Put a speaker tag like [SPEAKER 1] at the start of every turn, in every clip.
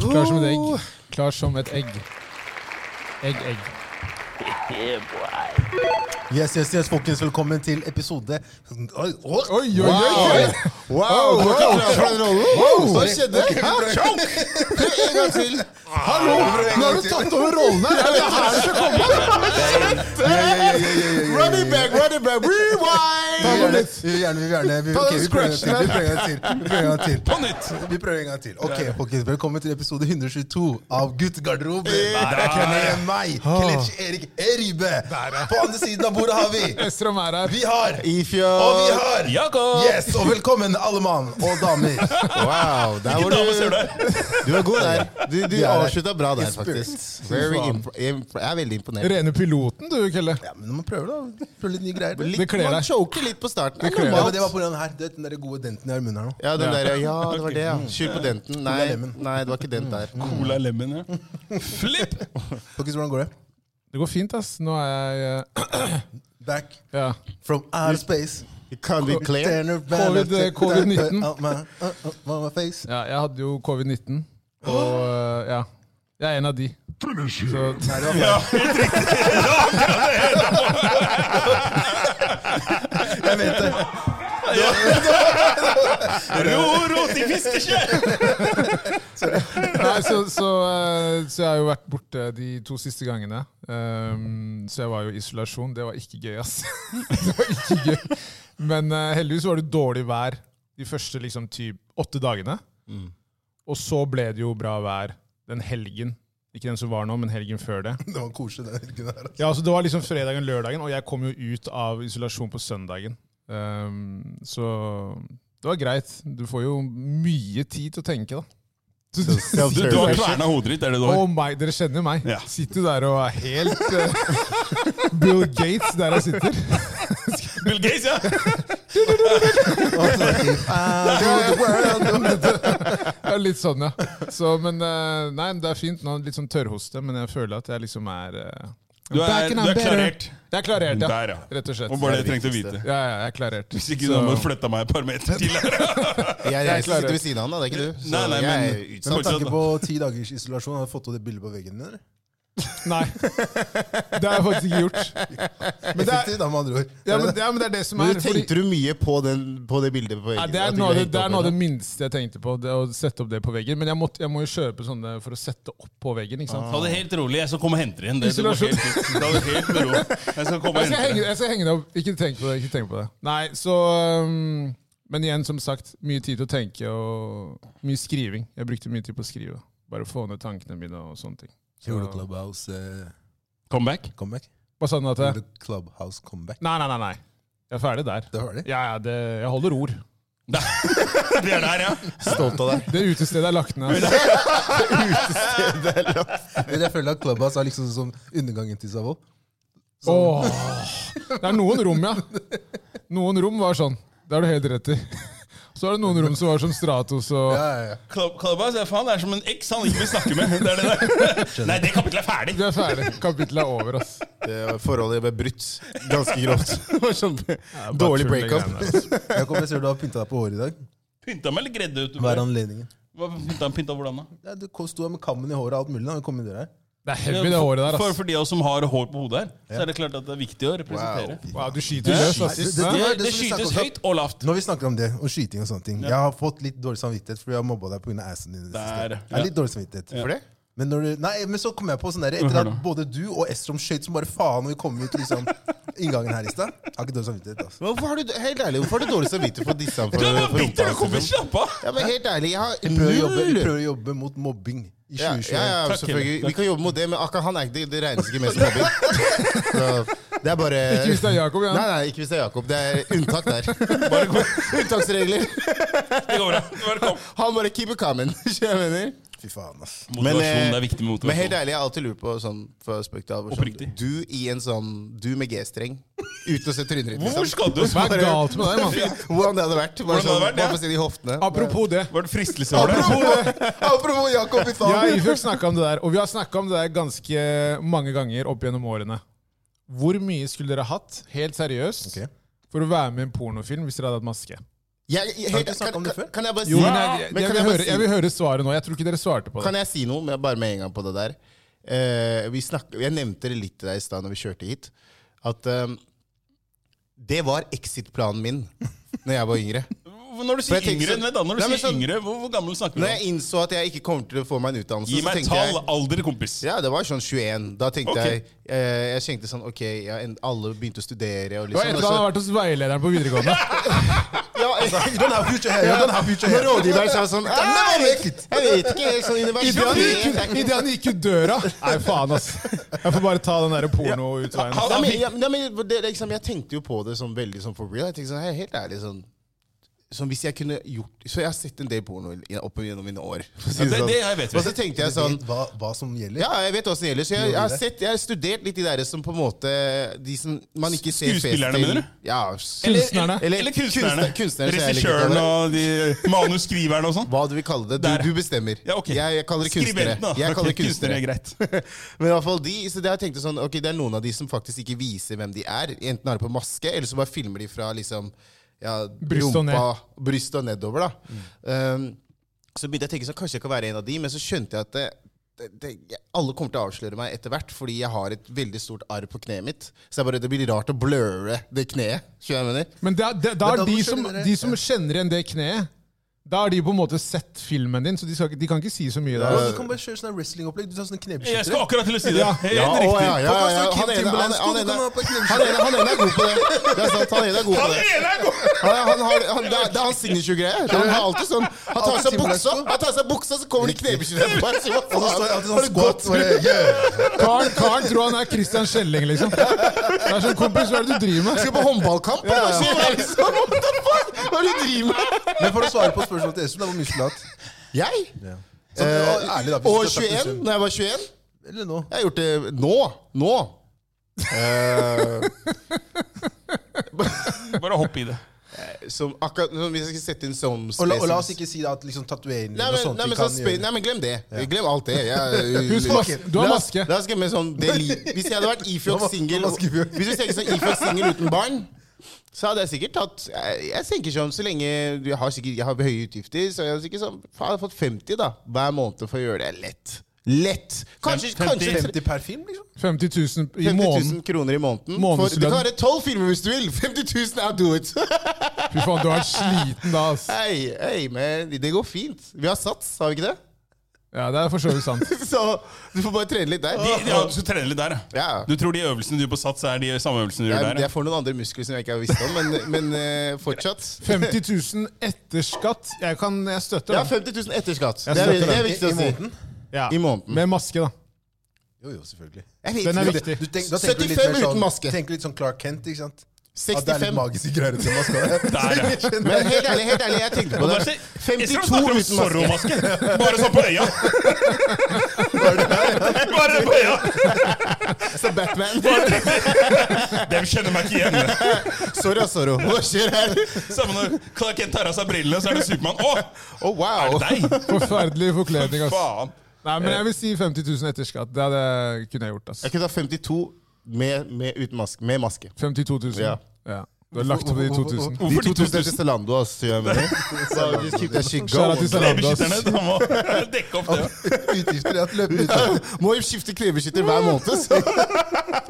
[SPEAKER 1] Klar som et egg. Klar som et egg. Egg, egg.
[SPEAKER 2] Yes, yes, yes, folkens. Velkommen til episode Oi,
[SPEAKER 1] Oi,
[SPEAKER 2] oi,
[SPEAKER 1] oi, oi!
[SPEAKER 2] Wow! wow, Hva skjedde? Hæ? Sjokk! En gang til. Hallo! Nå har du tatt over rollen her. Jeg vet her det skal komme. Running back, running back, rewind! Vi vil gjerne, vi vil gjerne vi, ok, vi prøver en gang til. Vi prøver en gang til. Vi prøver en gang til. På nytt. Vi prøver en gang til. Ok, folkens. Velkommen til episode 122 av Guttegarderoben. Der kjenner meg, Kletsj Erik Eribe. På andre siden av bordet har vi
[SPEAKER 1] Estrom er her.
[SPEAKER 2] Vi har
[SPEAKER 3] Ifjøl.
[SPEAKER 2] Og vi har
[SPEAKER 4] Jakob!
[SPEAKER 2] Yes, og velkommen alle mann og damer.
[SPEAKER 3] Wow, der var
[SPEAKER 4] Dame, ser
[SPEAKER 3] du
[SPEAKER 4] du?
[SPEAKER 3] Du var god der. Du, du
[SPEAKER 2] er der.
[SPEAKER 3] avslutta bra der,
[SPEAKER 2] I spirit.
[SPEAKER 3] faktisk. Very imp- imp- jeg er veldig imponert.
[SPEAKER 1] Rene piloten, du, Kelle.
[SPEAKER 2] Ja, men man prøver da. Prøver litt nye greier.
[SPEAKER 1] Det kler
[SPEAKER 3] Man
[SPEAKER 1] deg.
[SPEAKER 3] choker litt på starten. Det er
[SPEAKER 1] kler
[SPEAKER 2] Ja, men
[SPEAKER 3] normalt.
[SPEAKER 2] det var på den her. Du vet, den der gode denten jeg har i munnen her nå.
[SPEAKER 3] Ja, den der, ja, det var det, ja. Skyld på denten. Nei,
[SPEAKER 2] lemon.
[SPEAKER 3] nei, det var ikke den der.
[SPEAKER 4] Cola lemon, ja. Flipp!
[SPEAKER 2] Folkens, hvordan går det?
[SPEAKER 1] Det går fint, ass. Nå er jeg eh,
[SPEAKER 2] Back
[SPEAKER 1] Ja.
[SPEAKER 2] from outer space.
[SPEAKER 3] It can be clear.
[SPEAKER 2] Turner
[SPEAKER 1] Covid-
[SPEAKER 2] Banner-
[SPEAKER 1] covid-19.
[SPEAKER 2] Out my- uh, uh, my- my face.
[SPEAKER 1] ja jeg hadde jo covid-19, og eh, ja. Jeg er en av de. Så
[SPEAKER 2] Nei, det var feil. Jeg vet det.
[SPEAKER 4] Ro, ro, de fisker ikke!
[SPEAKER 1] Nei, så, så, eh, så jeg har jo vært borte de to siste gangene. Ehm, så jeg var jo i isolasjon. Det var ikke gøy, ass. det var ikke gøy. Men eh, heldigvis var det dårlig vær de første liksom, typ, åtte dagene. Og så ble det jo bra vær den helgen. Ikke den som var nå, men helgen før det.
[SPEAKER 2] Det var koselig, den helgen der. altså.
[SPEAKER 1] Ja, altså Det var liksom fredagen, lørdagen, og jeg kom jo ut av isolasjon på søndagen. Ehm, så det var greit. Du får jo mye tid til å tenke, da.
[SPEAKER 4] Du, du har kverna hodet ditt, er det du har?
[SPEAKER 1] Å meg, Oh Dere kjenner meg.
[SPEAKER 4] Ja.
[SPEAKER 1] Sitter der og er helt eh, Bill Gates der jeg sitter.
[SPEAKER 4] Bill Gates, ja!
[SPEAKER 1] Ja, litt sånn, ja. Så, men eh, nei, men det er fint. Nå er det litt sånn tørrhoste, men jeg føler at jeg liksom er eh,
[SPEAKER 4] Du er-
[SPEAKER 1] back and
[SPEAKER 4] du er
[SPEAKER 1] I'm better.
[SPEAKER 4] klarert.
[SPEAKER 1] Jeg er klarert, ja.
[SPEAKER 4] Der, ja.
[SPEAKER 1] Rett og slett.
[SPEAKER 4] Og bare det jeg trengte å vite.
[SPEAKER 1] Ja, ja, jeg er klarert.
[SPEAKER 4] Hvis ikke du hadde flytta meg et par meter til. her.
[SPEAKER 3] Jeg
[SPEAKER 1] Jeg klarer
[SPEAKER 3] reiser sitter
[SPEAKER 1] det.
[SPEAKER 3] ved siden av han, da. Det er ikke du. Så
[SPEAKER 4] Nei, nei,
[SPEAKER 3] jeg
[SPEAKER 4] men-
[SPEAKER 3] er
[SPEAKER 2] Men
[SPEAKER 3] utsatt.
[SPEAKER 2] med tanke på ti dagers isolasjon, har du fått opp det bildet på veggen din? eller?
[SPEAKER 1] Nei. Det har jeg faktisk ikke gjort. Men det er,
[SPEAKER 2] Effektivt, da, med andre ord.
[SPEAKER 1] ja, men, ja, men det er det som
[SPEAKER 3] Men
[SPEAKER 1] er. fordi-
[SPEAKER 3] tenkte du mye på, den, på det bildet på veggen?
[SPEAKER 1] Ja, det
[SPEAKER 3] At
[SPEAKER 1] er
[SPEAKER 3] du
[SPEAKER 1] noe av det,
[SPEAKER 3] ble hengt
[SPEAKER 1] det,
[SPEAKER 3] opp
[SPEAKER 1] er
[SPEAKER 3] i
[SPEAKER 1] noe av det minste jeg tenkte på, det, å sette opp det på veggen. Men jeg, måtte, jeg må jo kjøpe sånne for å sette opp på veggen. ikke sant?
[SPEAKER 4] Ta det helt rolig, jeg skal komme og hente det igjen. Det, det går
[SPEAKER 1] Isolasjon.
[SPEAKER 4] helt, fint. Ta det helt med ro. Jeg skal
[SPEAKER 1] Altså, Jeg
[SPEAKER 4] komme og
[SPEAKER 1] skal,
[SPEAKER 4] hente
[SPEAKER 1] henge,
[SPEAKER 4] det.
[SPEAKER 1] jeg skal henge det opp. Ikke tenk på det. ikke tenk på det. Nei, så... øhm, men igjen, som sagt, mye tid til å tenke og mye skriving. Jeg brukte mye tid på å skrive. Bare få ned tankene mine og sånne ting. Så,
[SPEAKER 2] Gjorde Clubhouse eh,
[SPEAKER 4] Comeback?
[SPEAKER 2] comeback?
[SPEAKER 1] hva sa du at jeg...
[SPEAKER 2] Gjorde Clubhouse comeback?
[SPEAKER 1] Nei, nei, nei, nei. Jeg er ferdig der.
[SPEAKER 2] Det var det.
[SPEAKER 1] Ja, ja, det, jeg holder ord.
[SPEAKER 4] Det er der, ja.
[SPEAKER 3] Stolt av deg.
[SPEAKER 1] Det utestedet er lagt ned. altså.
[SPEAKER 2] Men jeg føler at Clubhouse er liksom som undergangen til Savoll.
[SPEAKER 4] Sånn.
[SPEAKER 1] Åh. Det er noen rom, ja. Noen rom var sånn. Det har du helt rett i. Så er det noen rom som var som Stratos og
[SPEAKER 2] Ja, ja, ja.
[SPEAKER 4] Club, Clubhouse ja, faen, det er som en eks han ikke vil snakke med. Det er det der. Nei, det kapitlet er ferdig!
[SPEAKER 1] Vi er ferdig. Kapittelet er over, ass.
[SPEAKER 3] Det var Forholdet ble brutt ganske grovt. Det var sånn
[SPEAKER 1] Bare
[SPEAKER 3] Dårlig
[SPEAKER 1] tull med
[SPEAKER 3] breakup.
[SPEAKER 1] greiene der, ass.
[SPEAKER 2] Jakob, jeg ser du har pynta deg på håret i dag.
[SPEAKER 4] Pynta meg eller gredde ut?
[SPEAKER 2] Hva er anledningen?
[SPEAKER 4] Hva Pynta, pynta hvordan da?
[SPEAKER 2] Ja, du kom- sto her med kammen i håret og alt mulig. da vi kom inn døra her.
[SPEAKER 1] Det er heavy, det håret der,
[SPEAKER 4] For,
[SPEAKER 1] ass.
[SPEAKER 4] for de av oss som har hår på hodet her, så er det klart at det er viktig å representere.
[SPEAKER 1] Wow, du skyter løs, ass. Hæ?
[SPEAKER 2] Jesus. Det
[SPEAKER 4] Det,
[SPEAKER 2] var det som
[SPEAKER 4] det
[SPEAKER 2] vi
[SPEAKER 4] skytes
[SPEAKER 2] snakket om.
[SPEAKER 4] høyt og lavt.
[SPEAKER 2] Når vi snakker om det, og skyting og sånne ting Jeg har fått litt dårlig samvittighet fordi jeg har mobba deg pga. assen din. i det siste.
[SPEAKER 4] Der,
[SPEAKER 2] Jeg
[SPEAKER 4] ja.
[SPEAKER 2] har litt dårlig samvittighet.
[SPEAKER 3] For det?
[SPEAKER 2] Men, når du, nei, men så kom jeg på sånn der, etter at både du og Estrom skøyt som bare faen når vi kom ut liksom, inngangen her i stad. Jeg har ikke dårlig samvittighet. altså.
[SPEAKER 3] Men Hvorfor har du, helt ærlig, hvorfor har du dårlig samvittighet for disse? For,
[SPEAKER 4] Du er bare
[SPEAKER 3] for rumpa
[SPEAKER 4] bitter,
[SPEAKER 3] hans,
[SPEAKER 4] du kommer
[SPEAKER 3] liksom?
[SPEAKER 4] slapp av!
[SPEAKER 3] Ja, men helt ærlig, jeg har
[SPEAKER 2] Jeg prøver, å jobbe, jeg
[SPEAKER 3] null
[SPEAKER 2] prøver å jobbe mot mobbing i
[SPEAKER 3] ja,
[SPEAKER 2] 2021.
[SPEAKER 3] ja, ja,
[SPEAKER 4] Takk,
[SPEAKER 3] selvfølgelig.
[SPEAKER 4] Kenneth.
[SPEAKER 3] Vi kan jobbe mot det, men akkurat han er ikke det- Det regnes ikke med som hobby. Så Det er bare
[SPEAKER 1] Ikke hvis det er Jakob, ja.
[SPEAKER 3] Nei, nei, ikke hvis det er Jakob. Det er unntak der. Unntaksregler.
[SPEAKER 4] Det går bra. Bare kom.
[SPEAKER 3] Han bare keep it coming. skjønner du hva jeg mener?
[SPEAKER 2] Fy faen, ass.
[SPEAKER 4] Motivasjon,
[SPEAKER 3] eh,
[SPEAKER 4] det er viktig med
[SPEAKER 3] Men helt
[SPEAKER 4] motivasjon.
[SPEAKER 3] ærlig, jeg har alltid lurt på sånn for spøk til alvor sånn,
[SPEAKER 4] Oppriktig.
[SPEAKER 3] Du i en sånn Du med G-streng uten å se trynet ditt.
[SPEAKER 4] Hvorfor
[SPEAKER 3] Liksom.
[SPEAKER 4] skal du
[SPEAKER 1] Hva er galt med deg, mann?
[SPEAKER 3] Hvordan det hadde vært. Bare
[SPEAKER 4] Hvordan det hadde
[SPEAKER 3] sånn,
[SPEAKER 4] vært, ja.
[SPEAKER 3] bare for å si det i hoftene.
[SPEAKER 1] Apropos det.
[SPEAKER 4] Var det liksom? fristelse over det?
[SPEAKER 3] Apropos Jakob, fy faen.
[SPEAKER 1] Jeg og Ifjok snakka om det der, og vi har snakka om det der ganske mange ganger opp gjennom årene. Hvor mye skulle dere hatt, helt seriøst,
[SPEAKER 2] Ok.
[SPEAKER 1] for å være med i en pornofilm hvis dere hadde hatt maske?
[SPEAKER 3] Jeg, jeg,
[SPEAKER 2] Har vi
[SPEAKER 3] helt,
[SPEAKER 2] ikke snakket
[SPEAKER 3] kan,
[SPEAKER 2] om det
[SPEAKER 3] kan,
[SPEAKER 2] før?
[SPEAKER 3] kan jeg bare si
[SPEAKER 1] Jo, men jeg, jeg,
[SPEAKER 3] Men kan
[SPEAKER 1] vil
[SPEAKER 3] jeg bare
[SPEAKER 1] høre,
[SPEAKER 3] si-
[SPEAKER 1] jeg vil høre svaret nå. Jeg tror ikke dere svarte på
[SPEAKER 3] Kan
[SPEAKER 1] det.
[SPEAKER 3] jeg si noe? Men jeg bare med en gang på det der. Eh, vi snakk- jeg nevnte det litt til deg i stad når vi kjørte hit, at eh, det var exit-planen min når jeg var yngre.
[SPEAKER 4] Når du
[SPEAKER 3] For
[SPEAKER 4] sier
[SPEAKER 3] jeg tenker
[SPEAKER 4] yngre,
[SPEAKER 3] så-
[SPEAKER 4] vent da, når du
[SPEAKER 3] Nei, men
[SPEAKER 4] sier
[SPEAKER 3] sånn-
[SPEAKER 4] yngre, hvor, hvor gammel snakker vi
[SPEAKER 3] Når
[SPEAKER 4] om?
[SPEAKER 3] jeg innså at jeg ikke kommer til å få meg en utdannelse,
[SPEAKER 4] Gi
[SPEAKER 3] så
[SPEAKER 4] meg
[SPEAKER 3] tenkte jeg
[SPEAKER 4] tall, alder, kompis.
[SPEAKER 3] Ja, det var sånn 21. Da tenkte
[SPEAKER 4] Ok.
[SPEAKER 3] jeg eh, Jeg tenkte sånn Ok, ja, en, alle begynte å studere og
[SPEAKER 1] Det var
[SPEAKER 3] liksom
[SPEAKER 1] etter at han har vært hos veilederen på videregående.
[SPEAKER 3] Ja,
[SPEAKER 2] You don't have future here. You don't have future
[SPEAKER 3] Når
[SPEAKER 2] here.
[SPEAKER 3] rådgiveren sa sånn
[SPEAKER 2] Don't
[SPEAKER 3] «Nei,
[SPEAKER 2] never make it.
[SPEAKER 3] Jeg vet ikke helt sånn
[SPEAKER 1] Idet han gikk
[SPEAKER 3] universitet
[SPEAKER 1] ut- idet han gikk ut døra Nei, faen, ass. Jeg får bare ta den der porno-utveien.
[SPEAKER 4] Ja.
[SPEAKER 3] Nei, men, ja, men- ja, men det, liksom, jeg tenkte jo på det sånn veldig sånn for real. Jeg tenkte sånn, hei, helt ærlig sånn som hvis jeg kunne gjort Så jeg har sett en del porno i- opp gjennom mine år. for å si
[SPEAKER 4] Ja, det-
[SPEAKER 3] sånn.
[SPEAKER 4] det jeg vet.
[SPEAKER 3] Og så tenkte jeg
[SPEAKER 2] Jeg
[SPEAKER 3] sånn
[SPEAKER 2] vet hva, hva som gjelder.
[SPEAKER 3] Ja, jeg vet åssen det gjelder. Så jeg, jeg, har sett, jeg har studert litt de der som på en måte De som man ikke ser fjes
[SPEAKER 4] Skuespillerne,
[SPEAKER 3] til.
[SPEAKER 4] mener du?
[SPEAKER 3] Ja,
[SPEAKER 1] Kunstnerne.
[SPEAKER 3] eller-
[SPEAKER 4] Eller
[SPEAKER 3] kunstner-
[SPEAKER 4] kunstnerne.
[SPEAKER 3] kunstnerne, så jeg liker å kalle
[SPEAKER 4] Regissøren
[SPEAKER 3] det.
[SPEAKER 4] og de manusskriverne og sånn.
[SPEAKER 3] Hva du vil kalle det.
[SPEAKER 4] Der.
[SPEAKER 3] Du, du bestemmer.
[SPEAKER 4] Ja, ok.
[SPEAKER 3] jeg, jeg kaller det kunstnere.
[SPEAKER 4] Skribenten, da.
[SPEAKER 3] Jeg kaller
[SPEAKER 4] Ok,
[SPEAKER 3] det kunstnere.
[SPEAKER 4] er greit.
[SPEAKER 3] Men i hvert fall de, så det, jeg tenkte sånn, ok, det er noen av de som faktisk ikke viser hvem de er. Enten har det på maske, eller så bare filmer de fra liksom, ja,
[SPEAKER 1] Bryst og
[SPEAKER 3] rumpa, bryst og nedover. da.
[SPEAKER 4] Mm.
[SPEAKER 3] Um, så begynte jeg å tenke sånn, kanskje jeg kan være en av de, men så skjønte jeg at det, det, det, jeg, alle kommer til å avsløre meg etter hvert, fordi jeg har et veldig stort arr på kneet mitt. Så jeg bare, det blir rart å bløre det kneet. Skjønner du hva jeg mener?
[SPEAKER 1] Men da, da, da
[SPEAKER 2] Men da
[SPEAKER 1] er de
[SPEAKER 2] må
[SPEAKER 1] som,
[SPEAKER 2] skjønne dere-
[SPEAKER 1] de som kjenner igjen det kneet Da har de på en måte sett filmen din, så de, skal, ikke- de kan ikke si så mye
[SPEAKER 2] Bro,
[SPEAKER 3] Eh,
[SPEAKER 1] der.
[SPEAKER 2] Du kan bare kjøre sånn wrestlingopplegg. Du tar sånne
[SPEAKER 4] Jeg skal
[SPEAKER 2] knebeskyttere.
[SPEAKER 4] akkurat til å si det.
[SPEAKER 1] Ja.
[SPEAKER 4] Helt
[SPEAKER 3] Ja, å,
[SPEAKER 4] riktig.
[SPEAKER 3] ja, ja, ja, ja. Han
[SPEAKER 2] Folk har stått Kim
[SPEAKER 3] ene han-
[SPEAKER 2] Timberlands,
[SPEAKER 3] han
[SPEAKER 2] du kan
[SPEAKER 3] ene-
[SPEAKER 2] ha på knebeskytter.
[SPEAKER 3] han ene- han ene er god på det. Det er sant, han ene er god på
[SPEAKER 4] Han
[SPEAKER 3] det.
[SPEAKER 4] ene er god!
[SPEAKER 3] Han, er- han har, han, det, er, det er hans signature-greie. Han har alltid sånn Han tar av seg buksa, Han tar av seg buksa, så kommer det knebeskyttere på deg. Hva
[SPEAKER 2] Og så står jeg
[SPEAKER 3] faen?
[SPEAKER 2] alltid sånn squat. Bare, yeah.
[SPEAKER 1] Karen, Karen tror han er Christian Skjelling, liksom. Det er sånn, kompis, hva er det du driver med?
[SPEAKER 3] Skal på håndballkamp? eller Hva skjer her, liksom? What the fuck? Hva er det du driver med?
[SPEAKER 2] Men for å svare på spørsmålet til Espen, det var mye slatt.
[SPEAKER 3] Jeg?
[SPEAKER 2] Sånn,
[SPEAKER 3] Eh,
[SPEAKER 2] ærlig, da, hvis
[SPEAKER 3] og
[SPEAKER 2] du skal ta
[SPEAKER 3] 21,
[SPEAKER 2] tusen.
[SPEAKER 3] når jeg var 21.
[SPEAKER 2] Eller nå.
[SPEAKER 3] Jeg har gjort det nå. Nå. Eh,
[SPEAKER 4] Bare hopp i det.
[SPEAKER 3] som akkurat som Hvis jeg skal sette inn som
[SPEAKER 2] Og la, og la oss ikke si da at liksom, tatoveringer
[SPEAKER 3] Nei,
[SPEAKER 2] og
[SPEAKER 3] men,
[SPEAKER 2] sånt
[SPEAKER 3] nei,
[SPEAKER 2] vi
[SPEAKER 3] men,
[SPEAKER 2] kan
[SPEAKER 3] sånn, spe-
[SPEAKER 2] gjøre.
[SPEAKER 3] nei, men glem det. Glem alt det. Jeg,
[SPEAKER 1] Husk maske. Du har
[SPEAKER 3] La oss-
[SPEAKER 1] maske.
[SPEAKER 3] La oss glemme sånn det li Hvis jeg hadde vært iført
[SPEAKER 2] Nå mas-
[SPEAKER 3] singel
[SPEAKER 2] nå masker vi jo.
[SPEAKER 3] Hvis du tenker sånn iført singel uten barn, så hadde jeg sikkert tatt Jeg, jeg tenker sånn, så lenge Jeg har sikkert jeg har høye utgifter, så jeg hadde sikkert sånn, faen, jeg hadde fått 50 da hver måned for å gjøre det lett. Lett! Kanskje,
[SPEAKER 4] Fem-
[SPEAKER 3] kanskje 50
[SPEAKER 2] 50 per film, liksom?
[SPEAKER 1] 50 000 i
[SPEAKER 3] 000
[SPEAKER 1] måneden.
[SPEAKER 3] kroner i måneden. For,
[SPEAKER 1] Månedslønn.
[SPEAKER 3] det kan være tolv filmer hvis du vil! 50 000, I'll do it!
[SPEAKER 1] Fy faen, du har vært sliten da, ass.
[SPEAKER 3] Hei, hei, men det går fint. Vi har sats, har vi ikke det?
[SPEAKER 1] Ja, det er for så vidt sant.
[SPEAKER 3] Så du får bare trene litt der.
[SPEAKER 4] De, de, ja, du skal trene litt der, ja.
[SPEAKER 3] Ja.
[SPEAKER 4] Du tror de øvelsene du gjør på sats, er de samme øvelsene du gjør
[SPEAKER 3] Jeg,
[SPEAKER 4] der?
[SPEAKER 3] jeg får noen andre muskler som jeg ikke har visst om, men, men eh, fortsatt.
[SPEAKER 1] 50 000 etter skatt. Jeg, kan, jeg støtter
[SPEAKER 3] Ja,
[SPEAKER 1] den.
[SPEAKER 3] 50 000 etter skatt.
[SPEAKER 1] Jeg
[SPEAKER 3] Det er,
[SPEAKER 1] støtter
[SPEAKER 3] det er
[SPEAKER 2] I,
[SPEAKER 3] viktig
[SPEAKER 2] i
[SPEAKER 3] å si.
[SPEAKER 2] måneden?
[SPEAKER 1] Ja.
[SPEAKER 3] I måneden.
[SPEAKER 1] Med maske, da.
[SPEAKER 2] Jo, jo, selvfølgelig.
[SPEAKER 3] Jeg vet
[SPEAKER 1] Den er
[SPEAKER 3] ikke.
[SPEAKER 1] viktig.
[SPEAKER 2] Du tenk, da tenker du litt
[SPEAKER 3] 75
[SPEAKER 2] mer sånn,
[SPEAKER 3] uten maske.
[SPEAKER 2] Tenker litt sånn Clark Kent, ikke sant? At det er litt
[SPEAKER 3] 65.
[SPEAKER 2] magiske greier til maska.
[SPEAKER 4] Der, ja.
[SPEAKER 3] Men helt ærlig, helt ærlig, jeg tenkte på
[SPEAKER 4] Og
[SPEAKER 3] det.
[SPEAKER 4] der ser- Esra
[SPEAKER 3] 52
[SPEAKER 4] snakker
[SPEAKER 3] uten
[SPEAKER 4] om
[SPEAKER 3] maske.
[SPEAKER 4] Zorro-maske. Bare sånn på øya. Bare på øya.
[SPEAKER 3] Så Batman.
[SPEAKER 4] Dem kjenner meg ikke igjen.
[SPEAKER 3] Sorry, ass, Zorro. Hva skjer her?
[SPEAKER 4] Samme når Clark Kent tar av seg brillene, så er det Supermann. Å,
[SPEAKER 3] Oh, wow.
[SPEAKER 4] er det deg?
[SPEAKER 1] Forferdelig forkledning, ass.
[SPEAKER 4] Faen.
[SPEAKER 1] Nei, men jeg vil si 50 000 etter skatt. Det hadde, kunne jeg gjort, ass.
[SPEAKER 3] Jeg kunne ta 52 med, med, uten maske, med maske.
[SPEAKER 1] 52 000.
[SPEAKER 3] Ja.
[SPEAKER 1] Ja. Du har lagt opp de 2000.
[SPEAKER 3] De
[SPEAKER 4] Hvorfor de
[SPEAKER 3] 2000 er til Zalando, ass. gjør jeg med det. So just keep that shit
[SPEAKER 1] Shout out
[SPEAKER 3] going.
[SPEAKER 1] til Zalando.
[SPEAKER 4] Knebeskytterne de må dekke opp det.
[SPEAKER 2] Utgifter ja, til løpende utgifter.
[SPEAKER 3] Må jo skifte knebeskytter hver måned. Så.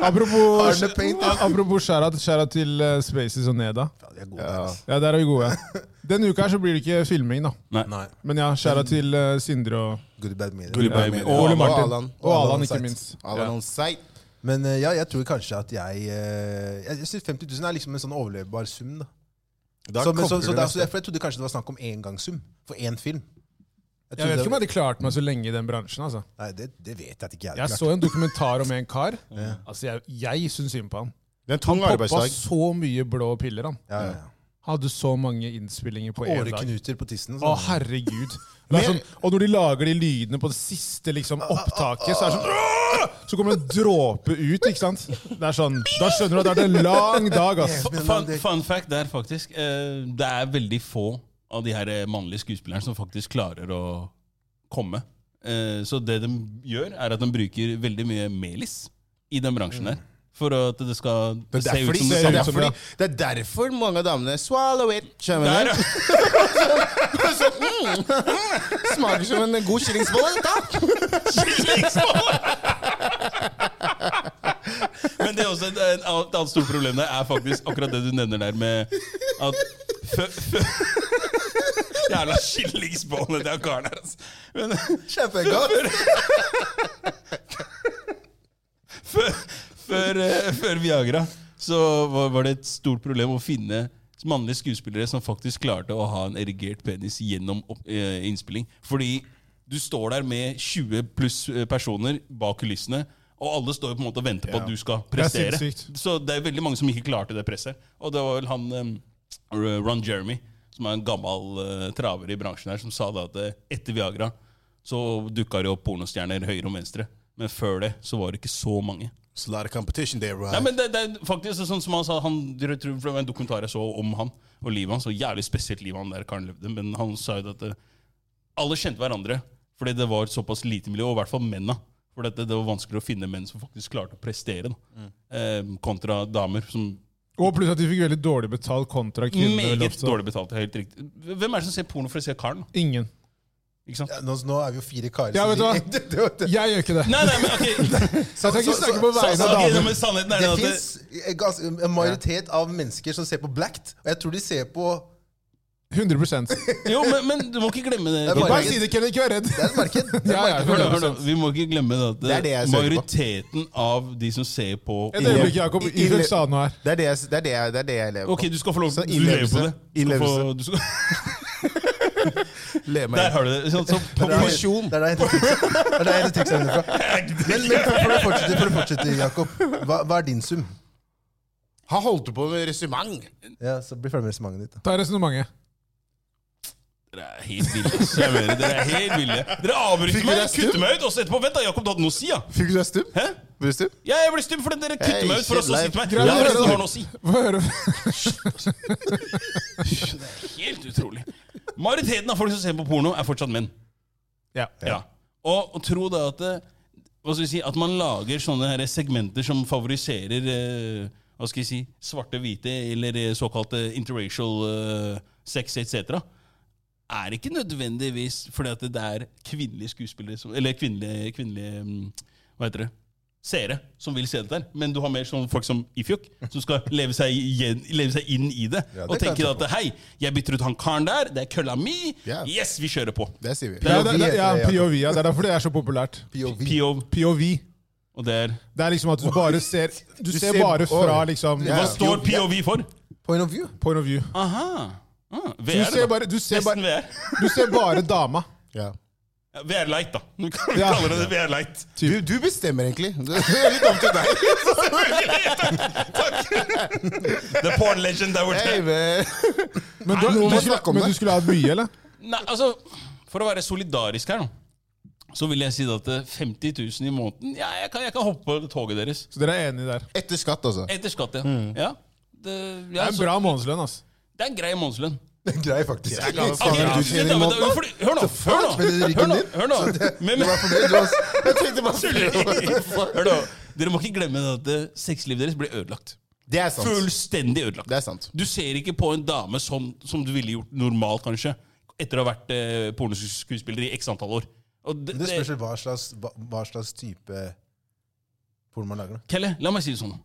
[SPEAKER 1] Apropos,
[SPEAKER 2] Arne Paint,
[SPEAKER 1] apropos skjæra, skjæra til eh, Spaces og Neda.
[SPEAKER 2] De er gode der, altså.
[SPEAKER 1] Ja, der er vi gode. Denne uka her så blir det ikke filming, da.
[SPEAKER 2] Nei.
[SPEAKER 1] Men ja, skjæra til eh, Sindre og,
[SPEAKER 2] Good bad media.
[SPEAKER 4] Good bad
[SPEAKER 2] Ja.
[SPEAKER 4] media.
[SPEAKER 1] og
[SPEAKER 4] Og
[SPEAKER 1] Ole
[SPEAKER 3] Alan.
[SPEAKER 1] Martin. Og
[SPEAKER 2] Og Alan
[SPEAKER 1] Alan, ikke
[SPEAKER 2] Seitz.
[SPEAKER 1] minst.
[SPEAKER 3] Alle
[SPEAKER 1] Ja.
[SPEAKER 3] noen site.
[SPEAKER 2] Men eh, ja, jeg tror kanskje at jeg eh, Jeg synes 50 000 er liksom en sånn overlevbar sum. da.
[SPEAKER 3] Da
[SPEAKER 2] så, men, så,
[SPEAKER 3] kobler
[SPEAKER 2] så
[SPEAKER 3] du
[SPEAKER 2] derfor,
[SPEAKER 3] nesten.
[SPEAKER 2] jeg trodde kanskje det var snakk om engangssum for én film.
[SPEAKER 1] Jeg vet
[SPEAKER 2] trodde-
[SPEAKER 1] ikke om jeg hadde klart meg så lenge i den bransjen. altså.
[SPEAKER 2] Nei, det, det vet jeg ikke. Jeg,
[SPEAKER 1] Jeg
[SPEAKER 2] hadde klart.
[SPEAKER 1] så en dokumentar om en kar. Altså, Jeg, jeg syns synd på han.
[SPEAKER 3] Det er en tung
[SPEAKER 1] Poppa
[SPEAKER 3] arbeidsdag.
[SPEAKER 1] så mye blå piller, han.
[SPEAKER 2] ja, ja, ja.
[SPEAKER 1] Hadde så mange innspillinger på én dag.
[SPEAKER 2] Åreknuter på tissen. og
[SPEAKER 1] Å,
[SPEAKER 2] sånn.
[SPEAKER 1] herregud. Det er sånn, og når de lager de lydene på det siste liksom, opptaket, så er det sånn «Åh!» Så kommer en dråpe ut, ikke sant? Det er sånn, Da skjønner du at det har vært en lang dag, ass.
[SPEAKER 2] Men
[SPEAKER 4] Fun,
[SPEAKER 2] det-
[SPEAKER 4] fun fact der, faktisk. eh, Det er veldig få av de her eh, mannlige skuespillerne som faktisk klarer å komme. Eh, Så det de gjør, er at de bruker veldig mye melis i den bransjen der. For at det skal
[SPEAKER 3] Mm. Det
[SPEAKER 4] se
[SPEAKER 3] er
[SPEAKER 4] ut
[SPEAKER 3] derfor, de,
[SPEAKER 4] som
[SPEAKER 3] det,
[SPEAKER 4] det
[SPEAKER 3] er
[SPEAKER 4] samme.
[SPEAKER 3] derfor de, det er derfor mange av damene Swallow it! skjønner
[SPEAKER 4] Der,
[SPEAKER 3] du? Så, mm, mm, Smaker som en god kyllingsbolle. dette.
[SPEAKER 4] Men det er også et, et annet annet stort problem der, er faktisk akkurat det du nevner der med at fø, fø, Jævla skillingsbollene til han karen der, altså. Men
[SPEAKER 3] Kjempegodt.
[SPEAKER 4] før, før, eh, før Viagra så var, var det et stort problem å finne mannlige skuespillere som faktisk klarte å ha en erigert penis gjennom opp, eh, innspilling. Fordi du står der med 20 pluss eh, personer bak kulissene, og alle står på en måte og venter på at du skal prestere.
[SPEAKER 1] sinnssykt.
[SPEAKER 4] Så det er veldig mange som ikke klarte det presset. Og det var vel han eh, Ron Jeremy, som er en gammel eh, traver i bransjen her, som sa da at eh, etter Viagra så dukka det opp pornostjerner høyre og venstre. Men før det så var det ikke så mange.
[SPEAKER 3] It's a lot of competition there, right?
[SPEAKER 4] Nei, men det, det er faktisk sånn som han sa han, jeg tror Det var en dokumentar jeg så om han og livet hans. Og jævlig spesielt livet han der karen levde. Men han sa jo det at eh, alle kjente hverandre fordi det var såpass lite miljø. Og i hvert fall mennene. For dette, det var vanskelig å finne menn som faktisk klarte å prestere. Da. Eh, kontra damer som
[SPEAKER 1] Og plutselig at de fikk veldig dårlig betalt kontra kvinner. vel
[SPEAKER 4] meget
[SPEAKER 1] også.
[SPEAKER 4] dårlig betalte. Helt riktig. Hvem er det som ser porno for å se karen? da?
[SPEAKER 1] Ingen.
[SPEAKER 4] Ikke sant?
[SPEAKER 2] Ja, Nå, nå er vi jo fire karer.
[SPEAKER 1] Ja,
[SPEAKER 2] så
[SPEAKER 1] vet du hva?
[SPEAKER 2] de- det- det-
[SPEAKER 1] Jeg gjør ikke det.
[SPEAKER 4] Nei, nei, men ok,
[SPEAKER 1] Jeg kan ikke
[SPEAKER 2] så-
[SPEAKER 1] snakke på
[SPEAKER 2] så-
[SPEAKER 1] vegne
[SPEAKER 2] så-
[SPEAKER 1] av
[SPEAKER 4] ok,
[SPEAKER 1] damer.
[SPEAKER 4] men Sannheten er
[SPEAKER 2] Det
[SPEAKER 4] at det,
[SPEAKER 2] fins en majoritet av mennesker som ser på Blacked, og jeg tror de ser på
[SPEAKER 1] 100
[SPEAKER 4] Jo, men, men du må ikke glemme det.
[SPEAKER 2] Det er bare-
[SPEAKER 1] Bare si det, Kenneth. Ikke vær redd.
[SPEAKER 2] Det er et marked.
[SPEAKER 1] Ja,
[SPEAKER 2] Det er et
[SPEAKER 1] ja,
[SPEAKER 2] marked.
[SPEAKER 4] Hør da,
[SPEAKER 1] 100%.
[SPEAKER 4] hør da. Vi må ikke glemme det at
[SPEAKER 3] Det er det jeg søker på.
[SPEAKER 4] majoriteten av de som ser på
[SPEAKER 1] Et øyeblikk, Jakob.
[SPEAKER 3] I- i-
[SPEAKER 1] Ihud sa noe her.
[SPEAKER 3] Det er det, jeg, det, er det, jeg, det er det jeg lever
[SPEAKER 4] Ok, du skal få lov
[SPEAKER 3] Så
[SPEAKER 4] Du lever på det. Du skal
[SPEAKER 3] innlevelse.
[SPEAKER 4] få, du skal,
[SPEAKER 3] på. Lever meg
[SPEAKER 4] der har du det. Sånn, så, på,
[SPEAKER 2] Det er-
[SPEAKER 3] Posisjon.
[SPEAKER 2] Det er der jeg henter triksa- det er der jeg henter triksa mine fra. Men, men for, for å fortsette, for å fortsette Jakob. Hva, hva er din sum?
[SPEAKER 3] Har holdt du på med resymang?
[SPEAKER 2] Ja, så Bli ferdig med resonnementet ditt. da.
[SPEAKER 1] Ta resonnementet.
[SPEAKER 4] dere er helt ville. ass. Jeg mener, dere er helt ville. Dere avbryter
[SPEAKER 3] Fikk
[SPEAKER 4] meg,
[SPEAKER 3] dere stum?
[SPEAKER 4] kutter meg ut, og så etterpå Vent, da, Jakob, du hadde noe å si, ja?
[SPEAKER 3] Fikk du deg stum?
[SPEAKER 4] Hæ?
[SPEAKER 3] Ble du stum?
[SPEAKER 4] Ja, jeg ble stum fordi dere kutter
[SPEAKER 3] Jeg
[SPEAKER 4] meg ut for å så
[SPEAKER 3] kjenner-
[SPEAKER 4] sitte meg.
[SPEAKER 1] Greit,
[SPEAKER 4] Ja,
[SPEAKER 1] greit.
[SPEAKER 4] dere har noe å si.
[SPEAKER 1] Få høre.
[SPEAKER 4] Helt utrolig. Majoriteten av folk som ser på porno, er fortsatt menn.
[SPEAKER 1] Ja.
[SPEAKER 4] Ja. Og, og tro da at eh, hva skal vi si, at man lager sånne her segmenter som favoriserer eh, hva skal jeg si, svarte-hvite eller eh, såkalte interracial eh, sex etc., er ikke nødvendigvis fordi at det er kvinnelige skuespillere som, Eller kvinnelige, kvinnelige mm, Hva heter det? Seere som vil se dette her. Men du har mer sånn folk som Ifjok, som skal leve seg, igjen, leve seg inn i det.
[SPEAKER 2] Ja, det
[SPEAKER 4] og
[SPEAKER 2] kan jeg
[SPEAKER 4] tenker
[SPEAKER 2] tro
[SPEAKER 4] at hei, jeg bytter ut han karen der, det er kølla mi.
[SPEAKER 3] Ja.
[SPEAKER 4] Yes, vi kjører på.
[SPEAKER 3] Det sier vi.
[SPEAKER 1] Ja, det, det, ja,
[SPEAKER 2] heter det,
[SPEAKER 1] POV, ja. Det er derfor det er så populært.
[SPEAKER 2] POV.
[SPEAKER 4] POV.
[SPEAKER 1] POV.
[SPEAKER 4] Og det er
[SPEAKER 1] Det er liksom at du bare ser Du ser
[SPEAKER 3] ser-
[SPEAKER 1] bare fra
[SPEAKER 3] Oi.
[SPEAKER 1] liksom
[SPEAKER 2] Ja.
[SPEAKER 4] Hva står POV for?
[SPEAKER 2] Point of view.
[SPEAKER 1] point of view.
[SPEAKER 4] Aha. Ah,
[SPEAKER 1] Du
[SPEAKER 4] VR,
[SPEAKER 1] ser
[SPEAKER 4] da.
[SPEAKER 1] bare, du ser
[SPEAKER 4] Nesten
[SPEAKER 1] bare,
[SPEAKER 4] VR.
[SPEAKER 1] du ser bare dama.
[SPEAKER 3] Ja.
[SPEAKER 4] Ja, VR Light, da. Vi kan
[SPEAKER 1] Ja.
[SPEAKER 4] kalle det VR Light.
[SPEAKER 3] Du, du bestemmer egentlig. Det er litt opp til deg.
[SPEAKER 4] The porn legend that we're
[SPEAKER 3] Hey, men.
[SPEAKER 1] Men du,
[SPEAKER 3] nå må
[SPEAKER 1] du,
[SPEAKER 3] vi snakke
[SPEAKER 1] skulle,
[SPEAKER 3] om
[SPEAKER 1] men
[SPEAKER 3] det.
[SPEAKER 1] du skulle hatt mye, eller?
[SPEAKER 4] Nei, altså, For å være solidarisk her, nå, så vil jeg si da at eh, 50 000 i måneden Ja, jeg kan, jeg kan hoppe på toget deres.
[SPEAKER 1] Så dere er enige der.
[SPEAKER 3] Etter skatt, altså.
[SPEAKER 4] Etter skatt, ja. ja. Det,
[SPEAKER 1] Det
[SPEAKER 4] ja
[SPEAKER 1] er en
[SPEAKER 4] så,
[SPEAKER 1] bra månedslønn, altså.
[SPEAKER 4] det er en grei månedslønn.
[SPEAKER 2] Grei, faktisk.
[SPEAKER 3] Jeg kan-
[SPEAKER 4] Ok,
[SPEAKER 3] Faen,
[SPEAKER 4] men
[SPEAKER 3] du tjener i
[SPEAKER 4] da- men da-
[SPEAKER 3] måneden?
[SPEAKER 4] fordi- Hør nå! Hør nå!
[SPEAKER 2] Med den
[SPEAKER 4] Hør
[SPEAKER 2] ryggen
[SPEAKER 4] nå!
[SPEAKER 2] din.
[SPEAKER 4] Hør nå! Men- men-
[SPEAKER 2] Fornøyd, Jonas?
[SPEAKER 3] Jeg tenkte bare
[SPEAKER 4] Hør nå. Dere må ikke glemme at eh, sexlivet deres blir ødelagt.
[SPEAKER 3] Det er sant.
[SPEAKER 4] Fullstendig ødelagt.
[SPEAKER 3] Det er sant.
[SPEAKER 4] Du ser ikke på en dame som, som du ville gjort normalt, kanskje, etter å ha vært eh, pornoskuespiller i x antall år. Og det,
[SPEAKER 2] Men Det spørs vel hva slags, hva, hva slags type porno man lager. da.
[SPEAKER 4] Kelle, la meg si det sånn.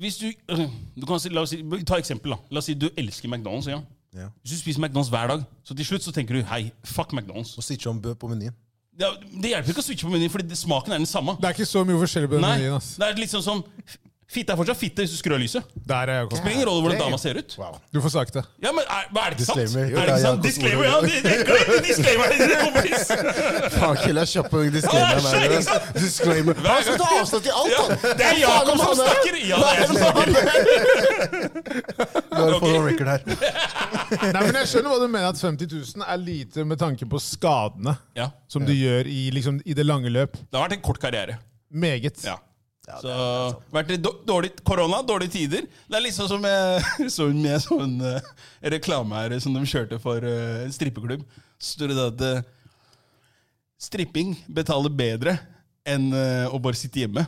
[SPEAKER 4] Hvis du, øh, du kan si, la oss si, Ta eksempel. da. La oss si du elsker McDonald's. Ja.
[SPEAKER 2] Ja.
[SPEAKER 4] Hvis du spiser McDonald's hver dag, så til slutt så tenker du hei, fuck McDonald's.
[SPEAKER 2] Og switche om bø på menyen.
[SPEAKER 4] Det, er- det hjelper ikke å switche på menyen, fordi det- smaken er den samme.
[SPEAKER 1] Det er ikke så mye forskjellig på den
[SPEAKER 4] Nei,
[SPEAKER 1] menyen. ass.
[SPEAKER 4] det er litt sånn som Fitte er fortsatt fitte hvis du skrur av lyset.
[SPEAKER 1] Der er Jakob.
[SPEAKER 4] Det er ingen rolle hvordan
[SPEAKER 3] Damn.
[SPEAKER 4] dama ser ut.
[SPEAKER 1] Du får sagt det.
[SPEAKER 4] Ja, men er, er det ikke sant?
[SPEAKER 2] Disclaimer.
[SPEAKER 4] Er det ikke
[SPEAKER 2] Ja,
[SPEAKER 4] sant?
[SPEAKER 2] ja,
[SPEAKER 4] Disclaimer, ja! det- det- Glem disclaimer! Det kommer
[SPEAKER 3] Faen, Kjell er kjapp på disclaimer.
[SPEAKER 4] Ja,
[SPEAKER 3] der, altså. Disclaimer. Han skal ta avstand til alt,
[SPEAKER 4] Ja,
[SPEAKER 3] han!
[SPEAKER 4] det er Jakob som
[SPEAKER 3] Faen, han er-
[SPEAKER 4] snakker! Ja, det er jeg som snakker.
[SPEAKER 2] Bare få
[SPEAKER 4] Ok.
[SPEAKER 2] noe record her.
[SPEAKER 1] Nei, men Jeg skjønner hva du mener, at 50 000 er lite med tanke på skadene
[SPEAKER 4] Ja,
[SPEAKER 1] som du gjør i, liksom, i det lange løp.
[SPEAKER 4] det har vært en kort karriere.
[SPEAKER 1] Meget.
[SPEAKER 4] Ja. Så vært litt dår- dårlig korona, dårlige tider. Det er liksom som jeg så en- med sånn eh, reklame her som de kjørte for eh, en strippeklubb. Så står det da at eh, stripping betaler bedre enn eh, å bare sitte hjemme.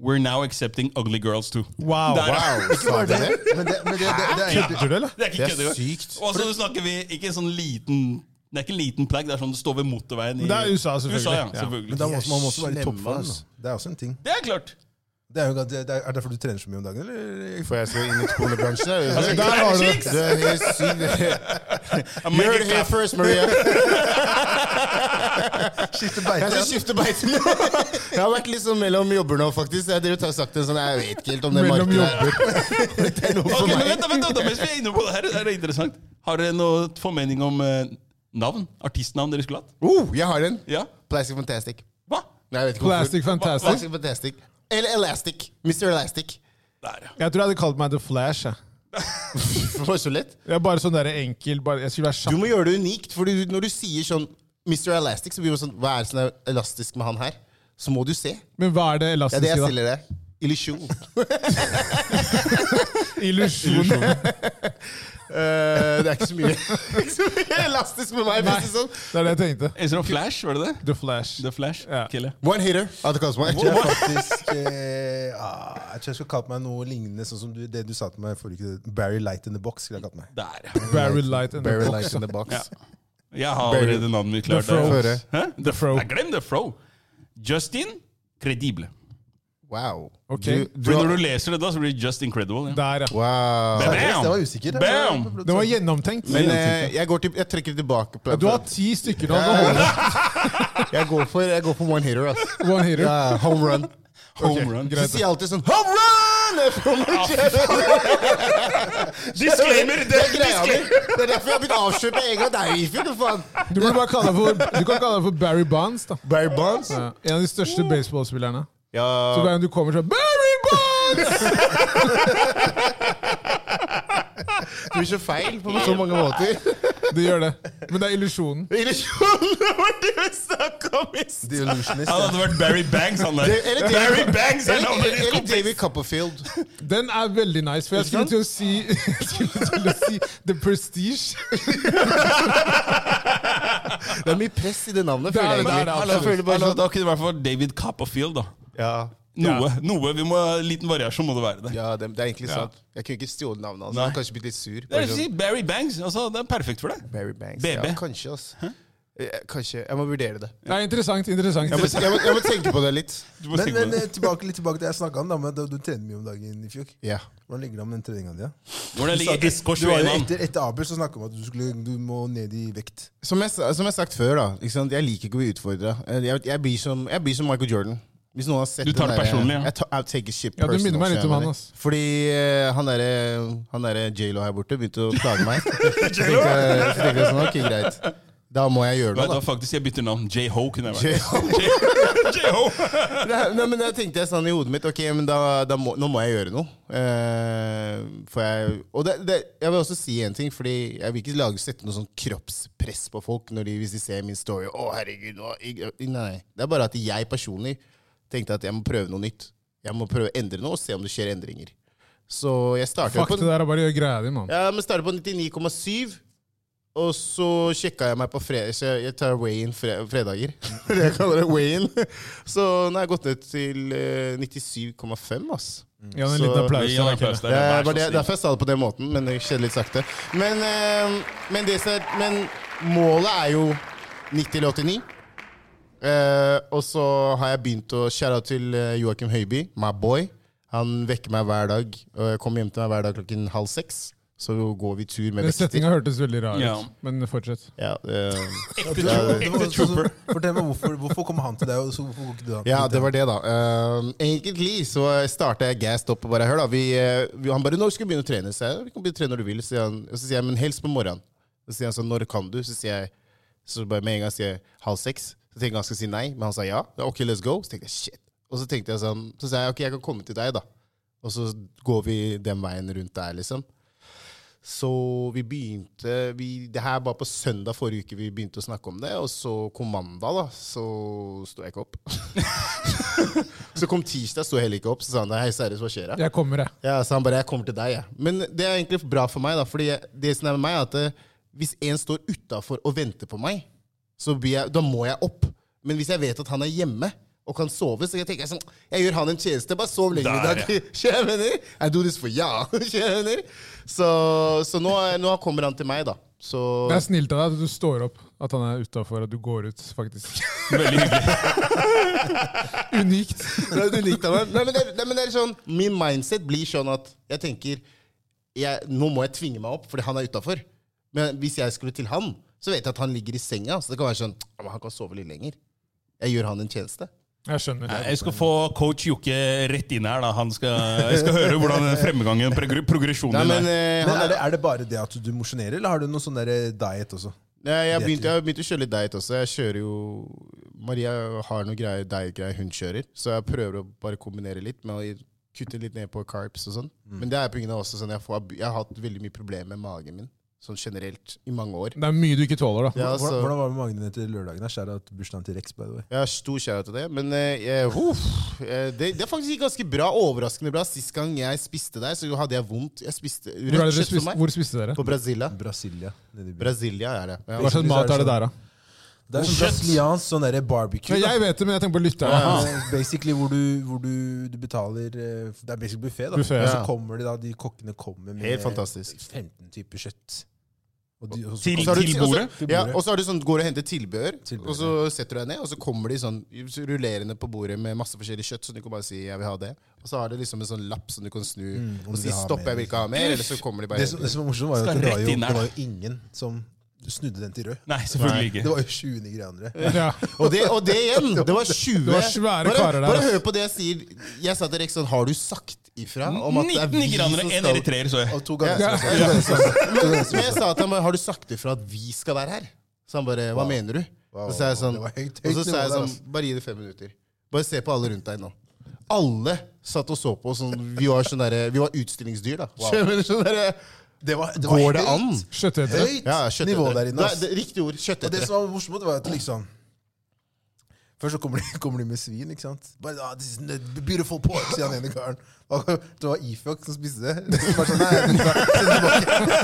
[SPEAKER 4] We're now accepting ugly girls too.
[SPEAKER 1] Wow.
[SPEAKER 4] Der,
[SPEAKER 3] Wow, sa
[SPEAKER 2] Bare
[SPEAKER 3] de
[SPEAKER 2] det.
[SPEAKER 3] det?
[SPEAKER 2] Men det, men det, det, det er
[SPEAKER 1] Kødder du, eller?
[SPEAKER 4] Det er
[SPEAKER 3] Det
[SPEAKER 4] ikke
[SPEAKER 3] er
[SPEAKER 4] kødd engang.
[SPEAKER 3] sykt.
[SPEAKER 4] Og altså, nå snakker vi ikke sånn liten Det er ikke en liten plagg, det er sånn det står ved motorveien. i-
[SPEAKER 1] Men det er USA, selvfølgelig.
[SPEAKER 4] USA, ja,
[SPEAKER 1] Ja.
[SPEAKER 4] selvfølgelig.
[SPEAKER 2] Men da må, man må også være
[SPEAKER 3] Slemme,
[SPEAKER 2] i toppform.
[SPEAKER 3] ass.
[SPEAKER 2] da. Det er også en ting.
[SPEAKER 4] Det er klart!
[SPEAKER 2] Det er, jo, det er er derfor du trener så mye om dagen, eller?
[SPEAKER 3] For jeg skal inn i pornobransjen. er det det?
[SPEAKER 1] Altså, der har du det.
[SPEAKER 3] Du er helt syk. You're
[SPEAKER 4] I'm making
[SPEAKER 3] here
[SPEAKER 4] clap.
[SPEAKER 3] first, Maria.
[SPEAKER 2] Skifte
[SPEAKER 3] Jeg skal
[SPEAKER 2] beite.
[SPEAKER 3] skifte beite nå. Jeg har vært litt sånn mellom jobber nå, faktisk. Jeg har drevet og sagt en sånn Jeg vet ikke helt om det
[SPEAKER 1] Mellom
[SPEAKER 3] markedet
[SPEAKER 1] jobber.
[SPEAKER 3] er noe
[SPEAKER 4] Ok,
[SPEAKER 3] for
[SPEAKER 4] men
[SPEAKER 3] meg.
[SPEAKER 4] vent, da, vent, da, da, mens vi er inne på det her, det er interessant. Har dere noe formening om eh, navn? Artistnavn dere skulle hatt?
[SPEAKER 3] Oh, jeg har en.
[SPEAKER 4] Ja?
[SPEAKER 3] Plastic Fantastic.
[SPEAKER 4] Hva?
[SPEAKER 3] Nei, jeg vet ikke hvorfor.
[SPEAKER 1] Plastic Fantastic.
[SPEAKER 3] Plastic Fantastic. Eller Elastic. Mr. Elastic.
[SPEAKER 4] Der, ja.
[SPEAKER 1] Jeg tror jeg hadde kalt meg The Flash. Jeg.
[SPEAKER 3] Det var så lett.
[SPEAKER 1] Jeg er bare sånn der enkel bare, Jeg skulle være
[SPEAKER 3] Du
[SPEAKER 1] kjapp.
[SPEAKER 3] må gjøre det unikt, for når du sier sånn Mr. Elastic, så blir det sånn Hva er det som er elastisk med han her? Så må du se.
[SPEAKER 1] Men hva er det
[SPEAKER 3] Det er det
[SPEAKER 1] elastiske,
[SPEAKER 3] jeg
[SPEAKER 1] da?
[SPEAKER 3] stiller deg. Illusjon.
[SPEAKER 1] Illusjon.
[SPEAKER 3] Eh, det er ikke så mye Ikke så mye elastisk med meg. for å si det Sånn.
[SPEAKER 1] Det er det jeg tenkte.
[SPEAKER 4] Ezra Flash, var det det?
[SPEAKER 1] The Flash.
[SPEAKER 4] The Flash?
[SPEAKER 1] Ja.
[SPEAKER 4] Kille.
[SPEAKER 3] One hitter. Ja, det kalles meg.
[SPEAKER 2] Jeg er faktisk eh, ah, Jeg tror jeg skulle kalt meg noe lignende sånn som du, det du sa til meg forrige uke. Barry Light in the Box. skulle jeg kalt meg.
[SPEAKER 4] Der, ja.
[SPEAKER 1] Barry Light and
[SPEAKER 3] Barry
[SPEAKER 1] the
[SPEAKER 3] light
[SPEAKER 1] Box.
[SPEAKER 3] in the box.
[SPEAKER 4] ja. Jeg har allerede navnet mitt klart.
[SPEAKER 1] The Fro.
[SPEAKER 4] der.
[SPEAKER 3] Føre.
[SPEAKER 4] Hæ? The
[SPEAKER 1] Fro.
[SPEAKER 4] Nei, glem The Fro. Justin Credible.
[SPEAKER 3] Wow.
[SPEAKER 1] Ok.
[SPEAKER 3] Du, du,
[SPEAKER 4] For når du leser det da, så blir det Just Incredible. Ja.
[SPEAKER 1] Der, ja.
[SPEAKER 3] wow.
[SPEAKER 4] Bam!
[SPEAKER 2] Jeg var usikker.
[SPEAKER 4] Bam!
[SPEAKER 1] Det var gjennomtenkt.
[SPEAKER 3] Men eh, jeg, går til, jeg trekker tilbake.
[SPEAKER 1] Du har ti stykker nå. Det holder.
[SPEAKER 3] jeg, går for, jeg går for one hitter, ass.
[SPEAKER 1] One hitter.
[SPEAKER 3] Ja, home run.
[SPEAKER 4] Home run.
[SPEAKER 3] Du sier alltid sånn Home run! Fra meg selv.
[SPEAKER 4] Disclaimer!
[SPEAKER 3] Det er greia mi. Det er derfor jeg har begynt å avkjøpe egen av deg, Ifjord. for faen.
[SPEAKER 1] Du kan bare kalle deg for, du kan kalle deg for Barry Bonds. da.
[SPEAKER 3] Barry Bonds? Mm.
[SPEAKER 1] Ja. En av de største baseballspillerne.
[SPEAKER 3] Ja.
[SPEAKER 1] Så hver gang du kommer sånn Barry Bonds!
[SPEAKER 3] Du gjør så feil på så mange måter.
[SPEAKER 1] Det gjør det. Men det er illusjonen.
[SPEAKER 3] Illusjoner var det vi snakka om i stad.
[SPEAKER 2] Delusionist.
[SPEAKER 4] Han hadde vært Barry Banks, han der.
[SPEAKER 3] Det- eller det-
[SPEAKER 4] Barry Banks er
[SPEAKER 3] Eller
[SPEAKER 4] navnet
[SPEAKER 3] eller
[SPEAKER 4] ditt!
[SPEAKER 3] David Copperfield.
[SPEAKER 1] Den er veldig nice, for jeg skulle til å si, jeg skulle til å si The Prestige.
[SPEAKER 3] Det er mye press i det navnet.
[SPEAKER 1] Det er
[SPEAKER 3] føler
[SPEAKER 1] det, det er
[SPEAKER 3] jeg
[SPEAKER 1] det,
[SPEAKER 3] egentlig.
[SPEAKER 1] absolutt.
[SPEAKER 3] Jeg føler bare
[SPEAKER 4] Hallo,
[SPEAKER 3] sånn
[SPEAKER 4] Da kunne det vært for David Copperfield, da.
[SPEAKER 3] Ja,
[SPEAKER 4] Noe. noe, vi må Liten variasjon må det være der.
[SPEAKER 3] ja det, det er egentlig sant. Jeg kunne ikke stjålet navnet hans.
[SPEAKER 4] Nei.
[SPEAKER 3] Jeg hadde kanskje blitt litt sur.
[SPEAKER 4] Det
[SPEAKER 3] Bare
[SPEAKER 4] er å si
[SPEAKER 3] sånn,
[SPEAKER 4] Barry Banks. Altså, det er perfekt for deg.
[SPEAKER 3] Barry Banks.
[SPEAKER 4] BB.
[SPEAKER 3] Ja, kanskje, ass. Eh, Kanskje. Jeg må vurdere det.
[SPEAKER 1] Det er interessant. interessant.
[SPEAKER 3] Jeg må, jeg må, jeg må tenke på det litt.
[SPEAKER 4] Du må
[SPEAKER 2] Men,
[SPEAKER 4] tenke
[SPEAKER 2] men
[SPEAKER 4] på det.
[SPEAKER 2] eh, tilbake, litt tilbake til det jeg snakka om. da, men du, du trener mye om dagen i fjor.
[SPEAKER 3] Ja.
[SPEAKER 2] Hvordan ligger det an med den treninga di? da?
[SPEAKER 4] Hvordan
[SPEAKER 2] Du sa-
[SPEAKER 4] ligger
[SPEAKER 2] du var jo
[SPEAKER 4] SK21 an?
[SPEAKER 2] etter, etter Abel så snakka om at du, skulle, du må ned i vekt.
[SPEAKER 3] Som jeg sa- som jeg har sagt før, da. Ikke sant? Jeg liker ikke å bli utfordra. Jeg, jeg, blir som- jeg blir som Michael Jordan. Hvis noen har sett
[SPEAKER 4] Du
[SPEAKER 3] den
[SPEAKER 4] tar det
[SPEAKER 3] derre-
[SPEAKER 4] personlig, ja.
[SPEAKER 3] Jeg tar, I'll take shit
[SPEAKER 1] Ja, du minner meg litt om han, ass.
[SPEAKER 3] Fordi eh, han derre han der J.Lo her borte begynte å plage meg. Så tenkte jeg- så tenkte jeg sånn, ok, greit. Da må jeg gjøre
[SPEAKER 4] Vet du
[SPEAKER 3] noe,
[SPEAKER 4] hva, faktisk, jeg bytter navn. J-Ho kunne jeg
[SPEAKER 3] da.
[SPEAKER 4] vært. J-Ho!
[SPEAKER 3] Nei, nei, men Da tenkte jeg sånn i hodet mitt Ok, men da, da må, nå må jeg gjøre noe. Eh, for jeg, og det, det, jeg vil også si en ting, Fordi jeg vil ikke lage, sette noe sånn kroppspress på folk når de, hvis de ser min story. Å herregud, nå, jeg, nei, Det er bare at jeg personlig tenkte at jeg må prøve noe nytt. Jeg må prøve å endre noe og se om det skjer endringer. Så jeg startet
[SPEAKER 1] Fuck
[SPEAKER 3] på,
[SPEAKER 1] det der er bare å gjøre greia di, mann.
[SPEAKER 3] ja, men startet på 99,7. Og så sjekka jeg meg på fredag, så jeg jeg tar weigh-in fre fredager. Det jeg kaller det weigh-in. Så nå har jeg gått ned til eh, 97,5, ass.
[SPEAKER 1] Gi han en
[SPEAKER 3] Mm. Så-
[SPEAKER 1] liten applaus.
[SPEAKER 4] Gi
[SPEAKER 1] til deg, Kelle.
[SPEAKER 4] han en applaus der.
[SPEAKER 3] Det
[SPEAKER 4] Vær så
[SPEAKER 3] er bare det,
[SPEAKER 4] snill.
[SPEAKER 3] derfor jeg sa det på den måten, men det er kjedelig sakte. Men, eh, men, det, som er- men målet er jo 90 eller 89. Eh, og så har jeg begynt å skjære av til eh, Joakim Høiby, my boy. Han vekker meg hver dag, og jeg kommer hjem til meg hver dag klokken halv seks. Så går vi tur med
[SPEAKER 1] Den
[SPEAKER 3] vekter.
[SPEAKER 1] setninga hørtes veldig rar
[SPEAKER 4] Ja.
[SPEAKER 1] ut, men fortsett.
[SPEAKER 3] Ja, eh, Ja,
[SPEAKER 4] Ekte trooper.
[SPEAKER 3] det-
[SPEAKER 4] Ekte trooper.
[SPEAKER 2] Fortell meg hvorfor, hvorfor kom han til deg, og så hvorfor går ikke du han
[SPEAKER 3] ja,
[SPEAKER 2] til
[SPEAKER 3] det
[SPEAKER 2] deg?
[SPEAKER 3] var det, da. Eh, egentlig så starta jeg gassed opp og bare Hør, da. Vi, eh, vi, han bare 'Når skal vi begynne å trene?' Så jeg, 'Vi kan begynne å trene når du vil'. Så sier han, og så sier jeg 'Men helst på morgenen'. Så sier han sånn 'Når kan du?' Så sier jeg så bare med en gang sier jeg halv seks. Så tenkte jeg han skal si nei, men han sa ja. Ja, Ok, let's go. Så tenkte jeg shit. Og så tenkte jeg sånn, så sa jeg ok, jeg kan komme til deg, da. Og så går vi den veien rundt der, liksom. Så vi begynte vi, Det her var på søndag forrige uke vi begynte å snakke om det. Og så kom mandag, da. Så sto jeg ikke opp. så kom tirsdag, sto jeg heller ikke opp. Så sa han hei, seriøst, hva skjer? da?»
[SPEAKER 1] Jeg kommer, jeg.
[SPEAKER 3] Ja, så han bare 'jeg kommer til deg', jeg. Men det er egentlig bra for meg, da. Fordi jeg, det som er med meg, er at eh, hvis en står utafor og venter på meg, så blir jeg, da må jeg opp. Men hvis jeg vet at han er hjemme, og kan sove. Så jeg tenker sånn, jeg gjør han en tjeneste. Bare sov lenger i
[SPEAKER 4] Der,
[SPEAKER 3] dag. Skjønner jeg mener? I do this for ya. Skjønner jeg mener? Så, så nå, er- nå kommer han til meg, da. Så
[SPEAKER 1] Det er snilt av deg at du står opp, at han er utafor, at du går ut, faktisk.
[SPEAKER 4] Veldig hyggelig.
[SPEAKER 1] Unikt.
[SPEAKER 3] Det er unikt av meg. Nei, men det, er- nei, men det er sånn, Min mindset blir sånn at jeg tenker jeg, Nå må jeg tvinge meg opp, fordi han er utafor. Men hvis jeg skulle til han, så vet jeg at han ligger i senga. Så det kan være sånn «Ja, men Han kan sove litt lenger. Jeg gjør han en tjeneste.
[SPEAKER 1] Jeg skjønner.
[SPEAKER 4] Jeg skal få coach Jokke rett inn her. da. Han skal, jeg skal høre hvordan fremgangen, progr- progresjonen
[SPEAKER 3] Nei,
[SPEAKER 4] din
[SPEAKER 3] men, eh,
[SPEAKER 4] er.
[SPEAKER 2] Men
[SPEAKER 3] han
[SPEAKER 2] er det, er det bare det at du mosjonerer, eller har du noe sånn der eh, diet også?
[SPEAKER 3] Nei, jeg har
[SPEAKER 2] Vet
[SPEAKER 3] begynt,
[SPEAKER 2] du.
[SPEAKER 3] jeg har begynt å kjøre litt diet også. Jeg kjører jo Maria har noe greier, diet-greier hun kjører, så jeg prøver å bare kombinere litt med å kutte litt ned på carbs og sånn.
[SPEAKER 2] Mm.
[SPEAKER 3] Men det er på grunn av også sånn jeg, får, jeg har hatt veldig mye problemer med magen min, sånn generelt, i mange år.
[SPEAKER 1] Det er mye du ikke tåler, da.
[SPEAKER 3] Ja,
[SPEAKER 2] Hvordan,
[SPEAKER 3] så,
[SPEAKER 2] hvordan var det med magen din etter lørdagen? da? Skjæra at bursdagen til Rex, by the way.
[SPEAKER 3] jeg har stor kjærlighet til det, men eh, jeg, uff, eh, det, det er faktisk gikk ganske bra, overraskende bra. Sist gang jeg spiste der, så hadde jeg vondt. Jeg spiste
[SPEAKER 1] Hvor, er
[SPEAKER 3] rødt
[SPEAKER 1] dere
[SPEAKER 3] kjøtt for
[SPEAKER 1] spiste,
[SPEAKER 3] meg.
[SPEAKER 1] hvor spiste dere?
[SPEAKER 3] På Brasilia.
[SPEAKER 2] Brasilia. Nede i byen.
[SPEAKER 3] Brasilia er det. Ja.
[SPEAKER 1] Hva slags mat er det der, da?
[SPEAKER 2] Det er sånn
[SPEAKER 4] Kjøtt.
[SPEAKER 2] brasiliansk sånn derre barbecue.
[SPEAKER 1] Ja,
[SPEAKER 2] da.
[SPEAKER 1] jeg vet det, men jeg tenker på lytterne.
[SPEAKER 2] Det er Basically hvor du, hvor du, du betaler eh, Det er basically buffé, da.
[SPEAKER 1] Buffet,
[SPEAKER 2] og så
[SPEAKER 3] ja.
[SPEAKER 2] kommer de da, de kokkene kommer med
[SPEAKER 3] Helt fantastisk.
[SPEAKER 2] 15 typer kjøtt. Og de, og så-
[SPEAKER 4] Til,
[SPEAKER 3] Så har du-
[SPEAKER 4] til bordet.
[SPEAKER 3] og så- Ja, og så er det sånn, går du og henter tilbehør,
[SPEAKER 2] Tilbehør,
[SPEAKER 3] og så setter du deg ned, og så kommer de sånn rullerende på bordet med masse forskjellig kjøtt, så du kan bare si 'jeg vil ha det'. Og så har det liksom en sånn lapp som du kan snu
[SPEAKER 2] om
[SPEAKER 3] og
[SPEAKER 2] du
[SPEAKER 3] si
[SPEAKER 2] vil ha
[SPEAKER 3] 'stopp,
[SPEAKER 2] mer,
[SPEAKER 3] jeg vil ikke ha mer', eller så kommer de bare
[SPEAKER 2] det, som, det som var morsomt, var jo
[SPEAKER 4] Skal
[SPEAKER 2] at det var
[SPEAKER 4] rett
[SPEAKER 2] jo,
[SPEAKER 4] inn der.
[SPEAKER 2] det var jo ingen som snudde den til rød.
[SPEAKER 4] Nei, selvfølgelig
[SPEAKER 2] Det
[SPEAKER 4] ikke.
[SPEAKER 2] var jo 20 nigerianere.
[SPEAKER 1] Ja.
[SPEAKER 3] og, det, og det igjen! Det var 20
[SPEAKER 1] Det var svære
[SPEAKER 3] bare,
[SPEAKER 1] karer der,
[SPEAKER 3] Bare
[SPEAKER 1] ass.
[SPEAKER 3] hør på det jeg sier. Jeg sa til Rex sånn Har du sagt ifra om at det er
[SPEAKER 4] 19
[SPEAKER 3] vi som
[SPEAKER 4] nigranere, en
[SPEAKER 3] skal Altså,
[SPEAKER 4] eritreer, så jeg.
[SPEAKER 2] Og to
[SPEAKER 3] Ja.
[SPEAKER 2] ganske
[SPEAKER 3] Men men jeg sa til ham Har du sagt ifra at vi skal være her? Så han bare Hva mener du?
[SPEAKER 2] Wow,
[SPEAKER 3] Og så sa jeg sånn,
[SPEAKER 2] det var høyt-
[SPEAKER 3] og så
[SPEAKER 2] høyt
[SPEAKER 3] sa jeg
[SPEAKER 2] nivå der,
[SPEAKER 3] sånn Bare gi det fem minutter. Bare se på alle rundt deg nå. Alle satt og så på oss. Sånn, vi, var sånn derre- vi var utstillingsdyr, da. Skjønner du? Sånn derre-
[SPEAKER 2] Det var, det var
[SPEAKER 3] Går det
[SPEAKER 2] høyt-
[SPEAKER 3] an?
[SPEAKER 1] Kjøttetere.
[SPEAKER 2] Høyt
[SPEAKER 3] Ja, kjøttetere.
[SPEAKER 2] nivå der inne.
[SPEAKER 3] Nei,
[SPEAKER 2] ass.
[SPEAKER 3] det- Riktig ord.
[SPEAKER 2] Og det
[SPEAKER 3] Kjøttetere.
[SPEAKER 2] som var morsomt, var at liksom Først så kommer de, kommer de med svin, ikke sant? Bare, ah, this is a beautiful pork, sier han ene karen. Og Det var Ifjok som spiste det. Så Bare sånn, nei, jeg vil ikke ha- send tilbake,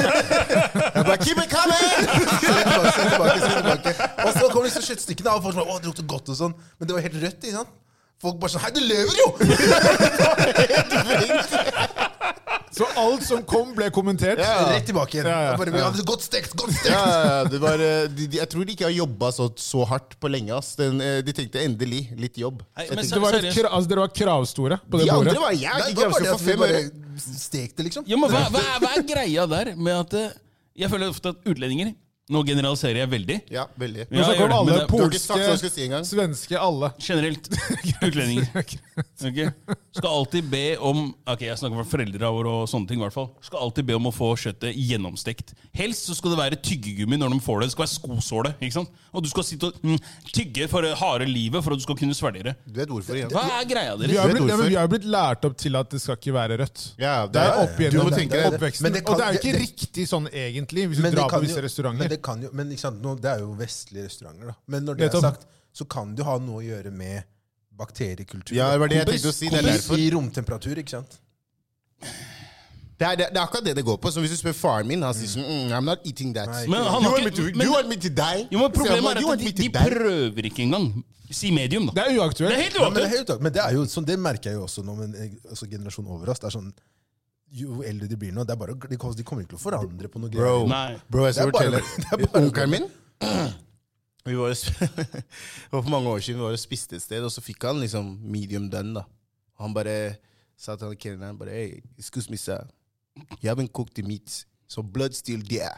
[SPEAKER 3] Jeg bare, Keep it coming!
[SPEAKER 2] send tilbake, send tilbake, send tilbake. Og så kommer disse kjøttstykkene, og folk som bare, å, det lukter godt og sånn. Men det var helt rødt, ikke sant? Folk bare sånn, hei, du lever jo!
[SPEAKER 1] Så alt som kom, ble kommentert.
[SPEAKER 3] Ja.
[SPEAKER 2] Rett tilbake igjen.
[SPEAKER 1] Ja, ja,
[SPEAKER 2] Og Bare, ja, det er godt stekt, godt
[SPEAKER 3] Ja,
[SPEAKER 2] stekt!
[SPEAKER 3] ja, det var, eh, de, de, jeg tror de ikke har jobba så, så hardt på lenge. Ass. Den, eh, de tenkte endelig litt jobb.
[SPEAKER 4] Nei,
[SPEAKER 3] Jeg
[SPEAKER 4] men
[SPEAKER 3] tenkte,
[SPEAKER 1] Det var litt kra altså, dere var kravstore på det
[SPEAKER 3] de
[SPEAKER 1] bordet.
[SPEAKER 3] andre var jeg.
[SPEAKER 2] Nei,
[SPEAKER 3] De
[SPEAKER 2] det var bare det
[SPEAKER 3] kravstore for
[SPEAKER 2] at vi
[SPEAKER 3] fem
[SPEAKER 2] bare
[SPEAKER 3] øre.
[SPEAKER 2] stekte, liksom.
[SPEAKER 4] Ja, men
[SPEAKER 3] altså,
[SPEAKER 4] hva, hva, er- hva er greia der med at eh, Jeg føler ofte at utlendinger Nå generaliserer jeg veldig.
[SPEAKER 3] Ja, veldig.
[SPEAKER 1] Men
[SPEAKER 4] Ja,
[SPEAKER 1] så
[SPEAKER 4] jeg gjør
[SPEAKER 1] kom
[SPEAKER 4] det,
[SPEAKER 1] alle
[SPEAKER 4] men det-
[SPEAKER 3] du har ikke sagt hva du skulle si
[SPEAKER 1] polske,
[SPEAKER 3] engang.
[SPEAKER 1] svenske, alle.
[SPEAKER 4] Generelt. Utlendinger. Ok? Skal alltid be om Ok, jeg snakker for foreldra våre og sånne ting. i hvert fall Skal alltid be om å få kjøttet gjennomstekt. Helst så skal det være tyggegummi når de får det. Det skal være skosåle. ikke sant? Og du skal sitte og mm, tygge for det harde livet for at du skal kunne svelge det.
[SPEAKER 3] Du vet hvorfor. igjen.
[SPEAKER 4] Hva er greia
[SPEAKER 1] Vi
[SPEAKER 4] deres?
[SPEAKER 1] har blitt, ja,
[SPEAKER 3] Vet
[SPEAKER 1] men
[SPEAKER 3] hvorfor.
[SPEAKER 1] vi har blitt lært opp til at det skal ikke være rødt.
[SPEAKER 3] Ja,
[SPEAKER 1] Det er
[SPEAKER 3] ja,
[SPEAKER 1] opp
[SPEAKER 3] ja. Du
[SPEAKER 1] igjennom
[SPEAKER 3] må tenke deg
[SPEAKER 2] det- det-
[SPEAKER 1] oppveksten.
[SPEAKER 2] men det kan-
[SPEAKER 1] og det er jo ikke
[SPEAKER 2] det-
[SPEAKER 1] riktig sånn egentlig, hvis du
[SPEAKER 2] Men det
[SPEAKER 1] drar på
[SPEAKER 2] kan
[SPEAKER 1] visse
[SPEAKER 2] jo- Men
[SPEAKER 1] restauranter.
[SPEAKER 2] det, kan jo, men ikke sant, nå, det er jo vestlige restauranter, da. Men når det er
[SPEAKER 1] Nettopp.
[SPEAKER 2] sagt, så kan det jo ha noe å gjøre med bakteriekultur.
[SPEAKER 3] Ja, det var det jeg tenkte å si. Det er
[SPEAKER 2] I,
[SPEAKER 3] derfor.
[SPEAKER 2] I romtemperatur, ikke sant?
[SPEAKER 3] Det er, det, er akkurat det det går på. Så hvis du spør faren min, han sier sånn mm, I'm not eating that.
[SPEAKER 2] Nei.
[SPEAKER 4] Men han
[SPEAKER 3] you,
[SPEAKER 4] har
[SPEAKER 3] want me to,
[SPEAKER 4] ikke,
[SPEAKER 3] you
[SPEAKER 4] men,
[SPEAKER 3] want me to die? Sier
[SPEAKER 4] jo, men
[SPEAKER 3] han,
[SPEAKER 4] problemet
[SPEAKER 3] you
[SPEAKER 4] er
[SPEAKER 3] want
[SPEAKER 4] at
[SPEAKER 3] me
[SPEAKER 4] de,
[SPEAKER 3] to
[SPEAKER 4] de
[SPEAKER 3] die?
[SPEAKER 4] prøver ikke engang. Si medium, da.
[SPEAKER 1] Det er
[SPEAKER 4] Det
[SPEAKER 1] uaktuelt.
[SPEAKER 4] er helt
[SPEAKER 2] Ja, men, det,
[SPEAKER 4] uaktuelt.
[SPEAKER 2] er helt uklart. men det er jo sånn, det merker jeg jo også nå, men jeg- altså, generasjonen over oss. det er sånn, Jo eldre de blir nå, det er bare, å- de, kommer- de kommer ikke til å forandre på noe
[SPEAKER 3] Bro,
[SPEAKER 2] greier.
[SPEAKER 4] Nei.
[SPEAKER 3] bro, jeg skal
[SPEAKER 2] Det er bare-
[SPEAKER 3] fortelle
[SPEAKER 2] det er bare-
[SPEAKER 3] Onkelen min vi var, og sp- det var For mange år siden vi var og spiste et sted, og så fikk han liksom medium done. da Han bare sa til han kelneren bare hey, Excuse me, sir. You haven't cooked the meat. So blood still there.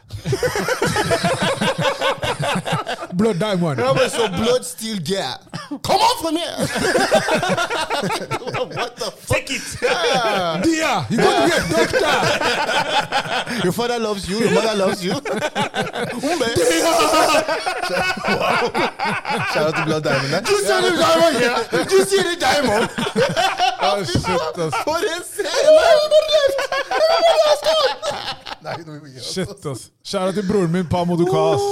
[SPEAKER 1] Blood diamond.
[SPEAKER 3] Han bare, so blood still there. Come on from here! What the fuck?
[SPEAKER 4] Take it!
[SPEAKER 3] Yeah.
[SPEAKER 1] Dia, you got to be a doctor!
[SPEAKER 3] Your father loves you, your mother loves you. Hun bare,
[SPEAKER 2] Shout out til Blood Diamond der.
[SPEAKER 3] Du ser det diamond, ja! Du ser det diamond!
[SPEAKER 1] Ah, shit, ass.
[SPEAKER 3] For en scene!
[SPEAKER 2] Nei, nå må vi gi oss.
[SPEAKER 1] Shit, ass. Kjære til broren min, Pamo Dukas.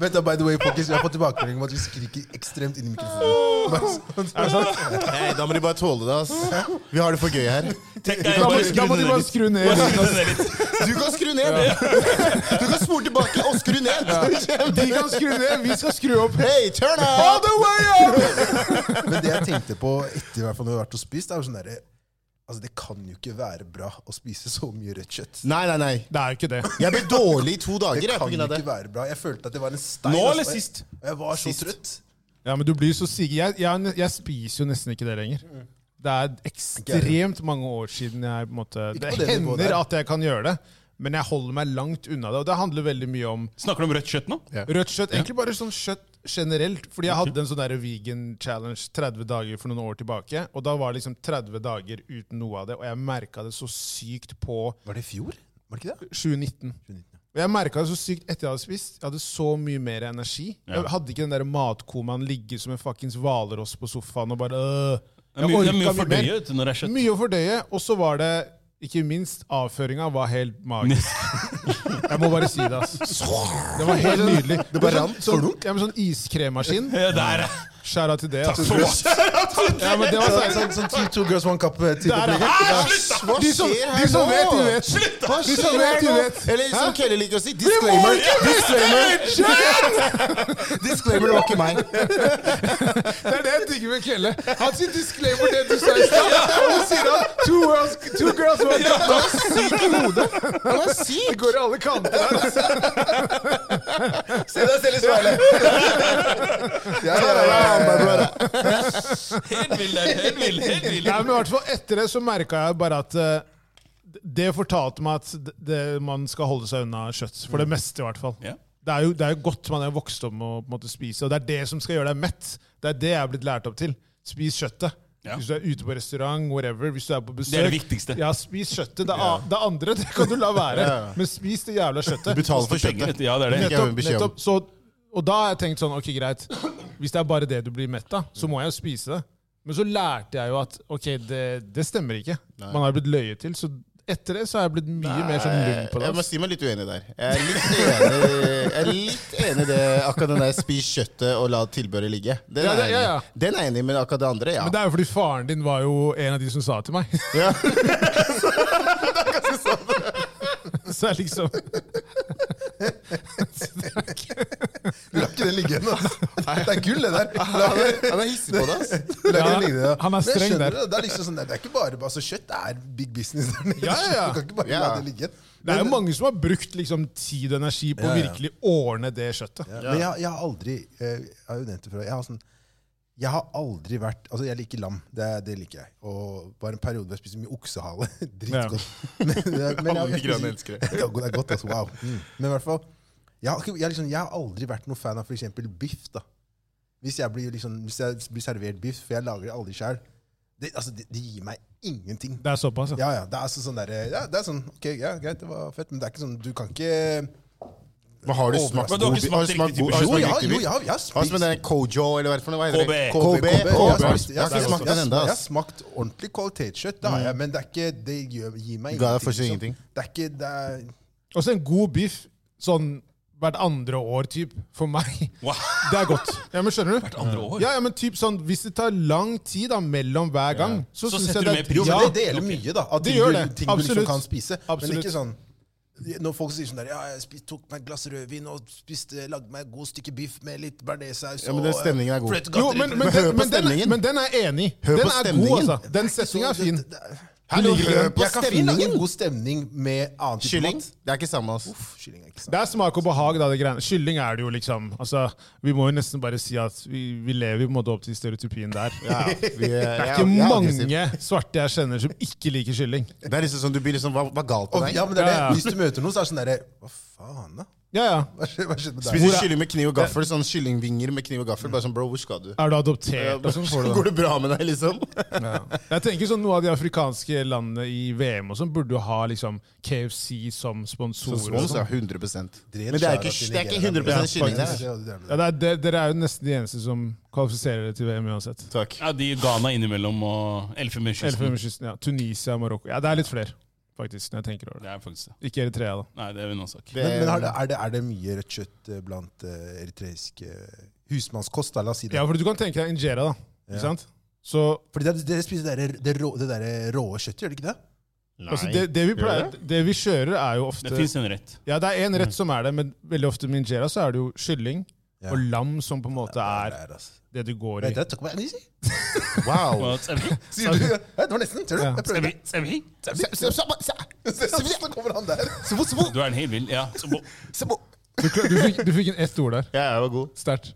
[SPEAKER 2] Vent da, by the way, folkens, Vi har fått tilbakemelding om at vi skriker ekstremt inn i mikrofonen. Bare sånn.
[SPEAKER 3] Nei, da må de bare tåle det, ass. Vi har det for gøy her.
[SPEAKER 4] Tenk deg,
[SPEAKER 1] Da må,
[SPEAKER 4] bare
[SPEAKER 1] da må
[SPEAKER 4] skru
[SPEAKER 1] de
[SPEAKER 4] ned
[SPEAKER 1] bare
[SPEAKER 4] litt.
[SPEAKER 1] skru ned.
[SPEAKER 4] Bare skru ned litt.
[SPEAKER 3] Du kan skru ned! Du kan spole tilbake og skru ned!
[SPEAKER 1] De kan skru ned, vi skal skru opp.
[SPEAKER 3] Hey, turn
[SPEAKER 1] All
[SPEAKER 3] up!
[SPEAKER 1] the way up!
[SPEAKER 2] Men det jeg tenkte på etter i hvert fall når vi har vært og spist, er jo sånn derre Altså, Det kan jo ikke være bra å spise så mye rødt kjøtt.
[SPEAKER 3] Nei, nei, nei.
[SPEAKER 1] Det er jo ikke det.
[SPEAKER 3] Jeg ble dårlig i to dager.
[SPEAKER 2] Det
[SPEAKER 3] jeg, på
[SPEAKER 2] kan
[SPEAKER 3] grunn
[SPEAKER 2] jo
[SPEAKER 3] av det.
[SPEAKER 2] ikke være bra. Jeg følte at det var en stein.
[SPEAKER 4] Nå
[SPEAKER 2] altså.
[SPEAKER 4] eller sist?
[SPEAKER 2] Og Jeg var så
[SPEAKER 3] Sist.
[SPEAKER 2] trøtt.
[SPEAKER 1] Ja, men du blir så syk. Jeg, jeg, jeg spiser jo nesten ikke det lenger. Det er ekstremt mange år siden jeg på en måte, Det
[SPEAKER 2] på det nivået
[SPEAKER 1] hender
[SPEAKER 2] der.
[SPEAKER 1] at jeg kan gjøre det, men jeg holder meg langt unna det. Og det handler veldig mye om
[SPEAKER 4] Snakker du om rødt kjøtt nå?
[SPEAKER 1] rødt kjøtt. Egentlig bare sånn kjøtt generelt. Fordi jeg hadde en sånn der vegan challenge 30 dager for noen år tilbake. Og da var det liksom 30 dager uten noe av det, og jeg merka det så sykt på
[SPEAKER 2] Var det i fjor? Var det ikke det?
[SPEAKER 1] 2019. Og jeg merka det så sykt etter jeg hadde spist. Jeg hadde så mye mer energi.
[SPEAKER 4] Ja.
[SPEAKER 1] Jeg hadde ikke den der matkomaen ligge som en fuckings hvalross på sofaen og bare øh.
[SPEAKER 4] Det er mye, det er mye å
[SPEAKER 1] orket
[SPEAKER 4] fordøye vet du, når det er kjøtt.
[SPEAKER 1] Mye å fordøye. Og så var det ikke minst avføringa var helt magisk. Jeg må bare si det, ass. Det var helt nydelig. Det
[SPEAKER 2] bare rant,
[SPEAKER 1] sånn, sånn, ja, men sånn iskremmaskin.
[SPEAKER 4] Ja, der, ja.
[SPEAKER 1] Skjæra til det. ass.
[SPEAKER 4] For oss.
[SPEAKER 1] Ja, men det var
[SPEAKER 2] Sånn,
[SPEAKER 1] sånn,
[SPEAKER 2] sånn, sånn two, two girls, one cup-type
[SPEAKER 1] Der,
[SPEAKER 2] opplegg.
[SPEAKER 1] ja.
[SPEAKER 3] Hva
[SPEAKER 1] De som,
[SPEAKER 3] skjer
[SPEAKER 1] de
[SPEAKER 3] her
[SPEAKER 1] som
[SPEAKER 3] nå?
[SPEAKER 1] vet, de vet.
[SPEAKER 4] Slutt, da!
[SPEAKER 1] De som vet, de vet.
[SPEAKER 3] Eller som
[SPEAKER 1] Hæ?
[SPEAKER 3] Kelly liker å si, disclaimer! Disclaimer det var ikke meg.
[SPEAKER 1] Det er det jeg digger med Kelle. Han sier disclaimer det du sa i stad. Og så sier han two girls, two girls one cup. Han er syk i hodet. Han er syk. Det går i alle kanter her. altså.
[SPEAKER 2] Se deg selv i speilet! Ja, ja, ja, ja, ja, ja.
[SPEAKER 4] Helt vill, der, helt vill, helt vill.
[SPEAKER 1] Nei, men i hvert fall Etter det så merka jeg bare at eh, det fortalte meg at det, det- man skal holde seg unna kjøtt. For det meste, i hvert fall.
[SPEAKER 4] Mm. Ja.
[SPEAKER 1] Det er, jo, det er jo godt man er vokst opp med å på en måte, spise, og det er det som skal gjøre deg mett. Det er det jeg er blitt lært opp til. Spis kjøttet.
[SPEAKER 4] Ja.
[SPEAKER 1] Hvis du er ute på restaurant, whatever, hvis du er på besøk
[SPEAKER 4] Det er det viktigste.
[SPEAKER 1] Ja, spis kjøttet. Det, a- det andre det kan du la være, men spis det jævla kjøttet.
[SPEAKER 3] Betal for
[SPEAKER 4] Penger,
[SPEAKER 3] kjøttet.
[SPEAKER 4] vet du. Ja, det er det.
[SPEAKER 3] Fikk jeg jo en
[SPEAKER 1] Nettopp,
[SPEAKER 3] beskjed om.
[SPEAKER 1] nettopp. Så, og da har jeg tenkt sånn, ok greit, hvis det er bare det du blir mett av, så må jeg jo spise det. Men så lærte jeg jo at ok, det, det stemmer ikke. Man har blitt løyet til. Så etter det så har jeg blitt mye mer sånn lung på det.
[SPEAKER 3] Eh, Jeg må
[SPEAKER 1] ass.
[SPEAKER 3] si meg litt uenig der. Jeg er litt enig, jeg er litt enig i det, akkurat den der 'spis kjøttet og la tilbøret ligge'. Den
[SPEAKER 1] Ja,
[SPEAKER 3] er
[SPEAKER 1] det- ja,
[SPEAKER 3] jeg
[SPEAKER 1] ja.
[SPEAKER 3] enig i. Den er jeg enig i, men akkurat det andre, ja.
[SPEAKER 1] Men det er jo fordi faren din var jo en av de som sa det til meg.
[SPEAKER 3] Ja.
[SPEAKER 1] Så jeg liksom Det
[SPEAKER 2] Du lar ikke den ligge igjen, altså. Det er gull, det der. La
[SPEAKER 3] Han er, han er hissig på det, ass.
[SPEAKER 2] Du lar ikke
[SPEAKER 1] Ja,
[SPEAKER 2] den ligge der.
[SPEAKER 1] han er
[SPEAKER 2] Men jeg
[SPEAKER 1] streng
[SPEAKER 2] skjønner
[SPEAKER 1] der.
[SPEAKER 2] Det, det, er liksom sånn, det er ikke bare altså, Kjøtt er big business der nede.
[SPEAKER 1] Ja, ja, ja.
[SPEAKER 2] Du kan ikke bare la
[SPEAKER 3] Ja.
[SPEAKER 2] det ligge igjen.
[SPEAKER 1] er jo mange som har brukt liksom tid og energi på å
[SPEAKER 2] Ja, ja.
[SPEAKER 1] virkelig ordne det kjøttet.
[SPEAKER 2] Men jeg, jeg har aldri eh, Jeg har jo nevnt det før. Jeg har, sånn, jeg har aldri vært Altså, jeg liker lam. Det, det liker jeg. Og bare en periode hvor jeg spiste mye oksehale. Dritgodt. Men, men
[SPEAKER 3] Alle
[SPEAKER 2] jeg-
[SPEAKER 3] de greiene elsker jeg.
[SPEAKER 2] Det er godt- det er godt, altså. Wow. Men i hvert fall jeg, har ikke- jeg, har liksom, jeg har aldri vært noen fan av for eksempel biff. da. Hvis jeg blir, liksom, hvis jeg blir servert biff, for jeg lager det aldri sjøl, det, altså, det, det gir meg ingenting.
[SPEAKER 1] Det er såpass, ja.
[SPEAKER 2] Ja, ja. Det er altså sånn der, ja, det er sånn, ok, ja, greit, det var fett, men det er ikke sånn, du kan ikke
[SPEAKER 3] Men har du
[SPEAKER 4] Men
[SPEAKER 3] smakt
[SPEAKER 4] du har
[SPEAKER 3] god
[SPEAKER 4] ikke
[SPEAKER 3] bi- har du
[SPEAKER 4] smakt
[SPEAKER 3] smakt
[SPEAKER 4] riktig
[SPEAKER 3] god- har
[SPEAKER 2] Jo,
[SPEAKER 3] du smakt
[SPEAKER 2] ja,
[SPEAKER 3] riktig
[SPEAKER 2] jo,
[SPEAKER 3] biff?
[SPEAKER 2] ja, jeg har
[SPEAKER 3] Har du
[SPEAKER 2] spist.
[SPEAKER 3] smakt den Kojo, eller hva er det for noe? Hva heter det?
[SPEAKER 4] KB.
[SPEAKER 3] KB.
[SPEAKER 2] Jeg har
[SPEAKER 3] Jeg har
[SPEAKER 2] smakt- jeg har
[SPEAKER 3] ikke
[SPEAKER 2] smakt-
[SPEAKER 3] smakt
[SPEAKER 2] jeg
[SPEAKER 3] den
[SPEAKER 2] har
[SPEAKER 3] ennå,
[SPEAKER 2] smakt- Jeg
[SPEAKER 3] ass. Mm.
[SPEAKER 2] har smakt ordentlig kvalitetskjøtt, det har jeg, men det er ikke, det gjør, gir meg
[SPEAKER 3] Ga deg fortsatt
[SPEAKER 2] liksom.
[SPEAKER 3] ingenting.
[SPEAKER 2] Det er ikke, det er...
[SPEAKER 1] Og så en god biff sånn hvert andre år, typ, for meg.
[SPEAKER 4] Wow.
[SPEAKER 1] Det er godt. Ja, men skjønner du? Hvert
[SPEAKER 4] andre år?
[SPEAKER 1] Ja, ja, men typ sånn, Hvis det tar lang tid da, mellom hver gang, så,
[SPEAKER 4] Så
[SPEAKER 1] synes
[SPEAKER 4] setter
[SPEAKER 1] jeg det-
[SPEAKER 4] du mer pris på
[SPEAKER 1] ja,
[SPEAKER 2] Men det deler mye, da. At
[SPEAKER 1] Det
[SPEAKER 2] ting
[SPEAKER 1] gjør
[SPEAKER 2] du-
[SPEAKER 1] det.
[SPEAKER 2] Ting du
[SPEAKER 1] Absolutt.
[SPEAKER 2] liksom kan spise. Men
[SPEAKER 1] Absolutt.
[SPEAKER 2] ikke sånn når folk sier sånn der, ja, jeg spiste- tok meg et glass rødvin og spiste, lagde meg et godt stykke biff med litt bearnéssaus
[SPEAKER 3] Ja, men den stemningen er god.
[SPEAKER 1] Jo, men, men,
[SPEAKER 3] Hør
[SPEAKER 1] den,
[SPEAKER 3] på
[SPEAKER 1] men, den,
[SPEAKER 3] stemningen.
[SPEAKER 1] men den er jeg enig i.
[SPEAKER 3] Hør
[SPEAKER 1] Den
[SPEAKER 3] på
[SPEAKER 1] er god,
[SPEAKER 3] stemningen.
[SPEAKER 1] altså. Den setninga er fin.
[SPEAKER 3] Hallo,
[SPEAKER 1] ligger
[SPEAKER 3] hør
[SPEAKER 1] den.
[SPEAKER 3] på
[SPEAKER 2] Jeg kan finne en
[SPEAKER 3] stemningen!
[SPEAKER 2] god stemning med annen type
[SPEAKER 3] Kylling?
[SPEAKER 2] mat.
[SPEAKER 3] Det er ikke samme, ass.
[SPEAKER 2] Uff, Kylling er ikke sant.
[SPEAKER 1] Det er smak og behag, da. det greiene. Kylling er det jo, liksom. Altså, Vi må jo nesten bare si at vi, vi lever jo på en måte opp til stereotypien der.
[SPEAKER 3] Vi er-
[SPEAKER 1] Det er
[SPEAKER 3] jeg-
[SPEAKER 1] ikke
[SPEAKER 3] jeg aggressiv.
[SPEAKER 1] mange svarte jeg kjenner som ikke liker kylling.
[SPEAKER 3] Det er liksom sånn, du blir liksom, hva, hva er galt med
[SPEAKER 2] Og,
[SPEAKER 3] deg?
[SPEAKER 2] ja, men det er
[SPEAKER 1] Ja, ja.
[SPEAKER 2] det. Hvis du møter noen, så er det sånn derre Hva faen, da?
[SPEAKER 1] Ja, ja.
[SPEAKER 2] Hva skjedde, hva skjedde med deg?
[SPEAKER 3] Spiser kylling med kniv og gaffel, sånn kyllingvinger med kniv og gaffel. Bare sånn, bro, hvor skal du?
[SPEAKER 1] Er du adoptert? og sånn får du det.
[SPEAKER 3] Går det bra med deg, liksom?
[SPEAKER 1] Jeg tenker sånn Noe av de afrikanske landene i VM og sånn burde jo ha liksom KFC som sponsor. og sånn.
[SPEAKER 3] Spons, ja. 100
[SPEAKER 2] Dren
[SPEAKER 3] Men det er ikke,
[SPEAKER 2] skjæra til
[SPEAKER 3] det er ikke
[SPEAKER 2] Nigeria,
[SPEAKER 3] 100 kylling der.
[SPEAKER 2] Det er det du drev med.
[SPEAKER 1] Ja, det er, det, dere er jo nesten de eneste som kvalifiserer dere til VM uansett.
[SPEAKER 3] Takk.
[SPEAKER 4] Ja, de Ghana innimellom og Elfenbenskysten.
[SPEAKER 1] Elfenbenskysten, ja. Tunisia, Marokko. Ja, det er litt flere, faktisk, når jeg tenker over det.
[SPEAKER 4] Det er faktisk det.
[SPEAKER 1] Ikke Eritrea, da.
[SPEAKER 4] Nei, det er en annen sak.
[SPEAKER 3] Det,
[SPEAKER 2] Men, men er, det,
[SPEAKER 1] Eh,
[SPEAKER 2] er, det, er det mye rødt kjøtt eh, blant eh, eritreisk eh, husmannskost? da? La oss si det.
[SPEAKER 1] Ja, for du kan tenke deg injera, da.
[SPEAKER 2] Ja.
[SPEAKER 1] Ikke sant? Så
[SPEAKER 2] Fordi Dere dere spiser det, der, det, rå, det der rå kjøttet, gjør dere ikke det?
[SPEAKER 3] Nei.
[SPEAKER 1] altså, det, det, vi pleier,
[SPEAKER 3] Gjør det?
[SPEAKER 1] det vi kjører, er jo
[SPEAKER 4] Det
[SPEAKER 1] ofte
[SPEAKER 4] fins en rett.
[SPEAKER 1] Ja, det er én rett som er det, men veldig ofte med injera så er det jo kylling
[SPEAKER 2] Ja.
[SPEAKER 1] og lam som på en måte
[SPEAKER 2] Det
[SPEAKER 1] er
[SPEAKER 2] er, altså.
[SPEAKER 1] det du går i.
[SPEAKER 2] Vet du, takk for meg, Nisi.
[SPEAKER 3] Wow.
[SPEAKER 4] Hva, Sevi?
[SPEAKER 2] Sier du? Ja, det var nesten. Ser du?
[SPEAKER 1] Ja.
[SPEAKER 2] Jeg prøvde.
[SPEAKER 4] Sevi?
[SPEAKER 2] Så kommer han der.
[SPEAKER 4] Du er en helt vill. Ja. Så,
[SPEAKER 1] Du, klar- du, fikk, du fikk inn ett ord der.
[SPEAKER 3] Ja, jeg var god.
[SPEAKER 1] Sterkt.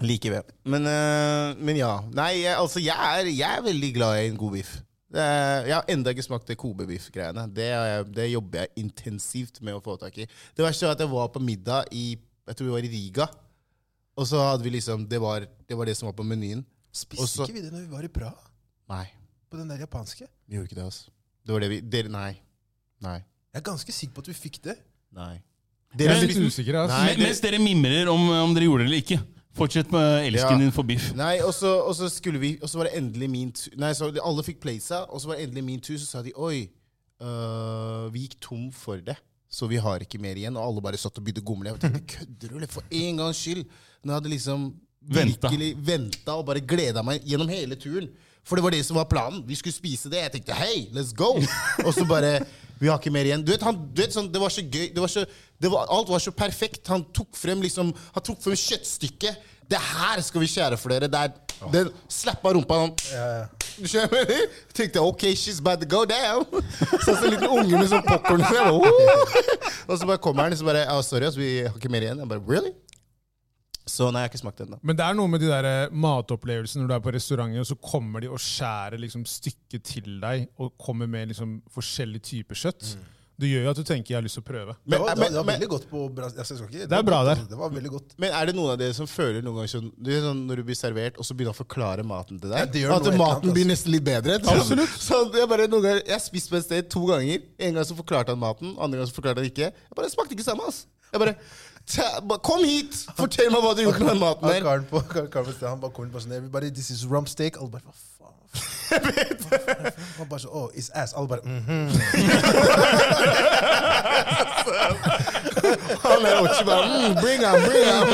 [SPEAKER 3] Like ved. Men, eh, men ja. Nei, jeg, altså, jeg er, jeg er veldig glad i en god biff. Det er- Jeg har enda ikke smakt det Kobe-biff-greiene. Det, er- det jobber jeg intensivt med å få tak i. Det verste var at jeg var på middag i Jeg tror vi var i Riga. Og så hadde vi liksom Det var det, var det som var på menyen.
[SPEAKER 2] Spiste ikke vi det når vi var i Praha?
[SPEAKER 3] Nei,
[SPEAKER 2] På den der japanske?
[SPEAKER 3] vi gjorde ikke det, altså. Det var det vi Dere, nei. Nei.
[SPEAKER 2] Jeg er ganske sikker på at vi fikk det.
[SPEAKER 3] Nei.
[SPEAKER 1] Jeg
[SPEAKER 3] Dere
[SPEAKER 1] er litt
[SPEAKER 3] spiste-
[SPEAKER 1] usikker. Altså.
[SPEAKER 3] Nei,
[SPEAKER 4] Men- Mens dere mimrer om, om dere gjorde det eller ikke, fortsett med
[SPEAKER 3] Ja.
[SPEAKER 4] elsken din for biff.
[SPEAKER 3] Nei, og så, og så skulle vi Og så var det endelig min tur Nei, så alle fikk place Og så var det endelig min tur Så sa de Oi, øh, vi gikk tom for det Så vi har ikke mer igjen Og alle bare satt og begynte å gomle Jeg tenkte, kødder du? eller? For en gangs skyld Nå hadde jeg liksom
[SPEAKER 4] Venta.
[SPEAKER 3] Virkelig ventet Og bare gledet meg gjennom hele turen For det var det som var planen Vi skulle spise det Jeg tenkte, hei, let's go Og så bare vi har ikke mer igjen. Du vet, han, du vet sånn, Det var så gøy. Det var så, det var, alt var så perfekt. Han tok frem liksom, han tok frem kjøttstykket. Det her skal vi skjære for dere. Det er, den slappa rumpa han. Du skjønner hva jeg mener? Tenkte OK, she's about to go down. Så så en liten unge med sånn popkorn. Så jeg bare, «Åh!» og så bare kommer han og så bare «Ah, Sorry, ass, vi har ikke mer igjen. Jeg bare, really? Så nei, jeg har ikke smakt det ennå.
[SPEAKER 1] Men det er noe med de der eh, matopplevelsene når du er på restauranter, og så kommer de og skjærer liksom stykket til deg, og kommer med liksom forskjellig type kjøtt. Det gjør jo at du tenker 'jeg har lyst til å prøve'.
[SPEAKER 2] Det var, det var,
[SPEAKER 3] men-
[SPEAKER 2] det var
[SPEAKER 3] men-
[SPEAKER 2] veldig godt på Bras... Jeg skal ikke,
[SPEAKER 1] Det er bra
[SPEAKER 2] var godt,
[SPEAKER 1] der.
[SPEAKER 2] altså. Det var veldig godt.
[SPEAKER 3] Men er det noen av dere som føler noen ganger sånn, du vet sånn Når du blir servert, og så begynner han å forklare maten til deg?
[SPEAKER 2] Ja, det gjør
[SPEAKER 3] at
[SPEAKER 2] noe helt
[SPEAKER 3] maten
[SPEAKER 2] annet,
[SPEAKER 3] blir
[SPEAKER 2] altså.
[SPEAKER 3] nesten litt bedre? Absolutt. Så jeg bare noen ganger, jeg har spist på et sted to ganger. En gang så forklarte han maten, andre gang så forklarte han ikke. Jeg bare, det smakte ikke samme, ass. Jeg bare, «Ta- ba- Kom hit! Fortell meg hva du gjorde med den maten
[SPEAKER 2] Han
[SPEAKER 3] der.
[SPEAKER 2] karen på, karen på stedet, han bare kom inn bare sånn Everybody, this is rump steak. Alle bare, hva faen? Hva faen? Han bare sånn, oh, it's ass. Alle bare, mhm.
[SPEAKER 3] Han er også bare, mm, bring him, bring him.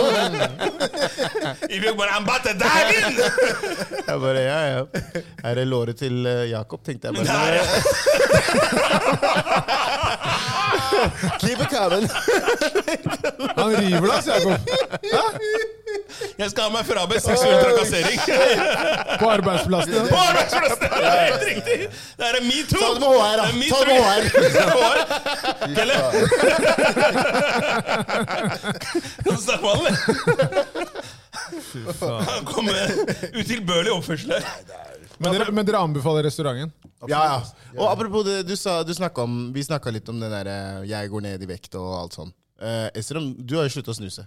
[SPEAKER 3] Jeg bare, ja, ja. Er det låret til eh, Jakob, tenkte jeg bare. Keep it coming.
[SPEAKER 1] Han river deg, altså, Jakob.
[SPEAKER 4] Jeg skal ha meg frabedt seksuell trakassering.
[SPEAKER 1] På arbeidsplassen.
[SPEAKER 4] På
[SPEAKER 1] ja.
[SPEAKER 4] arbeidsplassen! Det er helt riktig! Det er metoo!
[SPEAKER 3] Ta det med HR, da.
[SPEAKER 4] er
[SPEAKER 3] Ta det med HR.
[SPEAKER 4] metoo. Pelle! Kan du snakke med han, eller? Han kom med utilbørlig oppførsel her.
[SPEAKER 1] Men, dere, men dere anbefaler restauranten?
[SPEAKER 3] Ja, ja. Og apropos det, du sa, du snakket om, vi snakka litt om den derre 'jeg går ned i vekt' og alt sånn. Eh, Esrom, du har jo slutta å snuse.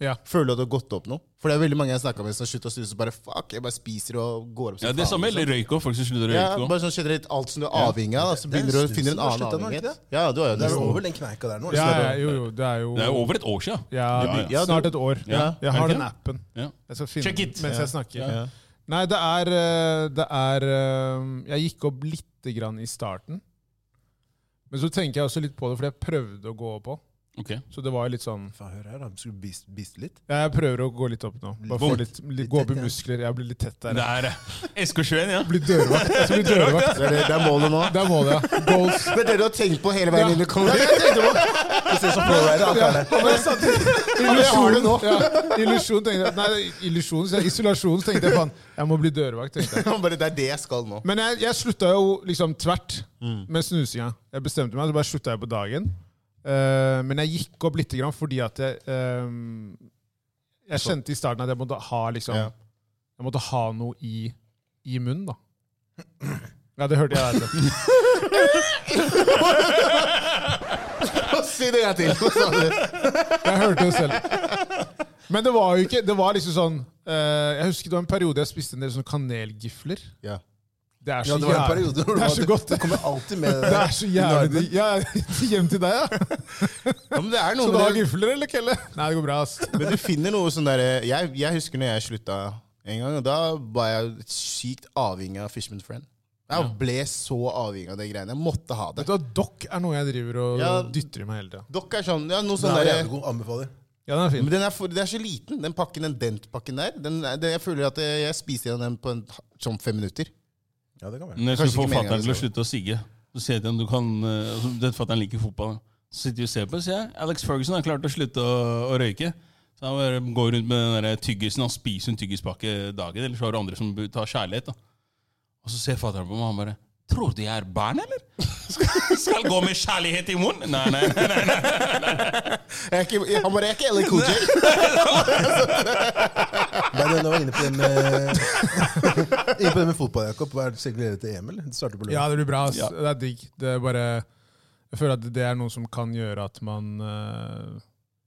[SPEAKER 1] Ja.
[SPEAKER 3] Føler du at du har gått opp nå? For det er veldig mange jeg snakka med som har slutta å snuse. Bare fuck, jeg bare spiser og går opp som
[SPEAKER 4] Ja, Det
[SPEAKER 3] faen,
[SPEAKER 4] samme
[SPEAKER 3] liksom.
[SPEAKER 4] gjelder røyk òg. Folk som slutter å
[SPEAKER 3] Ja,
[SPEAKER 4] røyke. også.
[SPEAKER 3] bare sånn generelt alt som du er avhengig av, da, så
[SPEAKER 2] Det er
[SPEAKER 3] begynner du å
[SPEAKER 2] snusen
[SPEAKER 3] finne en
[SPEAKER 2] som har
[SPEAKER 3] annen
[SPEAKER 2] sluttet nå, ikke
[SPEAKER 3] avhengighet.
[SPEAKER 2] det?
[SPEAKER 3] Ja, du har jo
[SPEAKER 2] Det er
[SPEAKER 3] nesten-
[SPEAKER 2] vel over den kneika der nå.
[SPEAKER 1] Ja,
[SPEAKER 2] eller?
[SPEAKER 1] ja, jo, jo, det er jo
[SPEAKER 4] Det er jo over et år sia.
[SPEAKER 1] ja,
[SPEAKER 3] Ja,
[SPEAKER 1] Snart et år.
[SPEAKER 4] Ja.
[SPEAKER 1] Jeg
[SPEAKER 4] Er
[SPEAKER 1] har
[SPEAKER 4] det
[SPEAKER 1] den
[SPEAKER 4] det?
[SPEAKER 1] appen.
[SPEAKER 4] Ja.
[SPEAKER 1] Jeg skal finne
[SPEAKER 4] Check
[SPEAKER 1] den
[SPEAKER 4] it.
[SPEAKER 1] mens jeg snakker.
[SPEAKER 3] Ja.
[SPEAKER 1] Nei, det er, eh, det er eh, Jeg gikk opp lite grann i starten. Men så tenker jeg også litt på det, fordi jeg prøvde å gå opp òg.
[SPEAKER 4] Ok.
[SPEAKER 1] Så det var jo litt sånn
[SPEAKER 2] Faen, hør her, da. Skal du biste bist litt?
[SPEAKER 1] Ja, Jeg prøver å gå litt opp nå. Bare få
[SPEAKER 4] Boom.
[SPEAKER 1] litt, litt, gå opp i muskler. Jeg blir litt tett der.
[SPEAKER 4] Der, ja. SK21, ja.
[SPEAKER 1] Bli dørvakt. Jeg skal bli dørvakt.
[SPEAKER 3] Det er, det, det er målet nå.
[SPEAKER 1] Det er målet, ja. Goals.
[SPEAKER 3] Det er det du har tenkt på hele veien inn i
[SPEAKER 2] Det
[SPEAKER 3] kongen.
[SPEAKER 2] er det jeg tenkte på. Det ser så pro-rider, han karen der.
[SPEAKER 1] Illusjon. Ja, illusjon, tenkte jeg. Nei, illusjon. så jeg- Isolasjon, så tenkte jeg faen. Jeg må bli dørvakt, tenkte jeg.
[SPEAKER 3] Bare, det er det jeg skal nå.
[SPEAKER 1] Men jeg, jeg slutta jo liksom tvert med snusinga. Jeg bestemte meg, så bare slutta jeg på dagen. Eh, men jeg gikk opp litt grann fordi at jeg eh, Jeg kjente i starten at jeg måtte ha liksom
[SPEAKER 3] Ja.
[SPEAKER 1] Jeg måtte ha noe i, i munnen, da. Ja, det hørte jeg. Der,
[SPEAKER 3] Si det en gang til. Hva sa du?
[SPEAKER 1] jeg hørte det selv. Men det var jo ikke Det var liksom sånn eh, Jeg husker det var en periode jeg spiste en del sånne kanelgifler.
[SPEAKER 3] Ja.
[SPEAKER 1] Det er så
[SPEAKER 2] Ja, det var en
[SPEAKER 1] jævlig-
[SPEAKER 2] periode hvor
[SPEAKER 1] Det er
[SPEAKER 2] du-
[SPEAKER 1] så godt.
[SPEAKER 2] Du kommer alltid med
[SPEAKER 1] Det er så jævlig Ja, Hjem til deg, ja.
[SPEAKER 3] ja, men det er noe
[SPEAKER 1] Skal du
[SPEAKER 3] med
[SPEAKER 1] ha
[SPEAKER 3] det-
[SPEAKER 1] gifler eller kelle? Nei, det går bra, ass.
[SPEAKER 3] Men du finner noe sånn derre jeg, jeg husker når jeg slutta en gang, og da var jeg sykt avhengig av Fishman Friend. Jeg ble så avhengig av de greiene. Jeg måtte ha det.
[SPEAKER 1] Vet du hva, Dokk er noe jeg driver og
[SPEAKER 3] Ja.
[SPEAKER 1] dytter i meg hele tida.
[SPEAKER 3] Dokk er sånn, ja, noe
[SPEAKER 2] Den
[SPEAKER 3] sånn
[SPEAKER 2] er
[SPEAKER 3] der,
[SPEAKER 2] jævlig god. Anbefaler.
[SPEAKER 1] Ja, den er
[SPEAKER 3] Men
[SPEAKER 1] fin.
[SPEAKER 3] den er, for, den er så liten, den pakken, den dentpakken der. Den, er- det, jeg føler at jeg, jeg spiser gjennom den på en, sånn fem minutter.
[SPEAKER 2] Ja, det kan være.
[SPEAKER 4] Når jeg skulle
[SPEAKER 3] Kanskje
[SPEAKER 4] få
[SPEAKER 3] ikke meningen altså.
[SPEAKER 4] fatter'n til å
[SPEAKER 3] det
[SPEAKER 4] slutte å sigge, så sier jeg til ham du kan eh, altså, Den fatter'n liker fotball. Så sitter vi og ser på, sier jeg. Alex Ferguson har klart å slutte å, å røyke. Så han bare går rundt med den der tyggisen. Han spiser en tyggispakke dagen, eller så har du andre som tar kjærlighet. da. Og så ser fatter'n på meg, og han bare Tror du jeg er barn, eller? Skal- Skal gå med kjærlighet i munnen? Nei, nei, nei. nei.
[SPEAKER 3] Jeg er ikke, jeg, han bare, jeg er ikke LA Cool J.
[SPEAKER 2] Nei, det- nå var jeg inne på det med, inne på det med fotball, Jakob. Hva er det du gleder deg til EM, eller? Du starter på
[SPEAKER 1] Ja,
[SPEAKER 2] lørdag.
[SPEAKER 1] det blir bra. ass.
[SPEAKER 4] Ja.
[SPEAKER 1] Det er digg. Det er bare Jeg føler at det er noe som kan gjøre at man eh,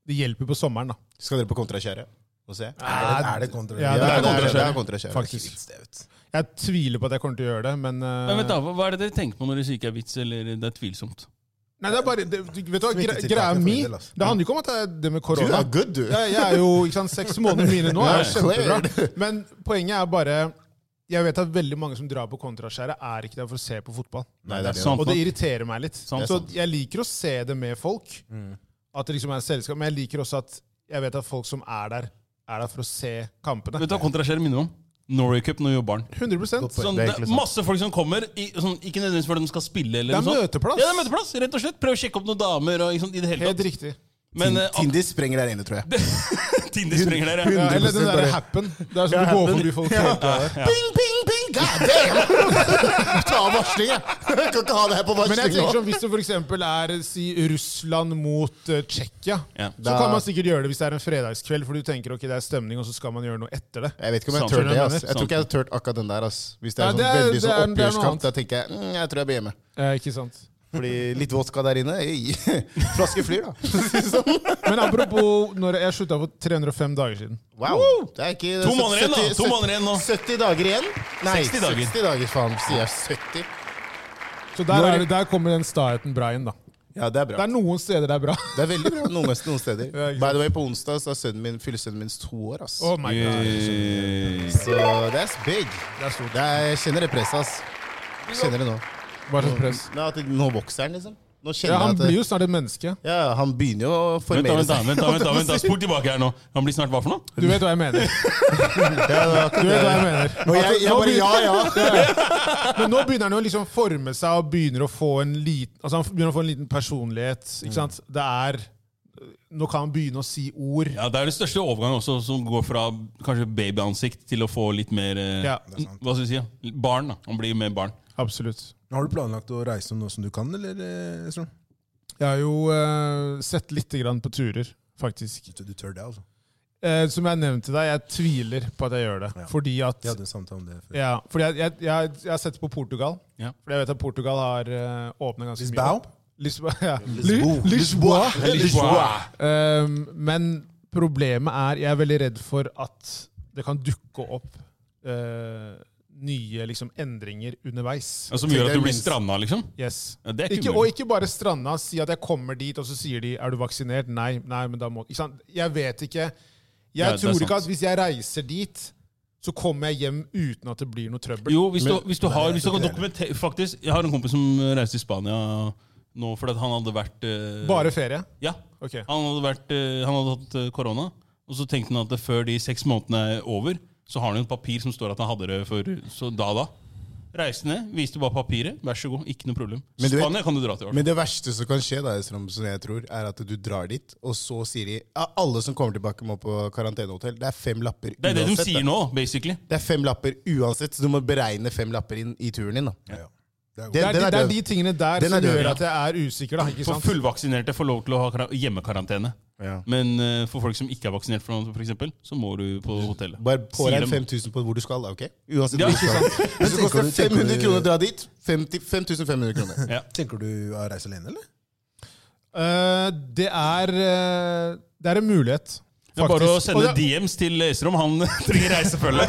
[SPEAKER 1] Det hjelper på sommeren, da.
[SPEAKER 3] Skal dere på kontrakjære? Få se.
[SPEAKER 2] Er det- er det kontra?
[SPEAKER 1] Ja,
[SPEAKER 3] Ja,
[SPEAKER 1] det er
[SPEAKER 3] det er,
[SPEAKER 1] kontra-
[SPEAKER 3] det er kontrakjære.
[SPEAKER 1] Faktisk. Jeg tviler på at jeg kommer til å gjøre det, men, eh,
[SPEAKER 4] Men vet da, hva hva er det dere tenker på når dere sier ikke er vits, eller det er tvilsomt?
[SPEAKER 1] Nei, det er bare det, du- Vet du hva, gre,
[SPEAKER 2] Smittetiltakene
[SPEAKER 1] greia
[SPEAKER 2] for min
[SPEAKER 1] mi
[SPEAKER 2] del, altså.
[SPEAKER 1] Det handler ikke om at det er det med
[SPEAKER 3] Du
[SPEAKER 1] korona.
[SPEAKER 3] er good, du.
[SPEAKER 1] Jeg, jeg er jo ikke sant, seks måneder mine nå. er jo
[SPEAKER 3] Ja,
[SPEAKER 1] kjempebra. Men poenget er bare Jeg vet at veldig mange som drar på kontraskjæret, er ikke der for å se på fotball.
[SPEAKER 3] Nei, det er det.
[SPEAKER 4] sant.
[SPEAKER 1] Og det irriterer meg litt.
[SPEAKER 4] Sant.
[SPEAKER 1] Så jeg liker å se det med folk. At det liksom er selskap. Men jeg liker også at jeg vet at folk som er der, er der for å se kampene.
[SPEAKER 4] Vet du hva kontrasjere minner om? Norway Cup når vi var barn.
[SPEAKER 1] 100
[SPEAKER 4] Sånn, det er masse folk som kommer, i, sånn, ikke nødvendigvis fordi de skal spille. Eller
[SPEAKER 1] Det er
[SPEAKER 4] noe sånt.
[SPEAKER 1] møteplass.
[SPEAKER 4] Ja, det er møteplass, rett og slett. Prøv å sjekke opp noen damer. Og, ikke sant, i det hele
[SPEAKER 1] Helt
[SPEAKER 4] tatt.
[SPEAKER 1] riktig.
[SPEAKER 4] Men eh,
[SPEAKER 3] Tinder sprenger der inne, tror jeg.
[SPEAKER 4] ah, Tinder sprenger der, ja.
[SPEAKER 1] Ja, eller den
[SPEAKER 2] 100%
[SPEAKER 1] derre
[SPEAKER 2] bare-
[SPEAKER 1] happen. Det er sånn du går forbi folk hele tiden.
[SPEAKER 3] Ping, ping, ping! God damn! Ta av varslingen! Jeg kan ikke ha det her på
[SPEAKER 1] Men jeg
[SPEAKER 3] varsling
[SPEAKER 1] tenker
[SPEAKER 3] nå.
[SPEAKER 1] sånn, hvis det for eksempel er si, Russland mot eh, Tsjekkia,
[SPEAKER 4] Ja.
[SPEAKER 1] så
[SPEAKER 3] Da-
[SPEAKER 1] kan man sikkert gjøre det hvis det er en fredagskveld, for du tenker ok, det er stemning, og så skal man gjøre noe etter det.
[SPEAKER 3] Jeg vet ikke om jeg
[SPEAKER 1] Sånn
[SPEAKER 4] Sant.
[SPEAKER 3] tør det. ass.
[SPEAKER 4] Sant.
[SPEAKER 3] Jeg tror ikke jeg hadde turt akkurat den der. ass. Hvis det
[SPEAKER 1] Ja,
[SPEAKER 3] er
[SPEAKER 1] det
[SPEAKER 3] sånn
[SPEAKER 1] er-
[SPEAKER 3] veldig
[SPEAKER 1] det er-
[SPEAKER 3] sånn
[SPEAKER 1] det er noe
[SPEAKER 3] oppgjørskamp,
[SPEAKER 1] annet.
[SPEAKER 3] da tenker jeg mm, jeg tror jeg blir hjemme.
[SPEAKER 1] Eh, ikke sant?
[SPEAKER 3] Fordi litt vodka der inne ei. Flaske flyr, da. Sånn.
[SPEAKER 1] Men apropos når jeg slutta for 305 dager siden.
[SPEAKER 3] Wow! Det er ikke
[SPEAKER 4] To måneder igjen, da.
[SPEAKER 3] 70
[SPEAKER 4] To måneder igjen nå.
[SPEAKER 3] 70 dager igjen? Nei,
[SPEAKER 4] 60 dager.
[SPEAKER 3] 60 dager, faen. Sier jeg 70?
[SPEAKER 1] Så der,
[SPEAKER 3] Når-
[SPEAKER 1] er det, der kommer den staheten bra inn, da.
[SPEAKER 3] Ja, det er
[SPEAKER 1] Det
[SPEAKER 3] bra.
[SPEAKER 1] er noen steder det er bra.
[SPEAKER 3] Det er veldig bra noen, noen steder.
[SPEAKER 1] Ja, ikke sant.
[SPEAKER 3] By the way, på onsdag så er sønnen min, fyller sønnen min to år, ass.
[SPEAKER 1] Oh my god.
[SPEAKER 4] Eh,
[SPEAKER 3] Så that's big.
[SPEAKER 1] Det er stort.
[SPEAKER 3] Det er, jeg kjenner det presset, ass. Jeg Kjenner det nå.
[SPEAKER 1] Bare sånn press.
[SPEAKER 3] Nå, at det- nå vokser han, liksom. Nå kjenner
[SPEAKER 1] Ja, han
[SPEAKER 3] jeg at det-
[SPEAKER 1] blir jo snart et menneske.
[SPEAKER 3] ja, han begynner jo å
[SPEAKER 4] Vent, da,
[SPEAKER 3] formere
[SPEAKER 4] vent, da,
[SPEAKER 3] seg.
[SPEAKER 4] vent, da, vent, da, vent, da. Spol tilbake her nå. Han blir snart hva for noe?
[SPEAKER 1] Du vet hva jeg mener. Du vet hva jeg mener.
[SPEAKER 3] Og jeg, jeg bare ja, ja.
[SPEAKER 1] Men nå begynner han jo liksom å forme seg og begynner å få en liten, altså han begynner å få en liten personlighet.
[SPEAKER 2] Mm.
[SPEAKER 1] ikke sant? Det er, Nå kan han begynne å si ord.
[SPEAKER 4] Ja, Det er den største overgangen også, som går fra kanskje babyansikt til å få litt mer eh,
[SPEAKER 1] Ja.
[SPEAKER 4] Hva skal vi si? ja? Barn. da. Han blir mer barn.
[SPEAKER 1] Absolutt.
[SPEAKER 2] Har du planlagt å reise nå som du kan, eller? eh, Strøm?
[SPEAKER 1] Jeg har jo eh, sett lite grann på turer, faktisk.
[SPEAKER 2] Du, du tør det, altså?
[SPEAKER 1] Eh, som jeg nevnte deg, jeg tviler på at jeg gjør det.
[SPEAKER 2] Ja.
[SPEAKER 1] Fordi at
[SPEAKER 2] Vi hadde en samtale om det før.
[SPEAKER 1] ja, fordi jeg, jeg, jeg, jeg har sett på Portugal.
[SPEAKER 4] Ja.
[SPEAKER 1] Fordi jeg vet at Portugal har uh, åpna ganske
[SPEAKER 2] Lisbao?
[SPEAKER 1] mye. opp. Lisboa? Ja.
[SPEAKER 2] Lisboa.
[SPEAKER 1] Li- Lisboa.
[SPEAKER 4] Lisboa.
[SPEAKER 1] Um, men problemet er jeg er veldig redd for at det kan dukke opp eh, nye liksom, endringer underveis.
[SPEAKER 4] Ja, som gjør at du blir stranda, liksom?
[SPEAKER 1] Yes.
[SPEAKER 4] Ja, det er ikke
[SPEAKER 1] Ikke, og
[SPEAKER 4] umulig.
[SPEAKER 1] ikke bare stranda. Si at jeg kommer dit, og så sier de 'er du vaksinert'? Nei, nei, men da må ikke sant? Jeg vet ikke. Jeg
[SPEAKER 4] Ja, det
[SPEAKER 1] tror
[SPEAKER 4] er
[SPEAKER 1] ikke
[SPEAKER 4] sant.
[SPEAKER 1] at hvis jeg reiser dit, så kommer jeg hjem uten at det blir noe trøbbel.
[SPEAKER 4] Jo, hvis du, hvis du har
[SPEAKER 2] jeg
[SPEAKER 4] hvis du
[SPEAKER 2] tror
[SPEAKER 4] kan
[SPEAKER 2] ikke
[SPEAKER 4] dokumentere Faktisk, jeg har en kompis som reiste til Spania nå fordi at han hadde vært eh,
[SPEAKER 1] Bare ferie?
[SPEAKER 4] Ja.
[SPEAKER 1] Ok.
[SPEAKER 4] Han hadde, vært, eh, han hadde hatt eh, korona, og så tenkte han at det før de seks månedene er over, så har han jo et papir som står at han hadde det for så da da. Reiste ned, viste bare papiret. Vær så god, ikke noe problem.
[SPEAKER 3] Men du vet-
[SPEAKER 4] Spania kan du dra til. i hvert fall.
[SPEAKER 3] Men det verste som kan skje, da, som som jeg tror, er at du drar dit, og så sier de ja, alle som kommer tilbake må på karantenehotell. Det er fem lapper
[SPEAKER 4] Det er det de
[SPEAKER 3] uansett,
[SPEAKER 4] sier
[SPEAKER 3] da.
[SPEAKER 4] nå, basically.
[SPEAKER 3] Det er fem lapper uansett, så du må beregne fem lapper inn i turen din. da.
[SPEAKER 2] Ja. Det er
[SPEAKER 1] Det
[SPEAKER 2] godt.
[SPEAKER 1] er,
[SPEAKER 3] Den
[SPEAKER 1] de,
[SPEAKER 3] er
[SPEAKER 1] det er
[SPEAKER 3] død.
[SPEAKER 1] de tingene der
[SPEAKER 3] Den
[SPEAKER 1] som
[SPEAKER 3] er død,
[SPEAKER 1] gjør
[SPEAKER 3] ja.
[SPEAKER 1] at jeg er usikker. da, ikke
[SPEAKER 4] For
[SPEAKER 1] sant?
[SPEAKER 4] fullvaksinerte får lov til å ha kara- hjemmekarantene.
[SPEAKER 3] Ja.
[SPEAKER 4] Men eh, for folk som ikke er vaksinert, for, noe, for eksempel, så må du på hotellet.
[SPEAKER 3] Bare
[SPEAKER 4] Sier
[SPEAKER 3] påregn
[SPEAKER 4] de.
[SPEAKER 3] 5000 på hvor du skal, da, ok? Uansett
[SPEAKER 4] Ja,
[SPEAKER 3] hvor du
[SPEAKER 4] ikke
[SPEAKER 3] skal. Hvis det
[SPEAKER 2] tenker
[SPEAKER 3] koster
[SPEAKER 2] du- tenker
[SPEAKER 3] 500
[SPEAKER 2] du-
[SPEAKER 3] kroner å dra dit, 50 5500 kroner.
[SPEAKER 4] Ja.
[SPEAKER 2] Tenker du å reise alene, eller?
[SPEAKER 1] Eh, det, er, eh, det er en mulighet, faktisk.
[SPEAKER 4] Det er bare å
[SPEAKER 1] Og
[SPEAKER 4] sende
[SPEAKER 1] det-
[SPEAKER 4] DMs til Øystein om han trenger reisefølge.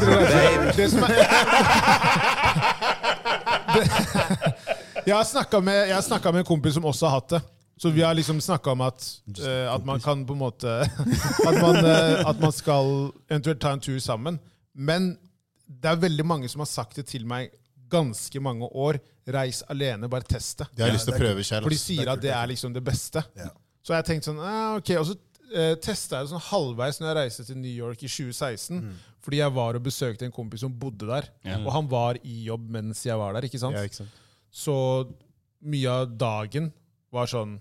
[SPEAKER 1] Det som er det, Jeg har snakka med, jeg har snakket med en kompis som også har hatt det. Så vi har liksom snakka om at, eh, at man kan på en måte at man, eh, at man skal eventuelt ta en tur sammen. Men det er veldig mange som har sagt det til meg ganske mange år. Reis alene, bare test det.
[SPEAKER 3] De har lyst til å
[SPEAKER 2] det er
[SPEAKER 3] prøve selv.
[SPEAKER 1] For de
[SPEAKER 3] ass.
[SPEAKER 1] sier at det er liksom det beste.
[SPEAKER 2] Ja.
[SPEAKER 1] Så jeg tenkte sånn, eh, ok, og så eh, testet jeg det sånn halvveis når jeg reiste til New York i 2016, fordi jeg var og besøkte en kompis som bodde der, og han var i jobb mens jeg var der, ikke sant?
[SPEAKER 3] Ja, ikke sant?
[SPEAKER 1] Så mye av dagen var sånn,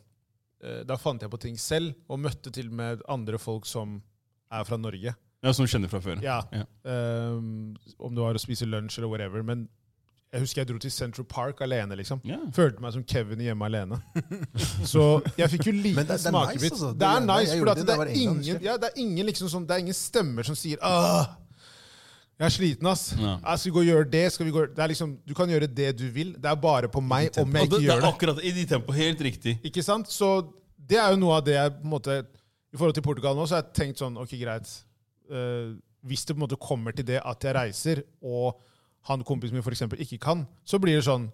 [SPEAKER 1] eh, da fant jeg på ting selv, og møtte til og med andre folk som er fra Norge.
[SPEAKER 4] Ja, Som du kjenner fra før.
[SPEAKER 1] Ja.
[SPEAKER 4] Ja.
[SPEAKER 1] Ehm, om det var å spise lunsj eller whatever. Men jeg husker jeg dro til Central Park alene. liksom.
[SPEAKER 4] Ja.
[SPEAKER 1] Følte meg som Kevin i Hjemme alene. Så jeg fikk jo
[SPEAKER 2] Men
[SPEAKER 1] liten
[SPEAKER 2] det- det er nice,
[SPEAKER 1] smakebit.
[SPEAKER 2] altså.
[SPEAKER 1] Det er
[SPEAKER 2] Det- det-
[SPEAKER 1] nice,
[SPEAKER 2] jeg
[SPEAKER 1] for
[SPEAKER 2] gjorde
[SPEAKER 1] at
[SPEAKER 2] det
[SPEAKER 1] det,
[SPEAKER 2] da jeg var
[SPEAKER 1] er
[SPEAKER 2] i England,
[SPEAKER 1] ingen, ja, det er ingen liksom sånn, det er ingen stemmer som sier Åh, jeg er sliten, ass.
[SPEAKER 4] Ja.
[SPEAKER 1] Ja, skal vi gå og gjøre det? Skal vi gå? Det er liksom, du kan gjøre det du vil. Det er bare på meg om jeg
[SPEAKER 4] Og det,
[SPEAKER 1] ikke
[SPEAKER 4] det
[SPEAKER 1] gjør
[SPEAKER 4] er
[SPEAKER 1] det.
[SPEAKER 4] akkurat i de tempo. Helt riktig.
[SPEAKER 1] Ikke sant? Så det er jo noe av det jeg på en måte I forhold til Portugal nå, så har jeg tenkt sånn Ok, greit. eh, hvis det på en måte kommer til det at jeg reiser, og han kompisen min for eksempel ikke kan, så blir det sånn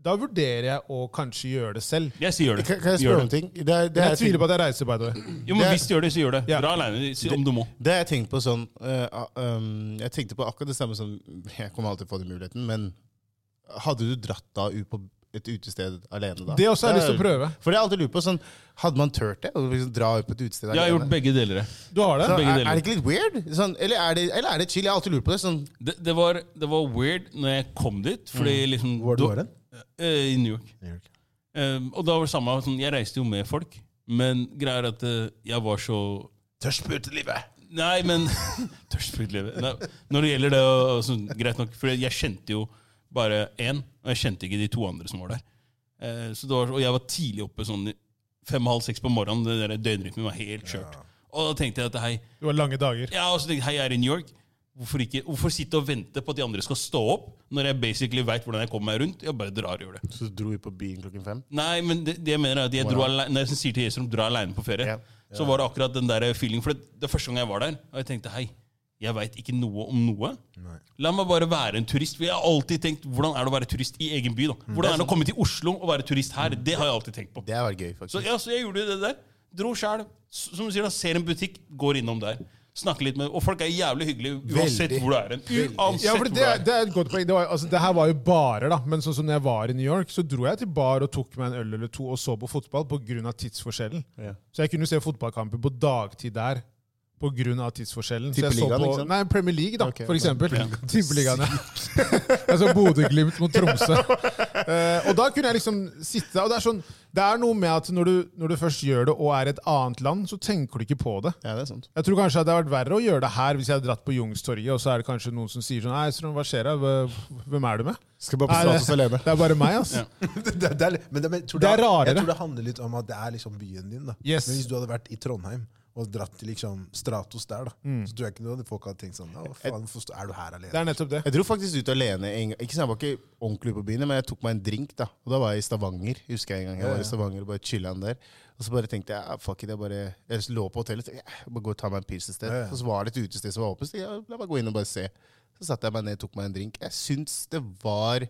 [SPEAKER 1] Da vurderer jeg å kanskje gjøre det selv.
[SPEAKER 4] Jeg sier gjør det.
[SPEAKER 3] Kan, kan jeg
[SPEAKER 4] Gjør
[SPEAKER 3] spørre om
[SPEAKER 4] det.
[SPEAKER 3] en ting? Det er, det
[SPEAKER 1] Men
[SPEAKER 3] er
[SPEAKER 1] jeg tviler på at jeg reiser, by the way.
[SPEAKER 4] Jo, men
[SPEAKER 3] Det-
[SPEAKER 4] Hvis du gjør det, så gjør det.
[SPEAKER 1] Ja.
[SPEAKER 4] Dra aleine om du må.
[SPEAKER 3] Det har jeg tenkt på sånn eh, ah, um, Jeg tenkte på akkurat det samme som Jeg kommer alltid på den muligheten, men hadde du dratt da ut på et utested alene da?
[SPEAKER 1] Det også har jeg lyst til å
[SPEAKER 3] er-
[SPEAKER 1] prøve.
[SPEAKER 3] For det har jeg alltid lurt på sånn, Hadde man turt det? Å liksom dra ut på et utested
[SPEAKER 4] Jeg har gjort begge deler. jeg.
[SPEAKER 1] Du har det?
[SPEAKER 3] Så
[SPEAKER 4] begge
[SPEAKER 3] er,
[SPEAKER 4] deler.
[SPEAKER 3] er det ikke litt weird? Sånn, eller, er det, eller er det chill? Jeg har alltid lurt på det. Sånn,
[SPEAKER 4] Det, det, var, det var weird når jeg kom dit. Fordi liksom
[SPEAKER 2] Hvor
[SPEAKER 4] du-
[SPEAKER 2] var det?
[SPEAKER 4] Eh, I New York. Eh, og da var det samme, sånn, jeg reiste jo med folk, men greia er at eh, jeg var så
[SPEAKER 2] Tørstputelivet!
[SPEAKER 4] Nei, men Tørstfrydlivet. Nei, Når det gjelder det, og- og sånn, greit nok. For jeg kjente jo bare én, og jeg kjente ikke de to andre som var der. Eh, så det var, og jeg var tidlig oppe sånn i fem-halv seks på morgenen. Det der Døgnrytmen var helt kjørt. Og da tenkte jeg at hei,
[SPEAKER 1] Du har lange dager.
[SPEAKER 4] ja, og så tenkte jeg, hei, jeg er i New York. Hvorfor, ikke, hvorfor sitte og vente på at de andre skal stå opp, når jeg basically veit hvordan jeg kommer meg rundt? Jeg bare drar og gjør det.
[SPEAKER 3] så dro vi på byen klokken fem.
[SPEAKER 4] Nei, men det, det jeg mener er at jeg dro alene, når jeg sier til Jesper om dra aleine på ferie,
[SPEAKER 3] Ja.
[SPEAKER 4] så var det akkurat den der feeling. For det, det er første gang jeg var der, og jeg tenkte hei, jeg veit ikke noe om noe. La meg bare være en turist. For jeg har alltid tenkt hvordan er det å være turist i egen by. da? Hvordan er Mm. det å komme til Oslo og være turist her? Det har jeg alltid tenkt på.
[SPEAKER 3] Det har vært gøy, faktisk.
[SPEAKER 4] Så, ja, så jeg gjorde det der. Dro sjæl. S- Som du sier, da, ser en butikk, går innom der. Snakker litt med Og folk er jævlig hyggelige uansett
[SPEAKER 3] Veldig.
[SPEAKER 4] hvor du er. hen. Uansett
[SPEAKER 1] Ja, for det,
[SPEAKER 4] hvor du er.
[SPEAKER 1] det er et godt poeng. Det, var, altså, det her var jo barer, da. Men sånn som når jeg var i New York, så dro jeg til bar og tok meg en øl eller to og så på fotball pga. tidsforskjellen. Så jeg kunne se fotballkamper på dagtid der pga. tidsforskjellen. Så jeg så
[SPEAKER 3] Tippeligaen,
[SPEAKER 1] på,
[SPEAKER 3] ikke sant?
[SPEAKER 1] nei, Premier League, da,
[SPEAKER 3] Ok,
[SPEAKER 1] for eksempel. Tippeligaen, ja. Jeg så Bodø-Glimt mot Tromsø. Eh, og da kunne jeg liksom sitte og det er, sånn, det er noe med at når du, når du først gjør det og er i et annet land, så tenker du ikke på det.
[SPEAKER 3] Ja, det er sant.
[SPEAKER 1] Jeg tror kanskje at det hadde vært verre å gjøre det her hvis jeg hadde dratt på Jungstorget, og så er det kanskje noen som sier sånn Nei, Strøm, hva skjer da? Hva- Hvem er du med?
[SPEAKER 3] Skal bare på
[SPEAKER 1] Nei,
[SPEAKER 3] status alene.
[SPEAKER 1] Det er bare meg, ass.
[SPEAKER 2] det, det, det, er litt- men det, men, jeg tror
[SPEAKER 1] Det er rarere.
[SPEAKER 2] Jeg tror det handler litt om at det er liksom byen din. da.
[SPEAKER 1] Yes.
[SPEAKER 2] Men hvis du hadde vært i Trondheim og dratt til liksom Stratos der, da, så tror jeg ikke du hadde folk hadde tenkt sånn Å, faen, hvorfor sto- er du her
[SPEAKER 1] Mm. Det
[SPEAKER 2] alene?
[SPEAKER 1] er nettopp det.
[SPEAKER 3] Jeg dro faktisk ut alene. En, gang- ikke sant, Jeg var ikke ordentlig ute på byen, men jeg tok meg en drink. da. Og da var jeg i Stavanger. husker jeg en gang. Jeg var i Stavanger og bare chillet der. Og så bare tenkte jeg ah, fuck it, jeg bare jeg lå på hotellet tenkte, jeg bare gå og ta meg en pils et sted.
[SPEAKER 2] Ja, ja.
[SPEAKER 3] Og så var det et utested som var åpent. så tenkte jeg, La meg gå inn og bare se. Så satte jeg meg ned og tok meg en drink. Jeg syns det var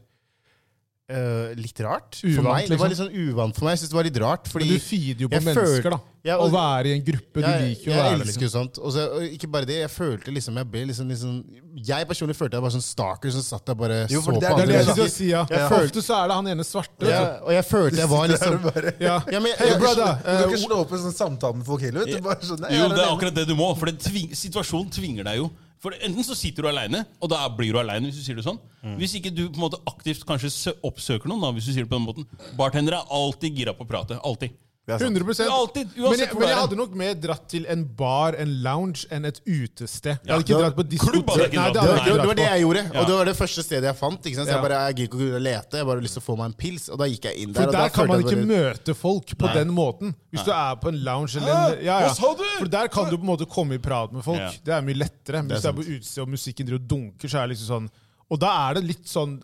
[SPEAKER 3] øh, litt rart. for
[SPEAKER 1] Uvant,
[SPEAKER 3] meg. Det
[SPEAKER 1] liksom.
[SPEAKER 3] var litt sånn uvant for meg. Jeg synes det var litt rart, fordi
[SPEAKER 1] Men du feeder jo på
[SPEAKER 3] jeg føl-
[SPEAKER 1] mennesker, da.
[SPEAKER 3] Ja,
[SPEAKER 1] Å
[SPEAKER 3] og-
[SPEAKER 1] være i en gruppe. Du liker jo å
[SPEAKER 3] jeg
[SPEAKER 1] være der. Liksom.
[SPEAKER 3] elsker jo sånt. Og så, og ikke bare det, jeg følte liksom Jeg ble liksom, liksom Jeg personlig følte jeg var sånn stalker som satt der bare
[SPEAKER 2] Jo, for
[SPEAKER 3] så
[SPEAKER 2] det er-
[SPEAKER 3] på
[SPEAKER 1] Det er det
[SPEAKER 3] andre.
[SPEAKER 1] jeg skulle
[SPEAKER 2] elsker-
[SPEAKER 1] til å si, ja.
[SPEAKER 3] Jeg
[SPEAKER 1] Ofte så er det han ene svarte. altså.
[SPEAKER 3] ja,
[SPEAKER 1] vet
[SPEAKER 3] og jeg følte jeg var liksom
[SPEAKER 2] bare,
[SPEAKER 1] Ja.
[SPEAKER 3] Ja, men jeg-
[SPEAKER 1] Hey,
[SPEAKER 3] jeg-
[SPEAKER 1] brother!
[SPEAKER 2] Du kan
[SPEAKER 1] eh,
[SPEAKER 2] ikke slå opp en sånn samtale med folk heller. vet du. Bare sånn, «Nei, jeg
[SPEAKER 4] Jo, det er
[SPEAKER 2] alene».
[SPEAKER 4] akkurat det du må. For det tving, situasjonen tvinger deg jo. For Enten så sitter du aleine, og da blir du aleine. Hvis du sier det sånn Hvis ikke du på en måte aktivt kanskje sø- oppsøker noen, da, hvis du sier det på den måten Bartendere er alltid gira på å prate. Alltid.
[SPEAKER 1] 100
[SPEAKER 4] Alltid, uansett
[SPEAKER 1] men, jeg, men
[SPEAKER 4] hvor det
[SPEAKER 1] jeg
[SPEAKER 4] er.
[SPEAKER 1] hadde nok mer dratt til en bar, en lounge, enn et utested. Jeg hadde
[SPEAKER 4] Ja.
[SPEAKER 1] ikke dratt på
[SPEAKER 4] Klubb hadde jeg
[SPEAKER 1] diskotek.
[SPEAKER 4] ikke
[SPEAKER 1] Nei,
[SPEAKER 4] dratt
[SPEAKER 1] det
[SPEAKER 4] på.
[SPEAKER 1] hadde jeg ikke
[SPEAKER 3] det, det, det var
[SPEAKER 1] dratt
[SPEAKER 3] det
[SPEAKER 1] på.
[SPEAKER 3] jeg gjorde,
[SPEAKER 4] Ja.
[SPEAKER 3] og det var det første stedet jeg fant. Ikke sant? Så
[SPEAKER 1] Ja.
[SPEAKER 3] jeg bare, jeg gikk ikke kunne lete, jeg bare har lyst til å få meg en pils. Og da gikk jeg inn der.
[SPEAKER 1] For
[SPEAKER 3] og
[SPEAKER 1] der
[SPEAKER 3] da
[SPEAKER 1] kan
[SPEAKER 3] følte
[SPEAKER 1] man
[SPEAKER 3] jeg
[SPEAKER 1] ikke
[SPEAKER 3] bare-
[SPEAKER 1] møte folk på den måten. Hvis du er på en lounge eller en ja, ja.
[SPEAKER 4] Hva sa du?
[SPEAKER 1] For der kan du på en måte komme i prat med folk.
[SPEAKER 4] Ja.
[SPEAKER 1] Det er mye lettere. Men hvis du er på utestedet og musikken driver og dunker, så er det liksom sånn Og da er det litt sånn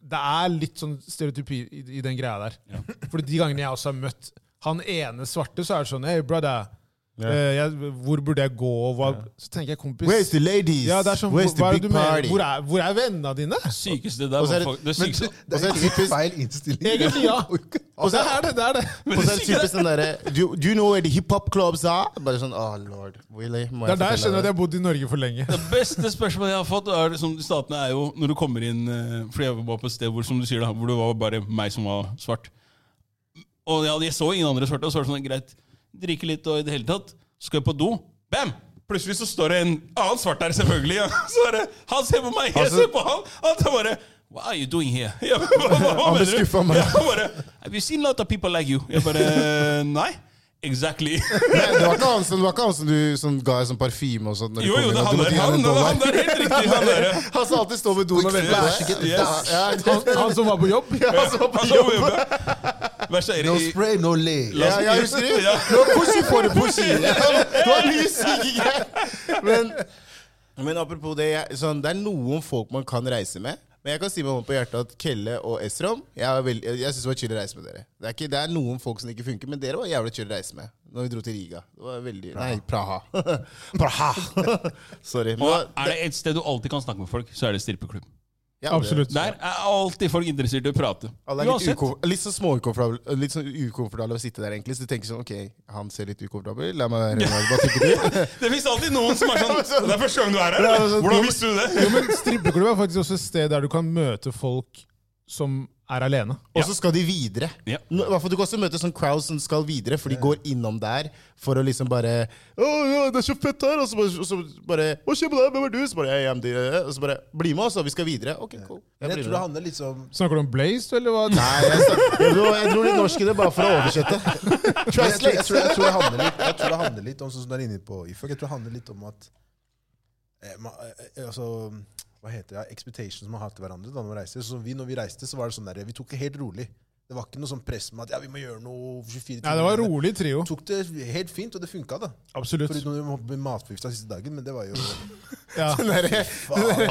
[SPEAKER 1] Det er litt sånn stereotypi i, i den greia der. For de gangene jeg også har møtt han ene svarte, så er det sånn Hey, brother.
[SPEAKER 3] Ja.
[SPEAKER 1] Eh, jeg, hvor burde jeg gå? og Hva, Så tenker jeg, kompis
[SPEAKER 3] Where's the ladies?
[SPEAKER 1] ja, det er sånn, hvor,
[SPEAKER 3] Where's the
[SPEAKER 1] hva er det
[SPEAKER 3] big
[SPEAKER 1] du mener?
[SPEAKER 3] party?
[SPEAKER 1] Hvor er, hvor er vennene dine?
[SPEAKER 4] Sykeste der
[SPEAKER 3] Og så er
[SPEAKER 4] var
[SPEAKER 3] det-
[SPEAKER 4] fak- det
[SPEAKER 3] men-
[SPEAKER 4] sykeste
[SPEAKER 2] Det er helt feil innstilling.
[SPEAKER 1] Egentlig, ja. Og det er det, det er det.
[SPEAKER 3] Og så er det typisk den derre do, do you know where the hiphop clubs are? Bare sånn Oh lord, really? Må
[SPEAKER 1] Det er der jeg
[SPEAKER 3] fortelle
[SPEAKER 1] skjønner at
[SPEAKER 3] deg
[SPEAKER 1] jeg har bodd i Norge for lenge.
[SPEAKER 4] Det beste spørsmålet jeg har fått, er, som statene er jo når du kommer inn eh, Fordi jeg var på et sted hvor som du sier da, hvor det var bare meg som var svart. Og jeg, jeg så ingen andre svarte, og så var det sånn greit. Drikke litt og i det hele tatt. Så skal jeg på do. Bam! Plutselig så står det en annen svart der, selvfølgelig. Ja. Så er det, Han ser på meg, jeg
[SPEAKER 3] Altså-
[SPEAKER 4] ser på han. Han tar bare What are you doing here? Jeg bare, hva, hva, hva
[SPEAKER 3] Han ble
[SPEAKER 4] mener du?
[SPEAKER 3] skuffet av meg.
[SPEAKER 4] Ja, han bare, Have you seen a lot of people like you? Jeg bare Nei. Exactly.
[SPEAKER 3] Nei, det var ikke han som, det var ikke han som du som ga deg sånn parfyme og sånt? når du
[SPEAKER 4] Jo,
[SPEAKER 3] kom
[SPEAKER 4] jo,
[SPEAKER 3] inn,
[SPEAKER 4] det
[SPEAKER 3] at du måtte
[SPEAKER 4] er han der.
[SPEAKER 3] gi
[SPEAKER 4] Han,
[SPEAKER 3] en dollar?
[SPEAKER 4] han der, helt riktig. Han der. ja.
[SPEAKER 3] Han som alltid står ved doen og venter
[SPEAKER 4] flash,
[SPEAKER 3] på deg.
[SPEAKER 4] yes.
[SPEAKER 3] Ja, ja,
[SPEAKER 1] Han som var på jobb.
[SPEAKER 3] han som var på
[SPEAKER 4] Han
[SPEAKER 3] jobb.
[SPEAKER 4] skal på jobbe. Verst er
[SPEAKER 2] No
[SPEAKER 4] Erik.
[SPEAKER 2] spray, no lay.
[SPEAKER 4] La oss-
[SPEAKER 3] Ja, jeg husker det.
[SPEAKER 4] Ja.
[SPEAKER 3] Det var pussy for the pussy. Det var mye syke greier. Men, men apropos det, jeg, sånn, det er noen folk man kan reise med. Men jeg kan si med hånden på hjertet at Kelle og Esrom Jeg, er veld- jeg syns det var chill å reise med dere. Det er, ikke, det er noen folk som ikke funker, men dere var jævlig chill å reise med. Når vi dro til Riga. Det var veldig Nei, Praha. Praha! Sorry.
[SPEAKER 4] Og
[SPEAKER 3] Men,
[SPEAKER 4] er det et sted du alltid kan snakke med folk, så er det strippeklubb.
[SPEAKER 3] ja, det-
[SPEAKER 1] Absolutt.
[SPEAKER 4] Der er alltid folk interessert i å prate.
[SPEAKER 3] Alle er litt, ukomfort- litt sånn småukomfortable Litt sånn ukomfortable å sitte der, egentlig. Så du tenker sånn OK, han ser litt ukomfortabel ut. La meg være. Hva tenker du?
[SPEAKER 4] Det fins alltid noen som er sånn Det er første gang du er her. Hvordan visste du det?
[SPEAKER 1] Jo, men Strippeklubb er faktisk også et sted der du kan møte folk som er alene.
[SPEAKER 3] Og så skal de videre.
[SPEAKER 4] Ja.
[SPEAKER 3] Nå- i hvert fall Du kan også møte sånn crowd som skal videre, for de går innom der for å liksom bare å, ja, 'Det er så fett her!' Og så bare, og så bare 'Hva skjer med deg? Hvem er du?' Så bare, jeg, er MD, eh, og så bare 'Bli med oss, og vi skal videre.' Ok, cool. Jeg
[SPEAKER 2] Men jeg
[SPEAKER 3] blir
[SPEAKER 2] tror
[SPEAKER 3] med.
[SPEAKER 2] det handler litt om
[SPEAKER 1] Snakker du om Blaze, eller hva?
[SPEAKER 3] Nei, jeg, snakker- jeg, dro- jeg dro litt norsk i det bare for å oversette.
[SPEAKER 2] Men jeg tror, jeg,
[SPEAKER 3] Translate.
[SPEAKER 2] tror, jeg, tror det handler litt, jeg tror det handler litt om sånn som du er inne på Ifak. Jeg tror det handler litt om at eh, man, eh, altså, Hva heter det? Expectations man har til hverandre da man reiser. Sånn som vi, når vi reiste, så var det sånn der, vi tok det helt rolig. Det var ikke noe sånn press med at ja, vi må gjøre noe 24 timer.
[SPEAKER 1] Nei, det var rolig trio.
[SPEAKER 2] Vi tok det helt fint, og det funka, da.
[SPEAKER 1] Absolutt.
[SPEAKER 2] Foruten når vi måtte bli matforgifta siste dagen, men det var jo
[SPEAKER 1] Ja.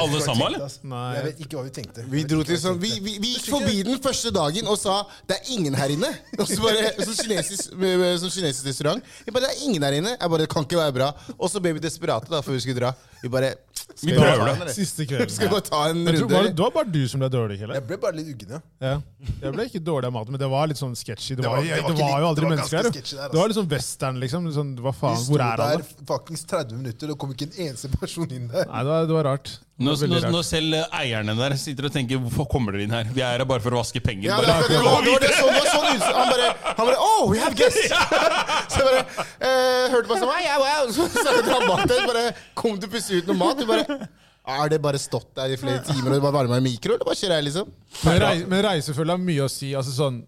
[SPEAKER 4] Alle sammen, eller?
[SPEAKER 1] Nei.
[SPEAKER 2] Jeg vet ikke hva vi tenkte.
[SPEAKER 3] Vi dro til sånn, vi, vi, vi gikk forbi den første dagen og sa 'det er ingen her inne'. Og så bare, Som kinesisk, som kinesisk restaurant. Vi bare 'det er ingen her inne'. Jeg bare, Det kan ikke være bra. Og så ble vi desperate da, før vi skulle dra. Vi bare skal
[SPEAKER 4] Vi prøver
[SPEAKER 3] ta
[SPEAKER 4] det.
[SPEAKER 3] en, eller?
[SPEAKER 1] Siste kvelden.
[SPEAKER 3] Skal vi bare ta en
[SPEAKER 1] Jeg tror,
[SPEAKER 3] runde?
[SPEAKER 1] var,
[SPEAKER 3] eller?
[SPEAKER 1] det var bare du som ble dårlig, Kelle.
[SPEAKER 2] Jeg ble bare litt uggen, ja.
[SPEAKER 1] Ja. Jeg ble ikke dårlig av maten, men det var litt sånn sketchy. Det var,
[SPEAKER 2] var-
[SPEAKER 1] det
[SPEAKER 2] det var
[SPEAKER 1] var,
[SPEAKER 2] ikke litt-
[SPEAKER 1] jo aldri
[SPEAKER 2] det var
[SPEAKER 1] mennesker her.
[SPEAKER 2] ganske
[SPEAKER 1] jo.
[SPEAKER 2] sketchy der,
[SPEAKER 1] Det var litt sånn western, liksom. Sånn, hva
[SPEAKER 2] Vi
[SPEAKER 1] faen,
[SPEAKER 2] sto
[SPEAKER 1] hvor er
[SPEAKER 2] der
[SPEAKER 1] alle?
[SPEAKER 2] fuckings 30 minutter, det kom ikke en eneste person inn der.
[SPEAKER 1] Nei, det var, det var rart. Det
[SPEAKER 4] Når,
[SPEAKER 1] var veldig
[SPEAKER 4] når, når
[SPEAKER 1] rart.
[SPEAKER 4] selv eh, eierne der sitter og tenker 'hvorfor kommer dere inn her'? Vi er her bare for å vaske penger.
[SPEAKER 3] Ja, det,
[SPEAKER 4] Bare,
[SPEAKER 3] var- det, var- det, var- det, var sånn, det var sånn ut. Han bare, han bare Oh, we have guests! Så jeg bare eh, hørte på sånn «Wow, yeah, wow. Så snakket han bak der. Bare kom du plutselig ut noe mat? Du bare Er det bare stått der i flere timer og det bare varma i mikro, eller hva skjer her, liksom?
[SPEAKER 1] Men, rei, men reisefølge har mye å si. Altså sånn,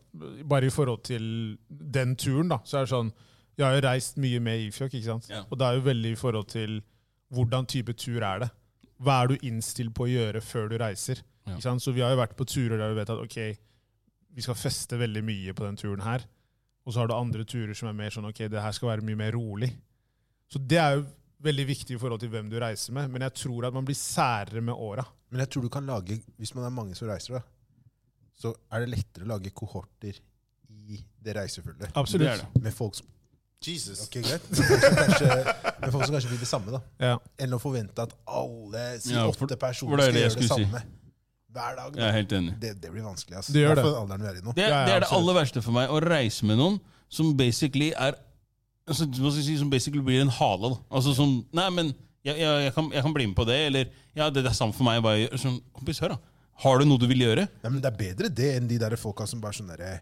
[SPEAKER 1] bare i forhold til den turen, da, så er det sånn Jeg har jo reist mye med Ifjok, ikke sant?
[SPEAKER 4] Ja.
[SPEAKER 1] Og det er jo veldig i forhold til hvordan type tur er det. Hva er du innstilt på å gjøre før du reiser?
[SPEAKER 4] Ja.
[SPEAKER 1] Ikke sant? Så vi har jo vært på turer der vi vet at ok, vi skal feste veldig mye på den turen her. Og så har du andre turer som er mer sånn ok, det her skal være mye mer rolig. Så det er jo veldig viktig i forhold til hvem du reiser med, men jeg tror at man blir særere med åra.
[SPEAKER 2] Men jeg tror du kan lage, hvis man er mange som reiser, da, så er det lettere å lage kohorter i det reisefølget.
[SPEAKER 4] Det er det.
[SPEAKER 2] Med folk som
[SPEAKER 3] Jesus.
[SPEAKER 2] Ok, greit. Med folk som kanskje, med folk som kanskje vil det samme, da.
[SPEAKER 1] Ja.
[SPEAKER 2] Enn å forvente at alle si
[SPEAKER 4] Ja, for-
[SPEAKER 2] åtte
[SPEAKER 4] for
[SPEAKER 2] personer skal
[SPEAKER 4] det er det
[SPEAKER 2] gjøre det
[SPEAKER 4] jeg skulle
[SPEAKER 2] samme. Hver dag.
[SPEAKER 4] jeg
[SPEAKER 2] Da.
[SPEAKER 4] er helt enig.
[SPEAKER 2] Det, det blir vanskelig, altså.
[SPEAKER 1] Det gjør det.
[SPEAKER 2] Hvertfall alderen vi er i nå.
[SPEAKER 4] Det,
[SPEAKER 1] Ja, ja,
[SPEAKER 4] det er det
[SPEAKER 1] absolutt.
[SPEAKER 4] aller verste for meg, å reise med noen som basically er altså, hva skal jeg si, Som basically blir en hale. Da. Altså som Nei, men jeg, jeg, jeg, kan, jeg kan bli med på det, eller Ja, det, det er samme for meg. Bare, gjør- sånn, kompis, hør, da. Har du noe du vil gjøre?
[SPEAKER 2] Nei, men det er bedre det enn de der folka som bare sånn derre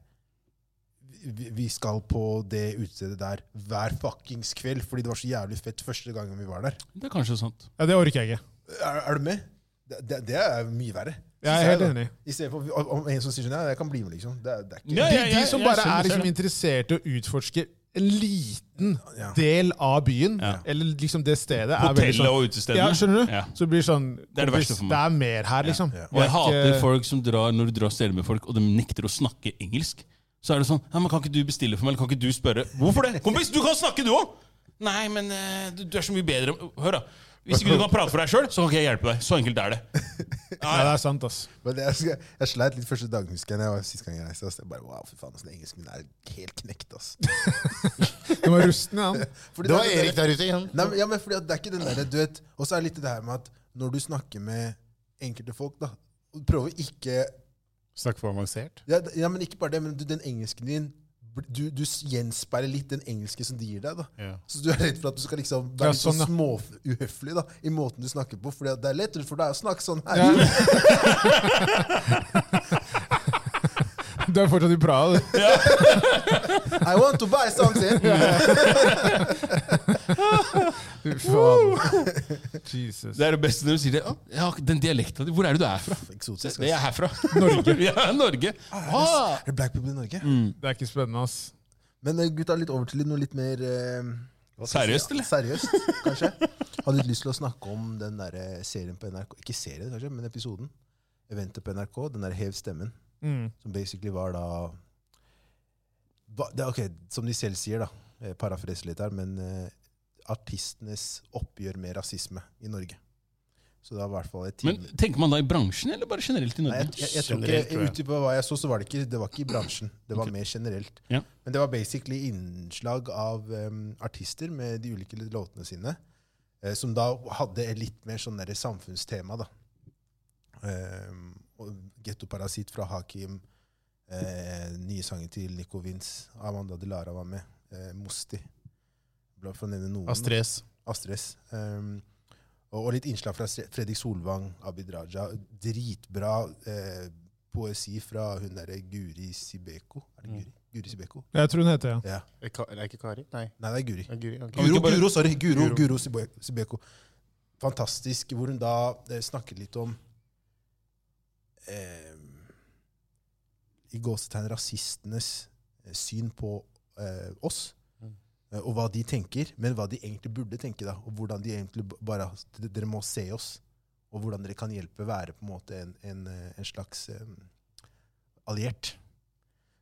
[SPEAKER 2] vi, vi skal på det utestedet der hver fuckings kveld fordi det var så jævlig fett første gangen vi var der.
[SPEAKER 4] Det er kanskje sant.
[SPEAKER 1] ja, det orker jeg ikke.
[SPEAKER 2] Er, er du med? Det, det, det er mye verre.
[SPEAKER 1] Jeg er
[SPEAKER 2] Synes
[SPEAKER 1] helt
[SPEAKER 2] da.
[SPEAKER 1] enig.
[SPEAKER 2] I stedet for om- om en som sier sånn, ja, jeg kan bli med, liksom. Det, er- det er ikke
[SPEAKER 4] Ja,
[SPEAKER 1] De,
[SPEAKER 4] ja, ja,
[SPEAKER 1] de som
[SPEAKER 4] jeg
[SPEAKER 1] bare
[SPEAKER 4] skjønner,
[SPEAKER 1] er liksom
[SPEAKER 4] skjønner.
[SPEAKER 1] interessert i å utforske en liten
[SPEAKER 2] Ja.
[SPEAKER 1] del av byen,
[SPEAKER 4] Ja.
[SPEAKER 1] eller liksom det stedet er veldig
[SPEAKER 4] Hotellet
[SPEAKER 1] sånn,
[SPEAKER 4] og utestedene.
[SPEAKER 1] ja, skjønner du?
[SPEAKER 4] Ja.
[SPEAKER 1] Så det blir sånn
[SPEAKER 4] Det er det verste
[SPEAKER 1] kompis,
[SPEAKER 4] for meg.
[SPEAKER 1] Det er mer her, liksom.
[SPEAKER 2] Ja.
[SPEAKER 4] Og jeg
[SPEAKER 1] Det er
[SPEAKER 4] hater
[SPEAKER 1] ikke-
[SPEAKER 4] folk som drar når du drar steder med folk, og de nekter å snakke engelsk. Så er det sånn ja, men 'Kan ikke du bestille for meg?' Eller 'Kan ikke du spørre?' Hvorfor det? Kompis, du kan snakke, du òg! Nei, men eh, du, du er så mye bedre Hør, da. Hvis ikke du kan prate for deg sjøl, så kan ikke jeg hjelpe deg. Så enkelt er det.
[SPEAKER 1] Ja, det er sant, ass.
[SPEAKER 2] Men det, jeg, husker- jeg sleit litt første dagen, husker jeg. når jeg var sist gang jeg reiste. ass. Jeg bare, wow, fy faen, ass, den engelsken min er helt knekt, ass.
[SPEAKER 1] Du må ruste ned han.
[SPEAKER 2] Fordi
[SPEAKER 3] Det var
[SPEAKER 2] er den der-
[SPEAKER 3] Erik der ute igjen.
[SPEAKER 2] Nei, men, ja, men fordi at det er ikke den der, du vet, Og så er det litt det her med at når du snakker med enkelte folk, da Prøve ikke
[SPEAKER 5] Snakk for avansert.
[SPEAKER 2] ja, d- ja, men ikke bare det, men du, den engelsken din bl- du, du s- gjenspeiler litt den engelsken som de gir deg. da.
[SPEAKER 5] Ja.
[SPEAKER 2] Så du er redd for at du skal liksom
[SPEAKER 1] Ja,
[SPEAKER 2] være litt sånn
[SPEAKER 1] sånn, ja.
[SPEAKER 2] småuhøflig da, i måten du snakker på. For det er lettere for deg å snakke sånn her.
[SPEAKER 1] Du er fortsatt i Praha, du.
[SPEAKER 2] I want to buy something!
[SPEAKER 1] Fy faen. Jesus.
[SPEAKER 4] Det er det beste når du sier det. «Å, Ja, den dialekta di, hvor er det du er fra?
[SPEAKER 2] Eksotisk. ass.
[SPEAKER 4] Det er herfra. Norge. ja, Norge. Ah,
[SPEAKER 2] Er det black people i Norge?
[SPEAKER 1] Det er ikke spennende, ass.
[SPEAKER 2] Men eh, gutta, litt over til litt- noe litt mer eh, hva skal jeg
[SPEAKER 4] Seriøst, eller?
[SPEAKER 2] Seriøst, kanskje. Hadde litt lyst til å snakke om den der eh, serien på NRK. Ikke serien, kanskje, men episoden. Eventet på NRK. Den der Hev stemmen.
[SPEAKER 1] Mm.
[SPEAKER 2] Som basically var da Hva- det, er Ok, som de selv sier, da. eh, Parafrese litt her, men eh, artistenes oppgjør med rasisme i Norge. Så det var i hvert fall et team.
[SPEAKER 4] Men tenker man da i bransjen, eller bare generelt i
[SPEAKER 2] Nei, jeg,
[SPEAKER 4] Norge?
[SPEAKER 2] jeg, jeg tror
[SPEAKER 5] Generelt, tror
[SPEAKER 2] ikke,
[SPEAKER 5] jeg.
[SPEAKER 2] ut ifra hva jeg så, så var det ikke, det var ikke i bransjen. Det var mer generelt.
[SPEAKER 4] Ja.
[SPEAKER 2] Men det var basically innslag av em, artister med de ulike låtene sine, eh, som da hadde et litt mer sånn derre samfunnstema, da. Um, Gettoparasitt fra Hakim, eh, nye sanger til Nico Vince, Amanda Delara var med, eh, Mosti, Bare for å nevne noen. da.
[SPEAKER 5] Astrid S.
[SPEAKER 2] Astrid S. Um, og, og litt innslag fra Stre- Fredrik Solvang, Abid Raja. Dritbra eh, poesi fra hun derre Guri Sibeko. Er det Guri? Guri Sibeko?
[SPEAKER 1] Jeg tror hun heter det.
[SPEAKER 2] Ja.
[SPEAKER 3] Er Ka- er det ikke Kari? Nei.
[SPEAKER 2] Nei, det er Guri.
[SPEAKER 3] Det er Guri. ok.
[SPEAKER 2] Guro,
[SPEAKER 4] ikke bare-
[SPEAKER 2] Guro, sorry. Guro,
[SPEAKER 3] Guro.
[SPEAKER 2] Guro Sibe- Sibeko. Fantastisk. Hvor hun da eh, snakket litt om eh, I gåsetegn rasistenes eh, syn på eh, oss.
[SPEAKER 4] Mm.
[SPEAKER 2] eh, Og hva de tenker, men hva de egentlig burde tenke. da, og hvordan de egentlig b- bare, d- Dere må se oss, og hvordan dere kan hjelpe være på en måte en, en, eh, en slags eh, alliert.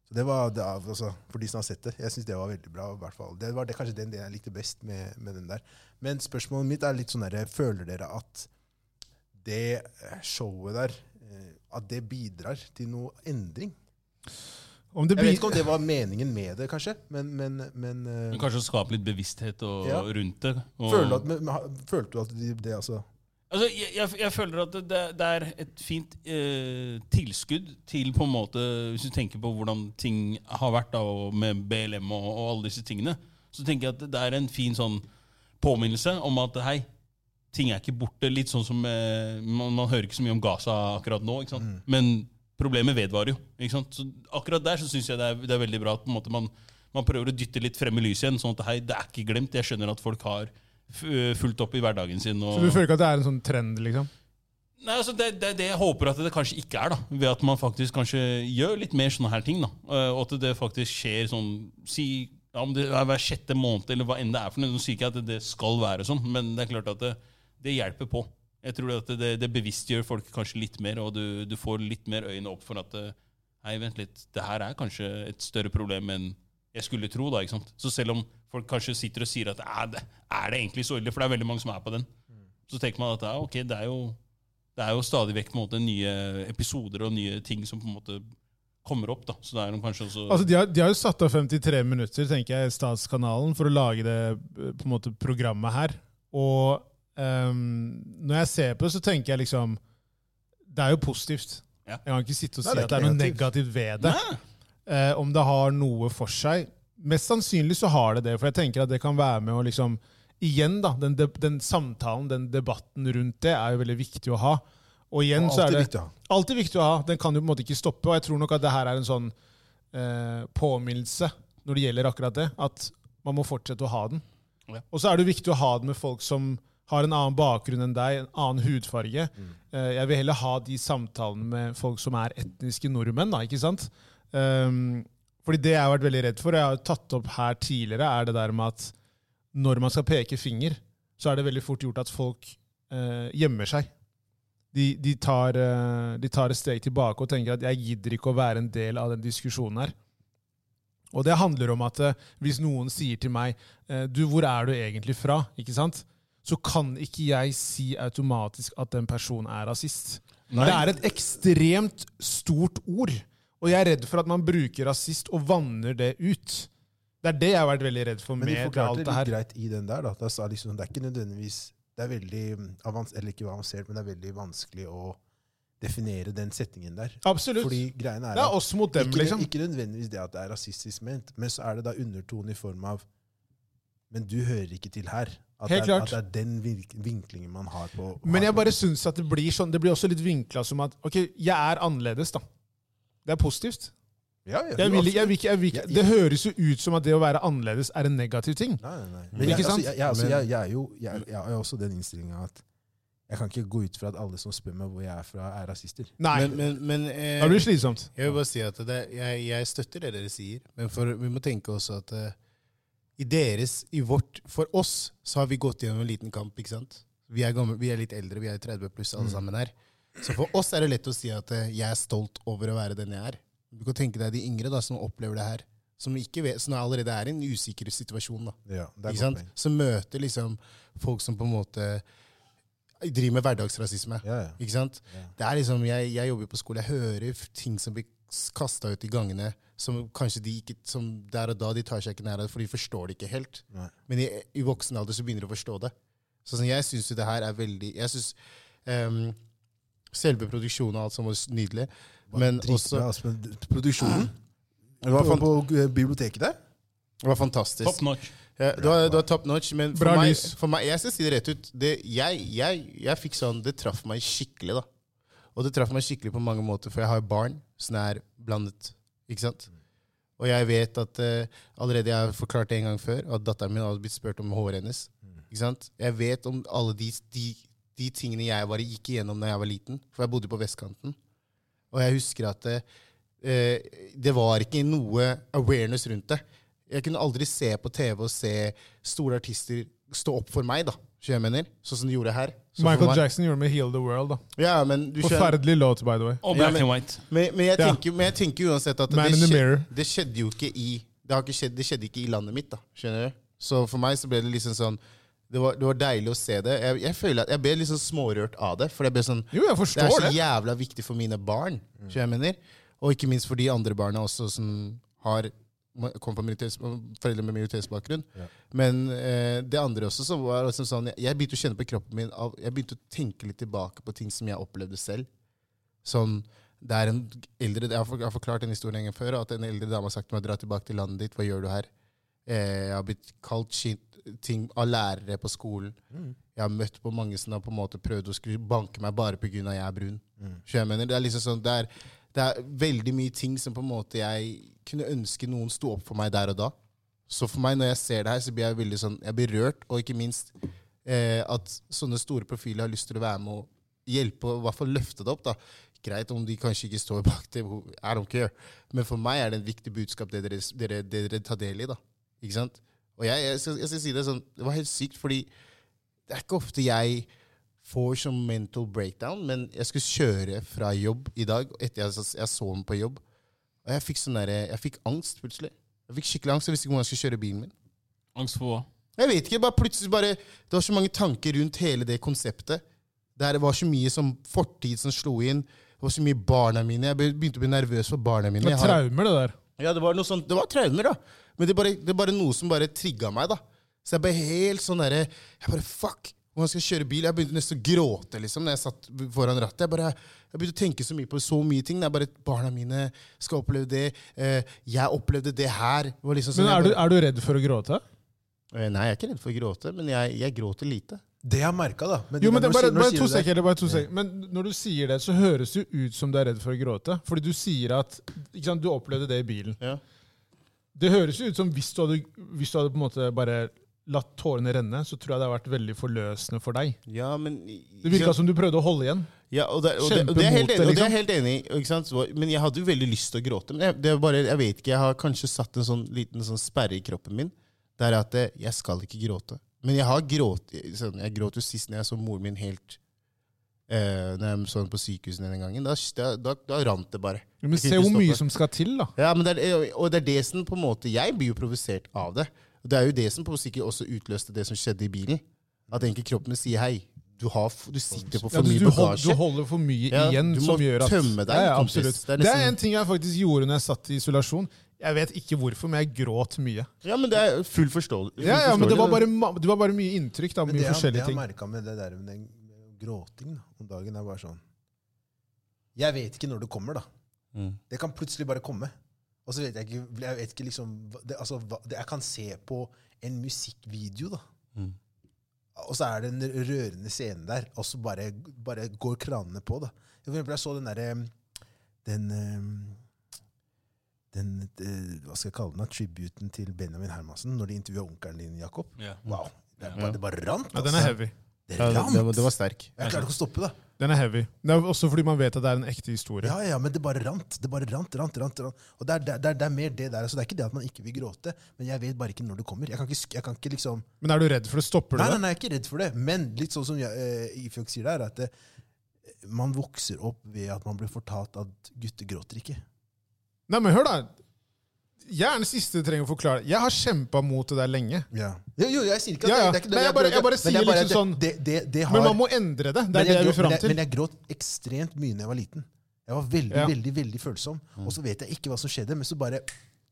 [SPEAKER 2] Så det var, det, er- altså, For de som har sett det, jeg syns det var veldig bra. i hvert fall. Det var det, kanskje den delen jeg likte best med, med den der. Men spørsmålet mitt er litt sånn derre Føler dere at det eh, showet der eh, at det bidrar til noe endring?
[SPEAKER 1] Om det
[SPEAKER 2] Jeg vet
[SPEAKER 1] blir
[SPEAKER 2] ikke om det var meningen med det, kanskje, men, men, men eh,
[SPEAKER 4] Men Kanskje å skape litt bevissthet og,
[SPEAKER 2] Ja.
[SPEAKER 4] rundt det. Og,
[SPEAKER 2] føler du at, men, men ha- følte du at de, det altså
[SPEAKER 4] Altså, jeg, jeg, jeg føler at det, det er et fint eh, tilskudd til på en måte, Hvis du tenker på hvordan ting har vært da, og med BLM og, og alle disse tingene, så tenker jeg at det er en fin sånn påminnelse om at hei, ting er ikke borte. Litt sånn som eh, man, man hører ikke så mye om Gaza akkurat nå, ikke sant?
[SPEAKER 1] Mm.
[SPEAKER 4] men problemet vedvarer jo. ikke sant? Så akkurat der så syns jeg det er, det er veldig bra at på en måte man, man prøver å dytte litt frem i lyset igjen, sånn at hei, det er ikke glemt. Jeg skjønner at folk har f- fulgt opp i hverdagen sin. Og
[SPEAKER 1] Så du føler ikke at det er en sånn trend, liksom?
[SPEAKER 4] Nei, altså det, det, det jeg håper at det kanskje ikke er, da. Ved at man faktisk kanskje gjør litt mer sånne her ting. da. Eh, Og at det faktisk skjer sånn si, ja, Om det er hver sjette måned eller hva enn det er for noe. Nå sier ikke jeg at det skal være sånn, men det er klart at det, det hjelper på. Jeg tror at det, det bevisstgjør folk kanskje litt mer, og du, du får litt mer øynene opp for at eh, Hei, vent litt, det her er kanskje et større problem enn jeg skulle tro. da, ikke sant? Så selv om folk kanskje sitter og sier at "Æ, det, er det egentlig så ille, for det er veldig mange som er på den,
[SPEAKER 3] Mm.
[SPEAKER 4] så tenker man at ja, ok, det er jo det er jo stadig vekk på en måte, nye episoder og nye ting som på en måte kommer opp. da. Så det er jo kanskje også...
[SPEAKER 1] Altså, de, har, de har jo satt av 53 minutter, tenker jeg, Statskanalen, for å lage det eh, på en måte, programmet her. Og ehm, når jeg ser på det, så tenker jeg liksom Det er jo positivt.
[SPEAKER 4] Ja.
[SPEAKER 1] Jeg kan ikke sitte og si
[SPEAKER 2] Nei, det er
[SPEAKER 1] at det er
[SPEAKER 2] ikke
[SPEAKER 1] noe negativt ved det.
[SPEAKER 4] Nei.
[SPEAKER 1] Eh, om det har noe for seg. Mest sannsynlig så har det det, for jeg tenker at det kan være med å liksom Igjen, da. Den, de, den samtalen, den debatten rundt det, er jo veldig viktig å ha. Og igjen så er
[SPEAKER 2] Alltid
[SPEAKER 1] det
[SPEAKER 2] viktig å ha.
[SPEAKER 1] Alltid viktig å ha. Den kan du på en måte ikke stoppe. Og jeg tror nok at det her er en sånn eh, påminnelse når det gjelder akkurat det, at man må fortsette å ha den.
[SPEAKER 4] Ja.
[SPEAKER 1] Og så er det jo viktig å ha den med folk som har en annen bakgrunn enn deg, en annen hudfarge. Eh, jeg vil heller ha de samtalene med folk som er etniske nordmenn, da, ikke sant? Um, fordi det jeg har vært veldig redd for, og jeg har jo tatt opp her tidligere, er det der med at når man skal peke finger, så er det veldig fort gjort at folk eh, gjemmer seg. De, de, tar, eh, de tar et steg tilbake og tenker at jeg gidder ikke å være en del av den diskusjonen her. Og det handler om at eh, hvis noen sier til meg eh, du, hvor er du egentlig fra, ikke sant? så kan ikke jeg si automatisk at den personen er rasist.
[SPEAKER 4] Nei.
[SPEAKER 1] Det er et ekstremt stort ord. Og jeg er redd for at man bruker rasist og vanner det ut. Det er det jeg har vært veldig redd for
[SPEAKER 2] Men de
[SPEAKER 1] med
[SPEAKER 2] forklarte
[SPEAKER 1] alt
[SPEAKER 2] det
[SPEAKER 1] det
[SPEAKER 2] litt
[SPEAKER 1] her.
[SPEAKER 2] greit i den der. Da. at jeg sa liksom, det er ikke nødvendigvis Det er veldig mm, avans eller ikke avansert, men det er veldig vanskelig å definere den setningen der.
[SPEAKER 1] Absolutt.
[SPEAKER 2] Fordi greiene er
[SPEAKER 1] det er
[SPEAKER 2] at
[SPEAKER 1] oss mot dem,
[SPEAKER 2] ikke,
[SPEAKER 1] liksom.
[SPEAKER 2] ikke nødvendigvis det at det er rasistisk ment, men så er det da undertone i form av Men du hører ikke til her. At,
[SPEAKER 1] Helt
[SPEAKER 2] det, er,
[SPEAKER 1] klart.
[SPEAKER 2] at det er den virk- vinklingen man har på
[SPEAKER 1] Men
[SPEAKER 2] har
[SPEAKER 1] jeg
[SPEAKER 2] på-
[SPEAKER 1] bare syns at det blir sånn, det blir også litt vinkla som at ok, jeg er annerledes, da. Det er positivt.
[SPEAKER 2] ja, ja,
[SPEAKER 1] Jeg
[SPEAKER 2] jo,
[SPEAKER 1] vil, ikke- jeg vil, ikke- jeg vil, ikke-
[SPEAKER 2] Jeg-
[SPEAKER 1] det høres jo ut som at det å være annerledes er en negativ ting.
[SPEAKER 2] Nei, nei, nei. Men jeg,
[SPEAKER 1] Ikke sant?
[SPEAKER 2] Altså, jeg, jeg, altså,
[SPEAKER 3] Men-
[SPEAKER 2] jeg, jeg er jo jeg, jeg har også den innstillinga at jeg kan ikke gå ut fra at alle som spør meg hvor jeg er fra, er rasister.
[SPEAKER 1] Nei,
[SPEAKER 3] Men, men, men eh,
[SPEAKER 1] da blir det slitsomt.
[SPEAKER 3] Jeg vil bare si at det, jeg, jeg støtter det dere sier, men for, vi må tenke også at eh, i deres, i vårt, for oss, så har vi gått gjennom en liten kamp, ikke sant? Vi er, gamle, vi er litt eldre, vi er 30 pluss alle sammen her. Så for oss er det lett å si at eh, jeg er stolt over å være den jeg er. Du kan tenke deg de yngre da, som opplever det her, som, ikke vet, som allerede er i en usikker situasjon da.
[SPEAKER 2] Ja, det er
[SPEAKER 3] Ikke sant? Som møter liksom folk som på en måte driver med hverdagsrasisme.
[SPEAKER 2] Ja, ja.
[SPEAKER 3] Ikke sant?
[SPEAKER 2] Ja.
[SPEAKER 3] Det er liksom, jeg, jeg jobber på skole, jeg hører f- ting som blir kasta ut i gangene, som kanskje de ikke som der og da de tar seg ikke nær av, for de forstår det ikke helt.
[SPEAKER 2] Nei.
[SPEAKER 3] Men i, i voksen alder så begynner de å forstå det. Så sånn, jeg syns jo det her er veldig Jeg synes, ehm, Selve produksjonen og alt som var s- nydelig, men også
[SPEAKER 2] Dritbra, altså, men produksjonen
[SPEAKER 3] det var,
[SPEAKER 2] på,
[SPEAKER 3] fan,
[SPEAKER 2] på eh, biblioteket der?
[SPEAKER 3] det var fantastisk.
[SPEAKER 4] Top notch.
[SPEAKER 3] Ja, det, var, det var top notch, men for
[SPEAKER 1] Bra
[SPEAKER 3] meg,
[SPEAKER 1] lys.
[SPEAKER 3] for meg Jeg skal si det rett ut. Det, jeg jeg, jeg fikk sånn Det traff meg skikkelig, da. Og det traff meg skikkelig på mange måter, for jeg har jo barn som er blandet. Ikke sant? Og jeg vet at eh, allerede jeg har forklart det en gang før, at datteren min har blitt spurt om håret hennes. Ikke sant? Jeg vet om alle de, de, de tingene jeg bare gikk igjennom da jeg var liten, for jeg bodde på vestkanten. Og jeg husker at eh, eh, det var ikke noe awareness rundt det. Jeg kunne aldri se på TV og se store artister stå opp for meg, da. Skjønner jeg mener? Sånn som de gjorde her. Så for
[SPEAKER 1] Michael
[SPEAKER 3] meg-
[SPEAKER 1] Jackson gjorde med 'Heal the World'. da.
[SPEAKER 3] Ja, men du skjønner.
[SPEAKER 1] Forferdelig låt, by the way.
[SPEAKER 4] Og
[SPEAKER 3] Ja,
[SPEAKER 4] black
[SPEAKER 3] men-
[SPEAKER 4] and white.
[SPEAKER 3] Men, men, jeg
[SPEAKER 1] Ja.
[SPEAKER 3] tenker, men jeg tenker uansett at
[SPEAKER 1] Man
[SPEAKER 3] det,
[SPEAKER 1] in the
[SPEAKER 3] skje-
[SPEAKER 1] mirror.
[SPEAKER 3] det skjedde jo ikke i det, har ikke skjedd, det skjedde ikke i landet mitt, da. Skjønner du? Så for meg så ble det liksom sånn Det var, det var deilig å se det. Jeg, jeg føler at jeg ble liksom smårørt av det. For jeg ble sånn
[SPEAKER 1] Jo, jeg
[SPEAKER 3] det er
[SPEAKER 1] forstår
[SPEAKER 3] så
[SPEAKER 1] det.
[SPEAKER 3] jævla viktig for mine barn. skjønner Jeg mener. Og ikke minst for de andre barna også som har kom fra minoritets- foreldre med minoritetsbakgrunn. Men eh, det andre også så var liksom sånn, jeg, jeg begynte å kjenne på kroppen min av, Jeg begynte å tenke litt tilbake på ting som jeg opplevde selv. Som det er en eldre, Jeg har for- jeg har forklart den historien en gang før, at en eldre dame har sagt til meg dra tilbake til landet ditt. Hva gjør du her? Eh, jeg har blitt kalt shit, ting av lærere på skolen. Jeg har møtt på mange som har på en måte prøvd å skulle banke meg bare pga. jeg er brun. Så jeg mener, det er liksom sånn, det er, det er veldig mye ting som på en måte jeg kunne ønske noen sto opp for meg der og da. Så for meg, når jeg ser det her, så blir jeg veldig sånn, jeg blir rørt, og ikke minst eh, at sånne store profiler har lyst til å være med og hjelpe, og i hvert fall løfte det opp. da. Greit om de kanskje ikke står bak det, who- I don't care. Men for meg er det en viktig budskap det dere, dere, dere tar del i. da. Ikke sant? Og jeg, jeg, skal, jeg skal si det sånn, det var helt sykt, fordi det er ikke ofte jeg får som mental breakdown, men jeg skulle kjøre fra jobb i dag, og etter jeg, jeg så den på jobb, og jeg fikk sånn der, jeg fikk angst plutselig. Jeg fikk skikkelig angst, jeg visste ikke hvordan jeg skulle kjøre bilen min.
[SPEAKER 4] Angst for hva?
[SPEAKER 3] Jeg vet ikke, bare plutselig bare, det var så mange tanker rundt hele det konseptet. Der det var så mye som fortid som slo inn, det var så mye barna mine, jeg be- begynte å bli nervøs for barna mine.
[SPEAKER 1] Det er
[SPEAKER 3] Jeg har-
[SPEAKER 1] traumer, det der.
[SPEAKER 3] ja, det var noe sånt, det var traumer, da. Men det er bare, det er bare noe som bare trigga meg, da. Så jeg ble helt sånn derre Jeg bare fuck! Hvordan skal jeg kjøre bil? Jeg begynte nesten å gråte liksom, når jeg satt foran rattet. Jeg, bare, jeg begynte å tenke så mye på så mye ting. Det er bare Barna mine skal oppleve det. Eh, jeg opplevde det her. Det var liksom sånn,
[SPEAKER 1] Men er
[SPEAKER 3] jeg
[SPEAKER 1] du, er du redd for å gråte?
[SPEAKER 3] bare, Eh, Nei, jeg er ikke redd for å gråte, men jeg, jeg gråter lite.
[SPEAKER 2] Det jeg har merka, da.
[SPEAKER 1] Jo, men det
[SPEAKER 2] når
[SPEAKER 1] er bare,
[SPEAKER 2] sier- når
[SPEAKER 1] bare
[SPEAKER 2] sier
[SPEAKER 1] to
[SPEAKER 2] du det?
[SPEAKER 1] sekunder. Bare to sek. Men når du sier det, så høres det jo ut som du er redd for å gråte. Fordi du sier at ikke sant, du opplevde det i bilen.
[SPEAKER 3] Ja.
[SPEAKER 1] Det høres jo ut som hvis du hadde, hvis du hadde på en måte bare latt tårene renne, så tror jeg det har vært veldig forløsende for deg.
[SPEAKER 3] Ja, men
[SPEAKER 1] Det virka som liksom. du prøvde å holde igjen.
[SPEAKER 3] Ja, og det, og det, og
[SPEAKER 1] Kjempe
[SPEAKER 3] det, er, helt
[SPEAKER 1] mot det,
[SPEAKER 3] enig, og det er jeg helt enig i. Ikke sant? Så- Men jeg hadde jo veldig lyst til å gråte. Men jeg, det er bare, jeg vet ikke, jeg har kanskje satt en sånn liten sånn sperre i kroppen min. Det er at eh, jeg skal ikke gråte. Men jeg har grått sånn, Jeg gråt jo sist når jeg så moren min helt eh, Når jeg så henne på sykehuset den gangen. Da, da, da, da rant det bare.
[SPEAKER 1] Men
[SPEAKER 3] Jeg kunne
[SPEAKER 1] se
[SPEAKER 3] ikke
[SPEAKER 1] hvor mye
[SPEAKER 3] stoppe.
[SPEAKER 1] som skal til, da.
[SPEAKER 3] Ja, men det er, og det er det som på en måte Jeg blir jo provosert av det. Og Det er jo det som på sikkert også utløste det som skjedde i bilen. At egentlig kroppen min sier hei. du, har, f- du sitter på
[SPEAKER 1] Ja,
[SPEAKER 3] for
[SPEAKER 1] du,
[SPEAKER 3] mye
[SPEAKER 1] du, hold,
[SPEAKER 3] bagasje.
[SPEAKER 1] du holder for mye
[SPEAKER 3] Ja,
[SPEAKER 1] igjen.
[SPEAKER 3] du må
[SPEAKER 1] som gjør at,
[SPEAKER 3] tømme deg,
[SPEAKER 1] Ja, ja,
[SPEAKER 3] kompis.
[SPEAKER 1] absolutt.
[SPEAKER 3] Det er
[SPEAKER 1] Det er
[SPEAKER 3] nesten-
[SPEAKER 1] en ting jeg faktisk gjorde når jeg satt i isolasjon. Jeg vet ikke hvorfor, men jeg gråt mye.
[SPEAKER 3] Ja, men det er full forståelse.
[SPEAKER 1] Ja, ja, men det var bare, ma- det var bare mye inntrykk. da,
[SPEAKER 2] Men
[SPEAKER 1] mye
[SPEAKER 2] det, jeg- det
[SPEAKER 1] forskjellige
[SPEAKER 2] jeg
[SPEAKER 1] ting.
[SPEAKER 2] merka med det der med den gråting da, om dagen, er bare sånn Jeg vet ikke når det kommer, da.
[SPEAKER 4] Mm.
[SPEAKER 2] Det kan plutselig bare komme. Og så vet jeg ikke, jeg vet ikke liksom hva- det, altså, hva, det, Jeg kan se på en musikkvideo, da.
[SPEAKER 4] Mm.
[SPEAKER 2] Og så er det en rørende scene der, og så bare, bare går kranene på, da. For eksempel, jeg så den derre Den eh, den, eh, hva skal jeg kalle den, da? tributen til Benjamin Hermansen, når de intervjua onkelen din, Jakob.
[SPEAKER 4] Ja.
[SPEAKER 2] Wow. Det, er bare, det bare rant.
[SPEAKER 1] Ja, den er
[SPEAKER 2] altså.
[SPEAKER 1] heavy.
[SPEAKER 2] Det
[SPEAKER 3] Ja,
[SPEAKER 2] rant.
[SPEAKER 3] det, det var sterk.
[SPEAKER 2] Jeg klarte ikke å stoppe det.
[SPEAKER 1] Den er heavy. Det er også fordi man vet at det er en ekte historie.
[SPEAKER 2] Ja, ja, men det bare rant. Det bare rant, rant, rant. rant. Og det er, det, er, det er mer det der. Altså, det er ikke det at man ikke vil gråte, men jeg vet bare ikke når det kommer. Jeg kan ikke, sk- jeg kan ikke liksom...
[SPEAKER 1] Men er du redd for det? Stopper du
[SPEAKER 2] Nei, nei,
[SPEAKER 1] det?
[SPEAKER 2] nei, jeg er ikke redd for det. Men litt sånn som jeg, eh, Ifjok sier der, at eh, man vokser opp ved at man blir fortalt at gutter gråter ikke.
[SPEAKER 1] Nei, men hør, da. Jeg er den siste som trenger å forklare. Jeg har kjempa mot det der lenge.
[SPEAKER 2] Ja. Jo, jo, jeg sier ikke at
[SPEAKER 1] Ja, ja.
[SPEAKER 2] det, det er ikke
[SPEAKER 1] Nei, jeg bare- jeg bare
[SPEAKER 2] men det
[SPEAKER 1] sier
[SPEAKER 2] er bare
[SPEAKER 1] liksom
[SPEAKER 2] at det-
[SPEAKER 1] sånn-
[SPEAKER 2] det, det, det har,
[SPEAKER 1] Men man må endre det. Det
[SPEAKER 2] Men
[SPEAKER 1] er det
[SPEAKER 2] jeg
[SPEAKER 1] jeg vil
[SPEAKER 2] gråt- men
[SPEAKER 1] fram
[SPEAKER 2] jeg-
[SPEAKER 1] til.
[SPEAKER 2] Men jeg gråt ekstremt mye når jeg var liten. Jeg var veldig,
[SPEAKER 1] Ja.
[SPEAKER 2] veldig, veldig følsom. Og så vet jeg ikke hva som skjedde, men så bare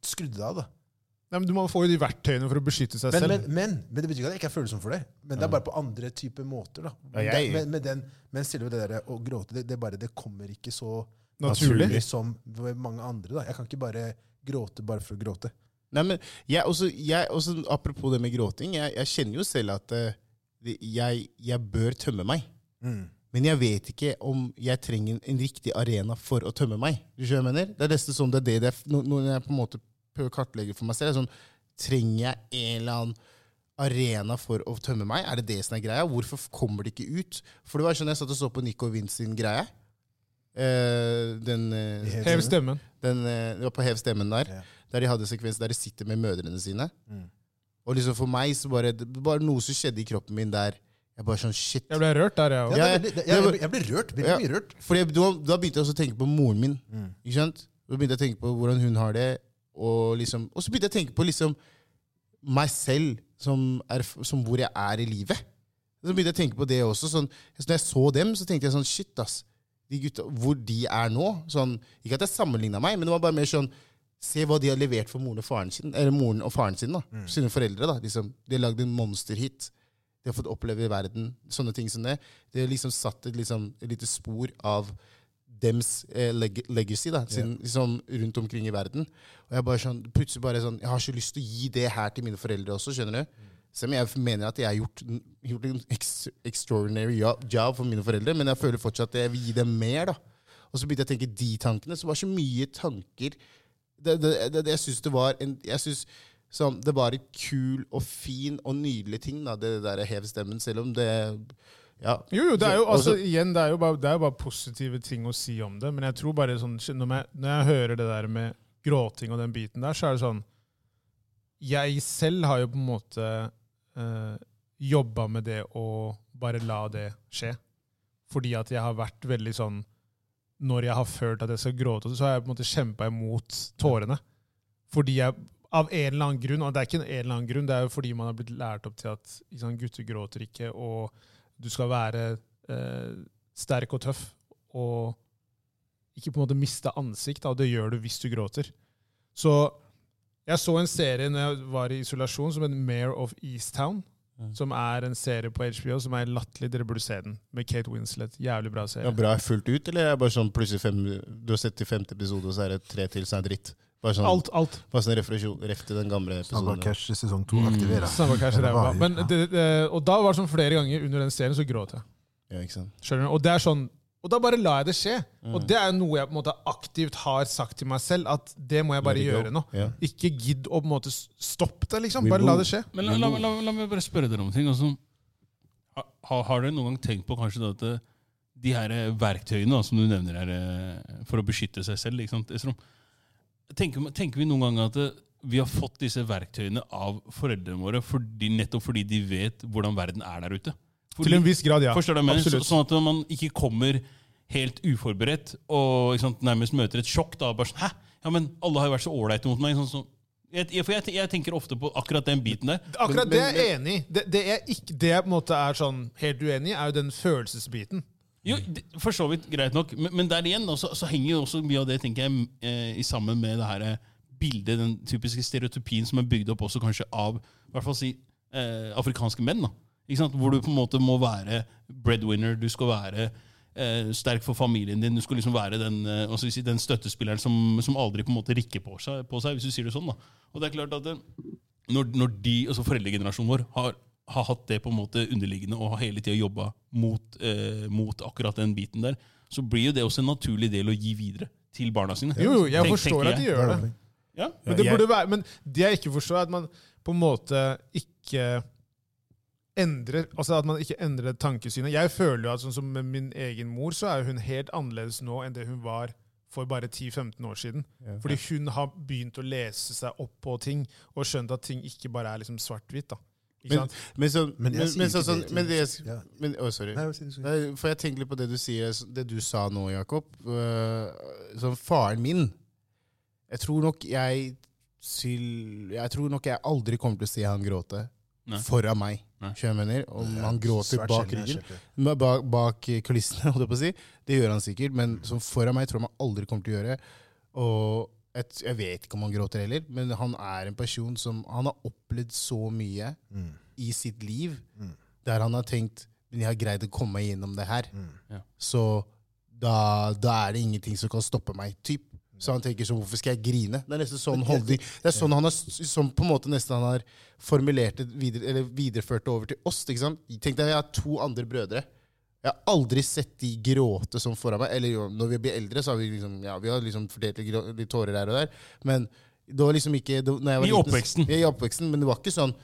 [SPEAKER 2] skrudde det av, da.
[SPEAKER 1] Nei, men du må få jo de verktøyene for å beskytte seg
[SPEAKER 2] Men,
[SPEAKER 1] selv.
[SPEAKER 2] men, men, men det betyr ikke at jeg ikke er følsom for det. Men det er bare på andre typer måter. da. Men
[SPEAKER 3] jeg-
[SPEAKER 2] det- men, men, den, men selve det der å gråte, det, det, er bare, det kommer ikke så
[SPEAKER 1] Naturlig.
[SPEAKER 2] som ved mange andre. da. Jeg kan ikke bare gråte bare for å gråte.
[SPEAKER 3] Nei, men jeg, også, jeg, også, apropos det med gråting, jeg, jeg kjenner jo selv at eh, det- jeg, jeg bør tømme meg.
[SPEAKER 2] Mm.
[SPEAKER 3] Men jeg vet ikke om jeg trenger en, en riktig arena for å tømme meg. Du skjønner hva jeg mener? Det er nesten sånn det er det det er, når- når jeg på en måte prøver å kartlegge for meg selv. er sånn, trenger jeg en eller annen arena for å tømme meg? Er det det som er greia? Hvorfor f- kommer det ikke ut? For det var sånn jeg satt og så på Nico Vince sin greie. Eh, den eh,
[SPEAKER 1] Hev stemmen.
[SPEAKER 3] den, eh, det var på Hev stemmen der,
[SPEAKER 2] Ja.
[SPEAKER 3] der de hadde sekvens der de sitter med mødrene sine.
[SPEAKER 2] Mm.
[SPEAKER 3] Og liksom for meg så bare det var bare noe som skjedde i kroppen min der. Jeg bare sånn shit.
[SPEAKER 1] Jeg ble rørt der, jeg òg.
[SPEAKER 2] Ja,
[SPEAKER 3] Ja,
[SPEAKER 2] det, er veldig- det,
[SPEAKER 3] ja,
[SPEAKER 2] jeg,
[SPEAKER 3] men-
[SPEAKER 2] jeg, jeg blir rørt. Veldig
[SPEAKER 3] Ja.
[SPEAKER 2] mye rørt. Mm.
[SPEAKER 3] Fordi jeg, da, da begynte jeg også å tenke på moren min. Ikke sant? Da begynte jeg å tenke på hvordan hun har det. Og, liksom, og så begynte jeg å tenke på liksom meg selv, som, er, som hvor jeg er i livet. Så begynte jeg å tenke på det også. Sånn, så når jeg så dem, så tenkte jeg sånn Shit, ass. De gutta, hvor de er nå. Sånn, ikke at jeg sammenligna meg, men det var bare mer sånn Se hva de har levert for moren og faren sin. Eller moren og faren sin, da. Sine foreldre. da. Liksom, de har lagd en monsterhit. De har fått oppleve verden. Sånne ting som det. Det har liksom satt et, liksom, et lite spor av dems eh, leg legacy da, sin, liksom, rundt omkring i verden. Og jeg bare sånn, plutselig bare sånn, jeg har så lyst til å gi det her til mine foreldre også, skjønner du? Selv om jeg mener at jeg har gjort, n- gjort en ex extraordinary jo- job for mine foreldre, men jeg føler fortsatt at jeg vil gi dem mer. da. Og så begynte jeg å tenke de tankene, så var det så mye tanker. Det, det, det, det, jeg synes det var en, jeg synes, sånn, det var en kul og fin og nydelig ting, da, det der hev stemmen, selv om det, ja.
[SPEAKER 1] Jo, jo, det er jo altså,
[SPEAKER 3] Og så-
[SPEAKER 1] igjen, det er jo, bare, det er jo bare positive ting å si om det. Men jeg tror bare sånn, når jeg, når jeg hører det der med gråting og den biten der, så er det sånn Jeg selv har jo på en måte eh, jobba med det å bare la det skje. Fordi at jeg har vært veldig sånn Når jeg har følt at jeg skal gråte, så har jeg på en måte kjempa imot tårene. Fordi jeg av en eller annen grunn, og det er ikke en eller annen grunn, det er jo fordi man har blitt lært opp til at ikke sant, gutter gråter ikke, og du skal være eh, sterk og tøff, og ikke på en måte miste ansikt, da, og det gjør du hvis du gråter. Så jeg så en serie når jeg var i isolasjon som het Mayor of Easttown, som er en serie på HBO som er latterlig, dere burde se den, med Kate Winslet. Jævlig bra serie.
[SPEAKER 3] Ja, bra fullt ut, eller er det bare sånn plutselig fem, du har sett til femte episode, og så er det tre til som er dritt? Bare sånn,
[SPEAKER 1] Alt, alt.
[SPEAKER 3] bare sånn refleksjon, ref til den gamle
[SPEAKER 1] Sånn
[SPEAKER 3] episoden. da.
[SPEAKER 2] sesong to aktiverer.
[SPEAKER 1] Samme hva som det var. Men det, det, og da var det sånn flere ganger under den serien så gråt jeg.
[SPEAKER 3] Ja, ikke sant?
[SPEAKER 1] Skjønner du? Og det er sånn og da bare lar jeg det skje. Og det er noe jeg på en måte aktivt har sagt til meg selv, at det må jeg bare
[SPEAKER 3] it go.
[SPEAKER 1] gjøre nå.
[SPEAKER 3] Ja.
[SPEAKER 1] Ikke gidd å på en måte s- stoppe det, liksom.
[SPEAKER 3] We
[SPEAKER 1] Bare la
[SPEAKER 3] will.
[SPEAKER 1] det skje.
[SPEAKER 4] Men la, la, la, la meg bare spørre dere om en ting. Altså, har, har dere noen gang tenkt på kanskje det at eh, de her eh, verktøyene da, som du nevner her, eh, for å beskytte seg selv ikke sant, Esrom? tenker, tenker vi noen gang at eh, vi har fått disse verktøyene av foreldrene våre fordi, nettopp fordi de vet hvordan verden er der ute?
[SPEAKER 1] Til en
[SPEAKER 4] Fordi-
[SPEAKER 1] viss grad, ja.
[SPEAKER 4] Forstår du hva jeg mener? Så,
[SPEAKER 1] Absolutt.
[SPEAKER 4] sånn at man ikke kommer helt uforberedt og ikke sant, nærmest møter et sjokk. da, bare sånn, Hæ? Ja, men alle har jo vært så ålreite mot meg. Sånn, så, Jeg, jeg- for jeg, te- jeg tenker ofte på akkurat den biten der.
[SPEAKER 1] Akkurat
[SPEAKER 3] Men-
[SPEAKER 1] det er jeg enig i. Det, det, jeg ikke, det jeg på en måte er sånn helt uenig i, er jo den følelsesbiten.
[SPEAKER 4] Jo, det- for så vidt, greit nok. Men, men der igjen da, så, så henger jo også mye av det tenker jeg, eh, i sammen med det her eh, bildet, den typiske stereotypien som er bygd opp også kanskje av i hvert fall si, eh, afrikanske menn. da. Ikke sant? Hvor du på en måte må være breadwinner, du skal være eh, sterk for familien din, du skal liksom være den, eh, hva skal vi si, den støttespilleren som, som aldri på en måte rikker på seg, på seg, hvis du sier det sånn. da. Og det er klart at... Eh, når, når de, altså foreldregenerasjonen vår, har, har hatt det på en måte underliggende og har hele tida jobba mot, eh, mot akkurat den biten der, så blir jo det også en naturlig del å gi videre til barna sine.
[SPEAKER 1] Jo, jo, jeg
[SPEAKER 4] Tenk-
[SPEAKER 1] forstår
[SPEAKER 4] tenker
[SPEAKER 1] at de
[SPEAKER 4] jeg.
[SPEAKER 1] gjør det.
[SPEAKER 4] Ja.
[SPEAKER 1] Men det,
[SPEAKER 6] jeg-
[SPEAKER 1] burde være, men det jeg ikke forstår, er at man på en måte ikke endrer altså at man ikke endrer tankesynet. Jeg føler jo at sånn som med min egen mor, så er hun helt annerledes nå enn det hun var for bare 10-15 år siden. Fordi hun har begynt å lese seg opp på ting og skjønt at ting ikke bare er liksom svart-hvitt. da. Ikke
[SPEAKER 3] Men,
[SPEAKER 1] sant?
[SPEAKER 3] men, så, men,
[SPEAKER 2] Men jeg
[SPEAKER 3] men,
[SPEAKER 2] sier
[SPEAKER 3] så,
[SPEAKER 2] ikke
[SPEAKER 3] sånn,
[SPEAKER 2] det til
[SPEAKER 3] men det
[SPEAKER 2] deg. Ja.
[SPEAKER 3] men, å, sorry.
[SPEAKER 2] Nei, si det, si det.
[SPEAKER 3] Nei, for jeg tenker litt på det du sier, det du sa nå, Jakob. Øh, Som faren min Jeg tror nok jeg syl- Jeg tror nok jeg aldri kommer til å se han gråte
[SPEAKER 4] Nei.
[SPEAKER 3] foran meg.
[SPEAKER 4] Nei.
[SPEAKER 3] Skjønner du hva jeg mener? Om
[SPEAKER 2] Ja,
[SPEAKER 3] han gråter
[SPEAKER 2] svært
[SPEAKER 3] bak
[SPEAKER 2] sjelden jeg
[SPEAKER 3] ryggen.
[SPEAKER 2] skjønner.
[SPEAKER 3] Men Bak, bak kulissene, holdt jeg på å si. Det gjør han sikkert, men
[SPEAKER 2] Mm.
[SPEAKER 3] som foran meg tror jeg man aldri kommer til å gjøre. Og jeg, t- jeg vet ikke om han gråter heller, men han er en person som Han har opplevd så mye i sitt liv der han har tenkt Men jeg har greid å komme meg gjennom det her.
[SPEAKER 4] Ja.
[SPEAKER 3] Så da, da er det ingenting som kan stoppe meg. Typ. Så han tenker sånn Hvorfor skal jeg grine? Det er nesten sånn holdning. Det er sånn han har, s- sånn på en måte nesten han har formulert det videre, eller videreført det over til oss. Ikke sant? Tenk deg, jeg har to andre brødre. Jeg har aldri sett de gråte sånn foran meg. Eller jo, når vi blir eldre, så har vi liksom, ja, vi har liksom fordelt litt, grå- litt tårer her og der. Men det var liksom ikke det, når jeg var
[SPEAKER 4] I
[SPEAKER 3] liten, så-
[SPEAKER 4] oppveksten.
[SPEAKER 3] Ja, I oppveksten. Men det var ikke sånn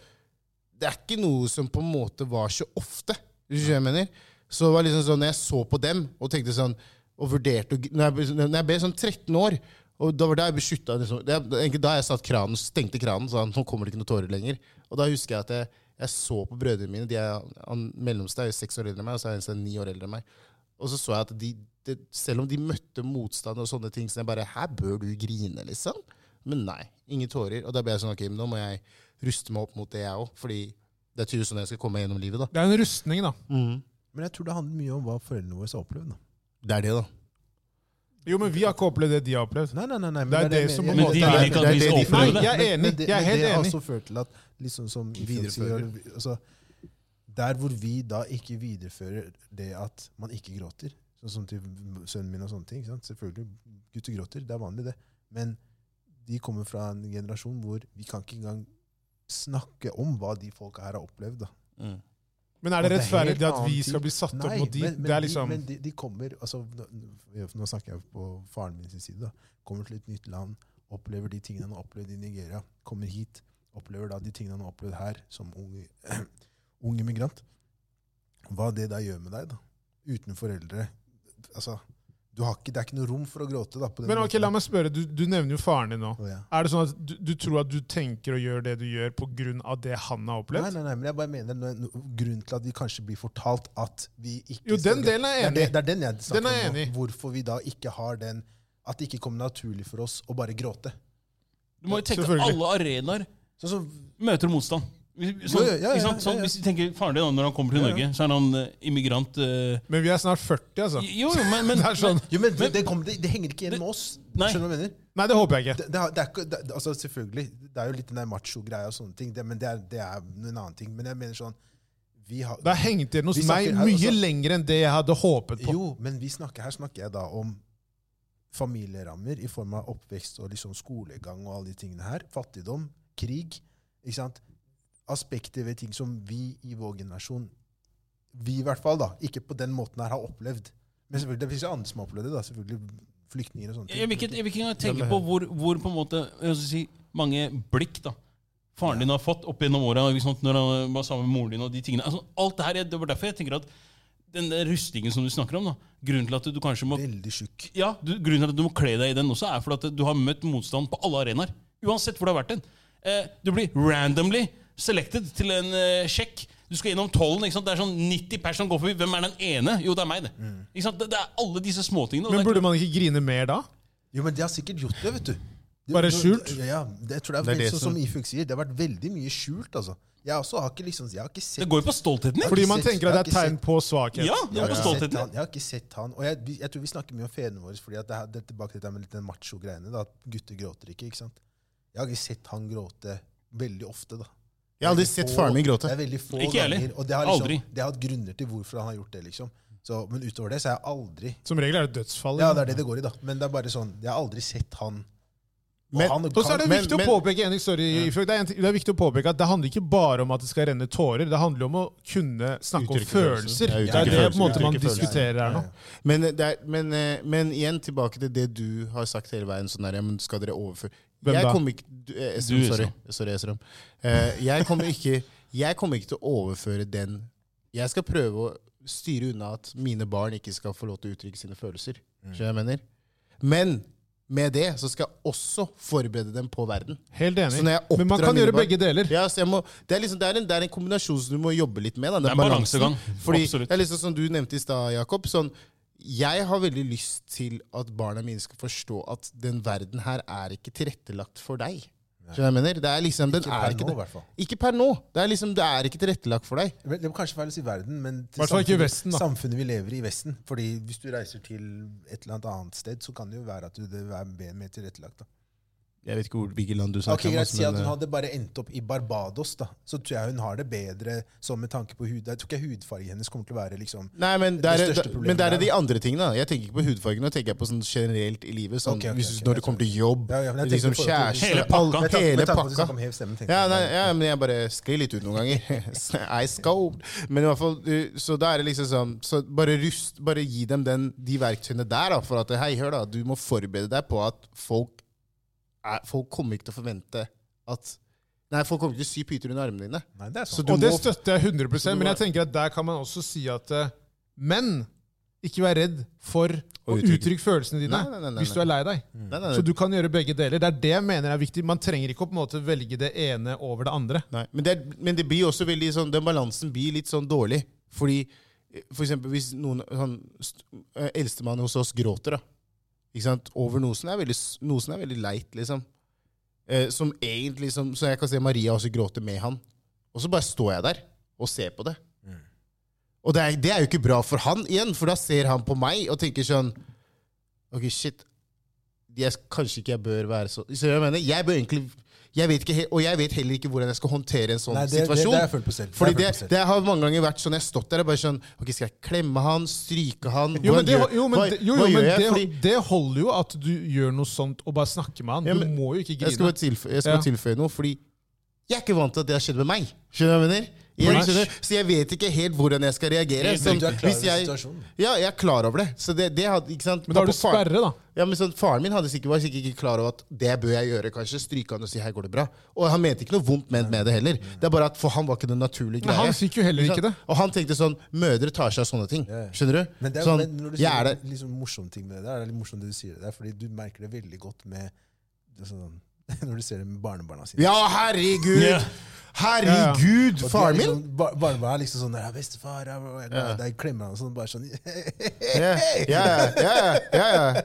[SPEAKER 3] det er ikke noe som på en måte var så ofte. Hvis du skjønner hva jeg mener. Så det var liksom sånn, jeg så på dem og tenkte sånn, og vurderte, og- når jeg, ble- når jeg ble sånn 13 år, og da var det jeg beskyttet, liksom, det, er egentlig da jeg satt kranen, stengte kranen, sa han, nå kommer det ikke noen tårer lenger. Og da husker jeg at jeg, jeg så på brødrene mine, de er, han mellomste er jo seks år eldre enn meg, og så er han eneste ni år eldre enn meg. Og så så jeg at de, det, selv om de møtte motstand og sånne ting, så jeg bare, her bør du grine, liksom. Men nei, ingen tårer. Og da ble jeg sånn, ok, men nå må jeg ruste meg opp mot det jeg òg, fordi det er tydeligvis sånn jeg skal komme meg gjennom livet, da.
[SPEAKER 1] Det er en rustning, da.
[SPEAKER 2] Men jeg tror det handler mye om hva foreldrene våre har opplevd. da.
[SPEAKER 3] Det er det, da.
[SPEAKER 1] Jo, men vi har ikke opplevd det de har opplevd.
[SPEAKER 2] Nei, nei, nei, nei, men
[SPEAKER 1] Det er det
[SPEAKER 2] jeg
[SPEAKER 1] som
[SPEAKER 2] mener.
[SPEAKER 1] på en måte
[SPEAKER 2] Jeg- det
[SPEAKER 1] er-
[SPEAKER 2] er-
[SPEAKER 4] ikke
[SPEAKER 2] det
[SPEAKER 4] at
[SPEAKER 2] er
[SPEAKER 4] vi
[SPEAKER 2] det
[SPEAKER 4] skal
[SPEAKER 2] de-
[SPEAKER 4] oppleve
[SPEAKER 2] Nei,
[SPEAKER 4] det.
[SPEAKER 1] jeg er
[SPEAKER 2] Men
[SPEAKER 1] enig.
[SPEAKER 2] det-
[SPEAKER 1] Jeg er
[SPEAKER 2] men
[SPEAKER 1] helt
[SPEAKER 2] Det altså- har
[SPEAKER 1] enig.
[SPEAKER 2] også ført til at liksom som Isak sier, altså, Der hvor vi da ikke viderefører det at man ikke gråter, sånn som til sønnen min og sånne ting ikke sant? Selvfølgelig, gutter gråter, det er vanlig, det. Men de kommer fra en generasjon hvor vi kan ikke engang snakke om hva de folka her har opplevd. da.
[SPEAKER 1] Men er det
[SPEAKER 2] Og er helt
[SPEAKER 1] rettferdig at vi
[SPEAKER 2] annen
[SPEAKER 1] skal
[SPEAKER 2] tid.
[SPEAKER 1] bli satt opp
[SPEAKER 2] Nei,
[SPEAKER 1] mot de?
[SPEAKER 2] Men, men,
[SPEAKER 1] Det er liksom...
[SPEAKER 2] de, men de, de kommer altså, nå, nå snakker jeg på faren min sin side. Da. Kommer til et nytt land, opplever de tingene han har opplevd i Nigeria. Kommer hit, opplever da de tingene han har opplevd her som ung, ung immigrant. Hva det da gjør med deg, da. Uten foreldre. Altså, du har ikke, det er ikke noe rom for å gråte. da. På den
[SPEAKER 1] Men ok,
[SPEAKER 2] måten.
[SPEAKER 1] la meg spørre, du, du nevner jo faren din nå.
[SPEAKER 2] Å, ja.
[SPEAKER 1] Er det sånn at du, du tror at du tenker og gjør det du gjør pga. det han har
[SPEAKER 2] Nei,
[SPEAKER 1] opplevd?
[SPEAKER 2] nei, nei, men jeg bare mener no, no, grunnen til at vi kanskje blir fortalt at vi ikke
[SPEAKER 1] Jo, den
[SPEAKER 2] skal-
[SPEAKER 1] delen er jeg
[SPEAKER 2] Det
[SPEAKER 1] enig
[SPEAKER 2] er, det,
[SPEAKER 1] i.
[SPEAKER 2] det er den jeg snakker
[SPEAKER 1] Den er jeg
[SPEAKER 2] om. nå.
[SPEAKER 1] enig i.
[SPEAKER 2] Hvorfor vi da ikke har den At det ikke kommer naturlig for oss å bare gråte.
[SPEAKER 4] Du må jo tenke at
[SPEAKER 1] Selvfølgelig.
[SPEAKER 4] alle arenaer
[SPEAKER 2] Sånn som
[SPEAKER 4] møter motstand. Hvis- Sånn,
[SPEAKER 2] Ja, ja, ja,
[SPEAKER 4] ikke sant?
[SPEAKER 2] ja,
[SPEAKER 4] Sånn,
[SPEAKER 2] ja.
[SPEAKER 4] hvis vi tenker faren din da, Når han kommer til Norge, så er han eh, immigrant. eh,
[SPEAKER 1] Men vi er snart 40, altså.
[SPEAKER 4] jo, jo, men, men,
[SPEAKER 1] Det er sånn.
[SPEAKER 2] jo, men, det, det, kommer- det, det henger ikke igjen med oss.
[SPEAKER 4] Nei.
[SPEAKER 2] Skjønner du hva jeg mener?
[SPEAKER 1] Nei, det håper jeg ikke.
[SPEAKER 2] Det, det, har- det er ikke, det, altså selvfølgelig, det er jo litt den der macho-greia og sånne ting, det, men det er, det er en annen ting. Men jeg mener sånn vi har,
[SPEAKER 1] Det har hengt igjen hos
[SPEAKER 2] Vi
[SPEAKER 1] meg
[SPEAKER 2] snakker her
[SPEAKER 1] mye
[SPEAKER 2] også.
[SPEAKER 1] lenger enn det jeg hadde håpet på.
[SPEAKER 2] Jo, men vi snakker, her snakker jeg da om familierammer i form av oppvekst og liksom skolegang og alle de tingene her. Fattigdom, krig. ikke sant? Aspekter ved ting som vi i vår generasjon Vi i hvert fall, da. Ikke på den måten her har opplevd. Men selvfølgelig, det fins jo andre som har opplevd det. da, selvfølgelig Flyktninger og sånne ting.
[SPEAKER 4] Jeg vil ikke, jeg vil ikke engang tenke på hvor, hvor på en måte, jeg skal si, mange blikk da, faren din har fått opp gjennom åra ikke sant, når han var sammen med moren din. og de tingene. Altså, alt det her, Det var derfor jeg tenker at den der rustningen som du snakker om, da, grunnen til at du kanskje må
[SPEAKER 2] Veldig tjukk.
[SPEAKER 4] ja, du, grunnen til at du må kle deg i den også, er fordi at du har møtt motstand på alle arenaer. Uansett hvor du har vært den. Eh, du blir randomly selected til en eh, sjekk. Du skal gjennom tollen. ikke sant? Det er sånn 90 pers som går forbi. Hvem er den ene? Jo, det er meg, det. Ikke sant? Det, det er alle disse småtingene. og
[SPEAKER 1] Men
[SPEAKER 4] det er
[SPEAKER 1] burde man ikke grine mer da?
[SPEAKER 2] Jo, men de har sikkert gjort det, vet du.
[SPEAKER 1] Bare skjult?
[SPEAKER 2] Ja, det tror jeg
[SPEAKER 3] Det er det
[SPEAKER 2] sånn
[SPEAKER 3] som-
[SPEAKER 2] som Ifuk sier. Det har vært veldig mye skjult, altså. Jeg også har ikke liksom, jeg har ikke sett
[SPEAKER 4] Det går jo på stoltheten din.
[SPEAKER 1] Fordi man
[SPEAKER 2] sett-
[SPEAKER 1] tenker
[SPEAKER 2] jeg
[SPEAKER 1] at
[SPEAKER 2] har
[SPEAKER 1] det er
[SPEAKER 2] ikke
[SPEAKER 1] tegn på svakhet.
[SPEAKER 2] Jeg
[SPEAKER 4] Ja, det går
[SPEAKER 2] har,
[SPEAKER 4] på
[SPEAKER 2] ikke sett
[SPEAKER 4] stoltheten
[SPEAKER 2] han,
[SPEAKER 4] din.
[SPEAKER 2] jeg har ikke sett han. Og jeg, vi- jeg tror vi snakker mye om fedrene våre. fordi at det, her- det er tilbake til det med litt den macho-greiene. da, At gutter gråter ikke. ikke sant? Jeg har ikke sett han gråte veldig ofte. da.
[SPEAKER 3] Jeg har aldri
[SPEAKER 2] Veldig
[SPEAKER 3] sett
[SPEAKER 2] få-
[SPEAKER 3] faren min gråte.
[SPEAKER 2] Det er veldig få
[SPEAKER 4] Ikke jeg heller.
[SPEAKER 2] ganger. Og det har liksom,
[SPEAKER 4] Aldri.
[SPEAKER 2] Det har hatt grunner til hvorfor han har gjort det. liksom. Så, men utover det så har jeg aldri
[SPEAKER 1] Som regel er det dødsfall.
[SPEAKER 2] Ja, det er det det går i, da. Men det er bare sånn, jeg har aldri sett han og
[SPEAKER 3] Men-
[SPEAKER 2] han
[SPEAKER 1] Og så er det
[SPEAKER 3] Men-
[SPEAKER 1] viktig
[SPEAKER 3] men-
[SPEAKER 1] å påpeke enig, sorry, Ifjok, det, er en, ting- det er viktig å påpeke at det handler ikke bare om at det skal renne tårer, det handler om å kunne snakke om
[SPEAKER 3] Uttrykke følelser.
[SPEAKER 1] følelser.
[SPEAKER 3] Ja,
[SPEAKER 1] det er det
[SPEAKER 3] uttrykke
[SPEAKER 1] på en måte
[SPEAKER 3] følelser,
[SPEAKER 1] man
[SPEAKER 3] uttrykke følelser.
[SPEAKER 1] diskuterer her nå.
[SPEAKER 3] Men, det er, men, eh, men igjen tilbake til det du har sagt hele veien. sånn der, ja, men Skal dere overføre
[SPEAKER 1] Hvem
[SPEAKER 3] jeg
[SPEAKER 1] da?
[SPEAKER 3] Kommer ikke, du, eh, Esrom,
[SPEAKER 4] Du,
[SPEAKER 3] sorry,
[SPEAKER 4] Esrom.
[SPEAKER 3] sorry Esrom. Eh, jeg, kommer ikke, jeg kommer ikke til å overføre den Jeg skal prøve å styre unna at mine barn ikke skal få lov til å uttrykke sine følelser. Skjønner du hva jeg mener? Men med det så skal jeg også forberede dem på verden.
[SPEAKER 1] Helt enig.
[SPEAKER 3] Så når jeg
[SPEAKER 1] Men man
[SPEAKER 3] oppdrar
[SPEAKER 1] kan
[SPEAKER 3] mine
[SPEAKER 1] gjøre
[SPEAKER 3] barn-
[SPEAKER 1] begge deler.
[SPEAKER 3] Ja, så jeg må, det, er liksom, det, er en, det er en kombinasjon som du må jobbe litt med. Da, den
[SPEAKER 4] Det er en
[SPEAKER 3] balansen.
[SPEAKER 4] balansegang.
[SPEAKER 3] Fordi
[SPEAKER 4] Absolutt.
[SPEAKER 3] det er liksom som du nevnte i stad, Jakob. Sånn, jeg har veldig lyst til at barna mine skal forstå at den verden her er ikke tilrettelagt for deg. Skjønner du hva jeg mener? Det er liksom, den
[SPEAKER 2] Ikke
[SPEAKER 3] er
[SPEAKER 2] per
[SPEAKER 3] ikke
[SPEAKER 2] nå,
[SPEAKER 3] det.
[SPEAKER 2] i hvert fall.
[SPEAKER 3] Ikke per nå. Det er liksom, det er ikke tilrettelagt for deg.
[SPEAKER 2] Men Det må kanskje feil å si verden, men til
[SPEAKER 1] Hvert fall ikke i Vesten, da.
[SPEAKER 2] samfunnet vi lever i i Vesten. Fordi hvis du reiser til et eller annet annet sted, så kan det jo være at du det er mer- mer tilrettelagt. da.
[SPEAKER 3] Jeg vet ikke hvor, hvilket land du
[SPEAKER 2] Ok,
[SPEAKER 3] snakker
[SPEAKER 2] greit, Si
[SPEAKER 3] om.
[SPEAKER 2] at hun
[SPEAKER 3] altså,
[SPEAKER 2] hadde bare endt opp i Barbados, da. Så tror jeg hun har det bedre sånn med tanke på hud. Jeg tror ikke hudfargen hennes kommer til å være liksom
[SPEAKER 3] Nei, men det
[SPEAKER 2] Det
[SPEAKER 3] er,
[SPEAKER 2] største
[SPEAKER 3] det-
[SPEAKER 2] problemet
[SPEAKER 3] men det er
[SPEAKER 2] der,
[SPEAKER 3] de andre tingene. da. Jeg tenker ikke på hudfargen, nå tenker jeg på sånn generelt i livet. Sånn,
[SPEAKER 2] Ok, ok,
[SPEAKER 3] hvis,
[SPEAKER 2] ok,
[SPEAKER 3] når
[SPEAKER 2] jeg
[SPEAKER 3] det kommer til jobb,
[SPEAKER 2] Ja, ja, men jeg
[SPEAKER 3] liksom
[SPEAKER 2] tenker på-
[SPEAKER 3] kjæreste
[SPEAKER 4] Hele
[SPEAKER 3] all-
[SPEAKER 4] pakka.
[SPEAKER 2] Med tanke,
[SPEAKER 3] hele
[SPEAKER 2] med tanke på at du
[SPEAKER 3] pakka.
[SPEAKER 2] snakker om hev stemmen, tenkte
[SPEAKER 3] Ja,
[SPEAKER 2] jeg.
[SPEAKER 3] nei, ja, men jeg bare sklir litt ut noen ganger. I scoped. Men i hvert fall, du- så da er det liksom sånn så Bare rust, bare gi dem den, de verktøyene der, da, for at hei, hør da, du må forberede deg på at folk er, Folk kommer ikke til å forvente at Nei, folk kommer ikke til å sy pyter under armene dine.
[SPEAKER 2] Nei, det er
[SPEAKER 3] Så
[SPEAKER 2] sånn.
[SPEAKER 3] du
[SPEAKER 1] og det
[SPEAKER 3] må
[SPEAKER 1] støtter jeg 100
[SPEAKER 3] du
[SPEAKER 1] men
[SPEAKER 3] må-
[SPEAKER 1] jeg tenker at der kan man også si at eh, Men ikke vær redd for å
[SPEAKER 3] uttrykke-
[SPEAKER 1] uttrykke følelsene dine
[SPEAKER 3] Nei, nei, nei, Mm. nei,
[SPEAKER 1] hvis du er lei deg.
[SPEAKER 2] Mm.
[SPEAKER 3] Nei, nei,
[SPEAKER 1] Så du kan gjøre begge deler. Det er det jeg mener er viktig. Man trenger ikke å på en måte velge det ene over det andre.
[SPEAKER 3] Nei, men det, er- men det blir også veldig sånn, den balansen blir litt sånn dårlig. Fordi eh, for eksempel hvis noen, sånn, st- eh, eldstemann hos oss gråter da, ikke sant? over noe som er veldig, s- noe som er veldig leit, liksom. Eh, som egentlig, som, så jeg kan se Maria også gråte med han. Og så bare står jeg der og ser på det.
[SPEAKER 1] Mm.
[SPEAKER 3] Og det er, det er jo ikke bra for han igjen, for da ser han på meg og tenker sånn, ok, shit, jeg, kanskje ikke jeg bør være så Så jeg mener, jeg bør egentlig jeg vet ikke, he- Og jeg vet heller ikke hvordan jeg skal håndtere en sånn
[SPEAKER 2] Nei, det, det, det,
[SPEAKER 3] situasjon.
[SPEAKER 2] har jeg følt på selv.
[SPEAKER 3] Fordi
[SPEAKER 2] har
[SPEAKER 3] det,
[SPEAKER 2] jeg følt på selv.
[SPEAKER 3] det har mange ganger vært sånn Jeg har stått der og bare sånn Ok, skal jeg klemme han? Stryke han?
[SPEAKER 1] Jo,
[SPEAKER 3] Hvordan
[SPEAKER 1] men det,
[SPEAKER 3] gjør-
[SPEAKER 1] jo, men,
[SPEAKER 3] hva-
[SPEAKER 1] det- jo,
[SPEAKER 3] hva
[SPEAKER 1] jo,
[SPEAKER 3] gjør
[SPEAKER 1] men
[SPEAKER 3] jeg?
[SPEAKER 1] det,
[SPEAKER 3] Fordi
[SPEAKER 1] det holder jo at du gjør noe sånt og bare snakker med han.
[SPEAKER 3] Ja, men-
[SPEAKER 1] Du må jo ikke
[SPEAKER 3] jeg skal
[SPEAKER 1] grine.
[SPEAKER 3] bare tilføye, jeg skal bare
[SPEAKER 1] Ja.
[SPEAKER 3] tilføye noe, fordi jeg er ikke vant til at det har skjedd med meg. Skjønner du hva jeg mener? Jeg,
[SPEAKER 1] Preach.
[SPEAKER 3] skjønner, så jeg vet ikke helt hvordan jeg skal reagere.
[SPEAKER 4] Helt
[SPEAKER 3] Sånn,
[SPEAKER 2] riktig. Du er klar
[SPEAKER 3] hvis
[SPEAKER 2] over
[SPEAKER 3] jeg,
[SPEAKER 2] situasjonen.
[SPEAKER 3] ja, jeg er klar over det. Så det, det hadde, ikke sant?
[SPEAKER 1] Men da har
[SPEAKER 3] Pappa-
[SPEAKER 1] du sperre, da.
[SPEAKER 3] Ja, men sånn, Faren min hadde sikkert, var sikkert ikke klar over at det bør jeg gjøre. kanskje, Stryke han og si 'her går det bra'. Og han mente ikke noe vondt ment med det heller. Det er bare at For han var ikke den naturlige
[SPEAKER 1] Men
[SPEAKER 3] greia.
[SPEAKER 1] han fikk jo heller ikke det.
[SPEAKER 3] Og han tenkte sånn Mødre tar seg av sånne ting.
[SPEAKER 2] Ja, ja.
[SPEAKER 3] Skjønner du?
[SPEAKER 2] Men det er,
[SPEAKER 3] sånn,
[SPEAKER 2] men når du
[SPEAKER 3] jeg er
[SPEAKER 2] sier
[SPEAKER 3] der.
[SPEAKER 2] en liksom morsom ting med det der, det er litt morsomt det du sier det der, fordi du merker det veldig godt med det er sånn, når du ser det med barnebarna sine.
[SPEAKER 3] Ja, herregud!
[SPEAKER 4] Ja.
[SPEAKER 3] Herregud!
[SPEAKER 2] Og de er
[SPEAKER 3] Faren min!
[SPEAKER 2] liksom, ba Barnebarna er liksom sånn der, 'Bestefar, jeg, jeg, jeg, jeg klemmer han og sånn. Bare sånn
[SPEAKER 3] Ja, ja, ja, ja, ja.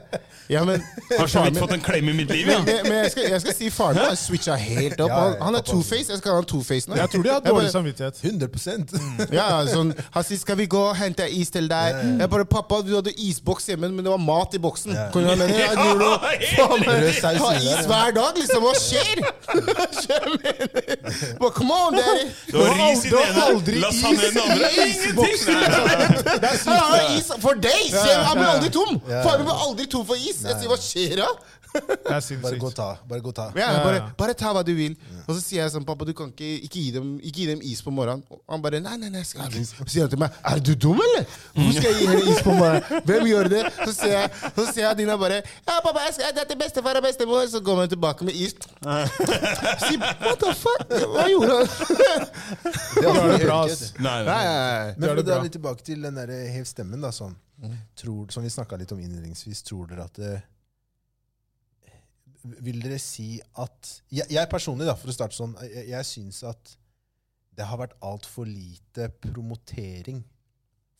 [SPEAKER 3] ja men,
[SPEAKER 4] Har så vidt fått en klem i mitt liv, ja.
[SPEAKER 3] men, men jeg, skal, jeg skal si faren min har switcha helt opp.
[SPEAKER 2] Ja, ja,
[SPEAKER 3] Han, han er
[SPEAKER 2] pappa også.
[SPEAKER 3] two-face. Jeg skal ha han two-face nå.
[SPEAKER 1] Jeg tror de har
[SPEAKER 3] bare-
[SPEAKER 1] dårlig samvittighet.
[SPEAKER 2] 100
[SPEAKER 3] Ja, sånn, Han sier 'skal vi gå og hente is til deg'? Jeg bare 'pappa, du hadde isboks hjemme, men det var mat i boksen'. Ja. Kan du ha med det? Jeg gjorde noe. Faen,
[SPEAKER 2] Rød saus
[SPEAKER 3] Ha
[SPEAKER 2] i det,
[SPEAKER 3] is
[SPEAKER 2] ja.
[SPEAKER 3] hver dag, liksom. Hva skjer? Skjønner du? Bare come on, daddy.
[SPEAKER 4] Det var ris i
[SPEAKER 1] Du
[SPEAKER 4] den
[SPEAKER 1] har aldri
[SPEAKER 4] ene, lasagne i den andre.
[SPEAKER 1] is i
[SPEAKER 4] Ingenting! Nei,
[SPEAKER 3] Jeg har is for days! Jeg blir aldri tom!
[SPEAKER 2] ja.
[SPEAKER 3] Faren min var aldri tom for is. Jeg sier 'hva skjer da?'
[SPEAKER 1] Det er
[SPEAKER 2] Bare gå og
[SPEAKER 1] sinnssykt.
[SPEAKER 2] ta. Bare gå og ta.
[SPEAKER 3] Ja,
[SPEAKER 1] Ja.
[SPEAKER 3] bare, bare ta hva du vil. Og så sier jeg sånn, pappa, du kan ikke, ikke, gi dem, ikke gi dem is på morgenen. Og han bare, nei, nei, nei, jeg skal ha is. Så sier han til meg, er du dum, eller? Hvor skal jeg gi henne is på morgenen? Hvem gjør det? Så ser jeg, så ser jeg Dina bare, ja, pappa, jeg skal, det er til bestefar og bestemor. Så kommer hun tilbake med is. Sier, what the fuck? Hva gjorde han?
[SPEAKER 2] Det var
[SPEAKER 1] Det er
[SPEAKER 2] helt
[SPEAKER 1] bra,
[SPEAKER 2] rett.
[SPEAKER 1] ass.
[SPEAKER 4] nei.
[SPEAKER 1] Det
[SPEAKER 2] Men
[SPEAKER 1] er
[SPEAKER 2] for
[SPEAKER 1] det bra.
[SPEAKER 2] da
[SPEAKER 1] Mm.
[SPEAKER 2] er vi tilbake til den der hev stemmen, da, sånn. Tror, som vi snakka litt om innledningsvis. Tror dere at det, Vil dere si at Jeg, jeg personlig, da, for å starte sånn, jeg, jeg syns at det har vært altfor lite promotering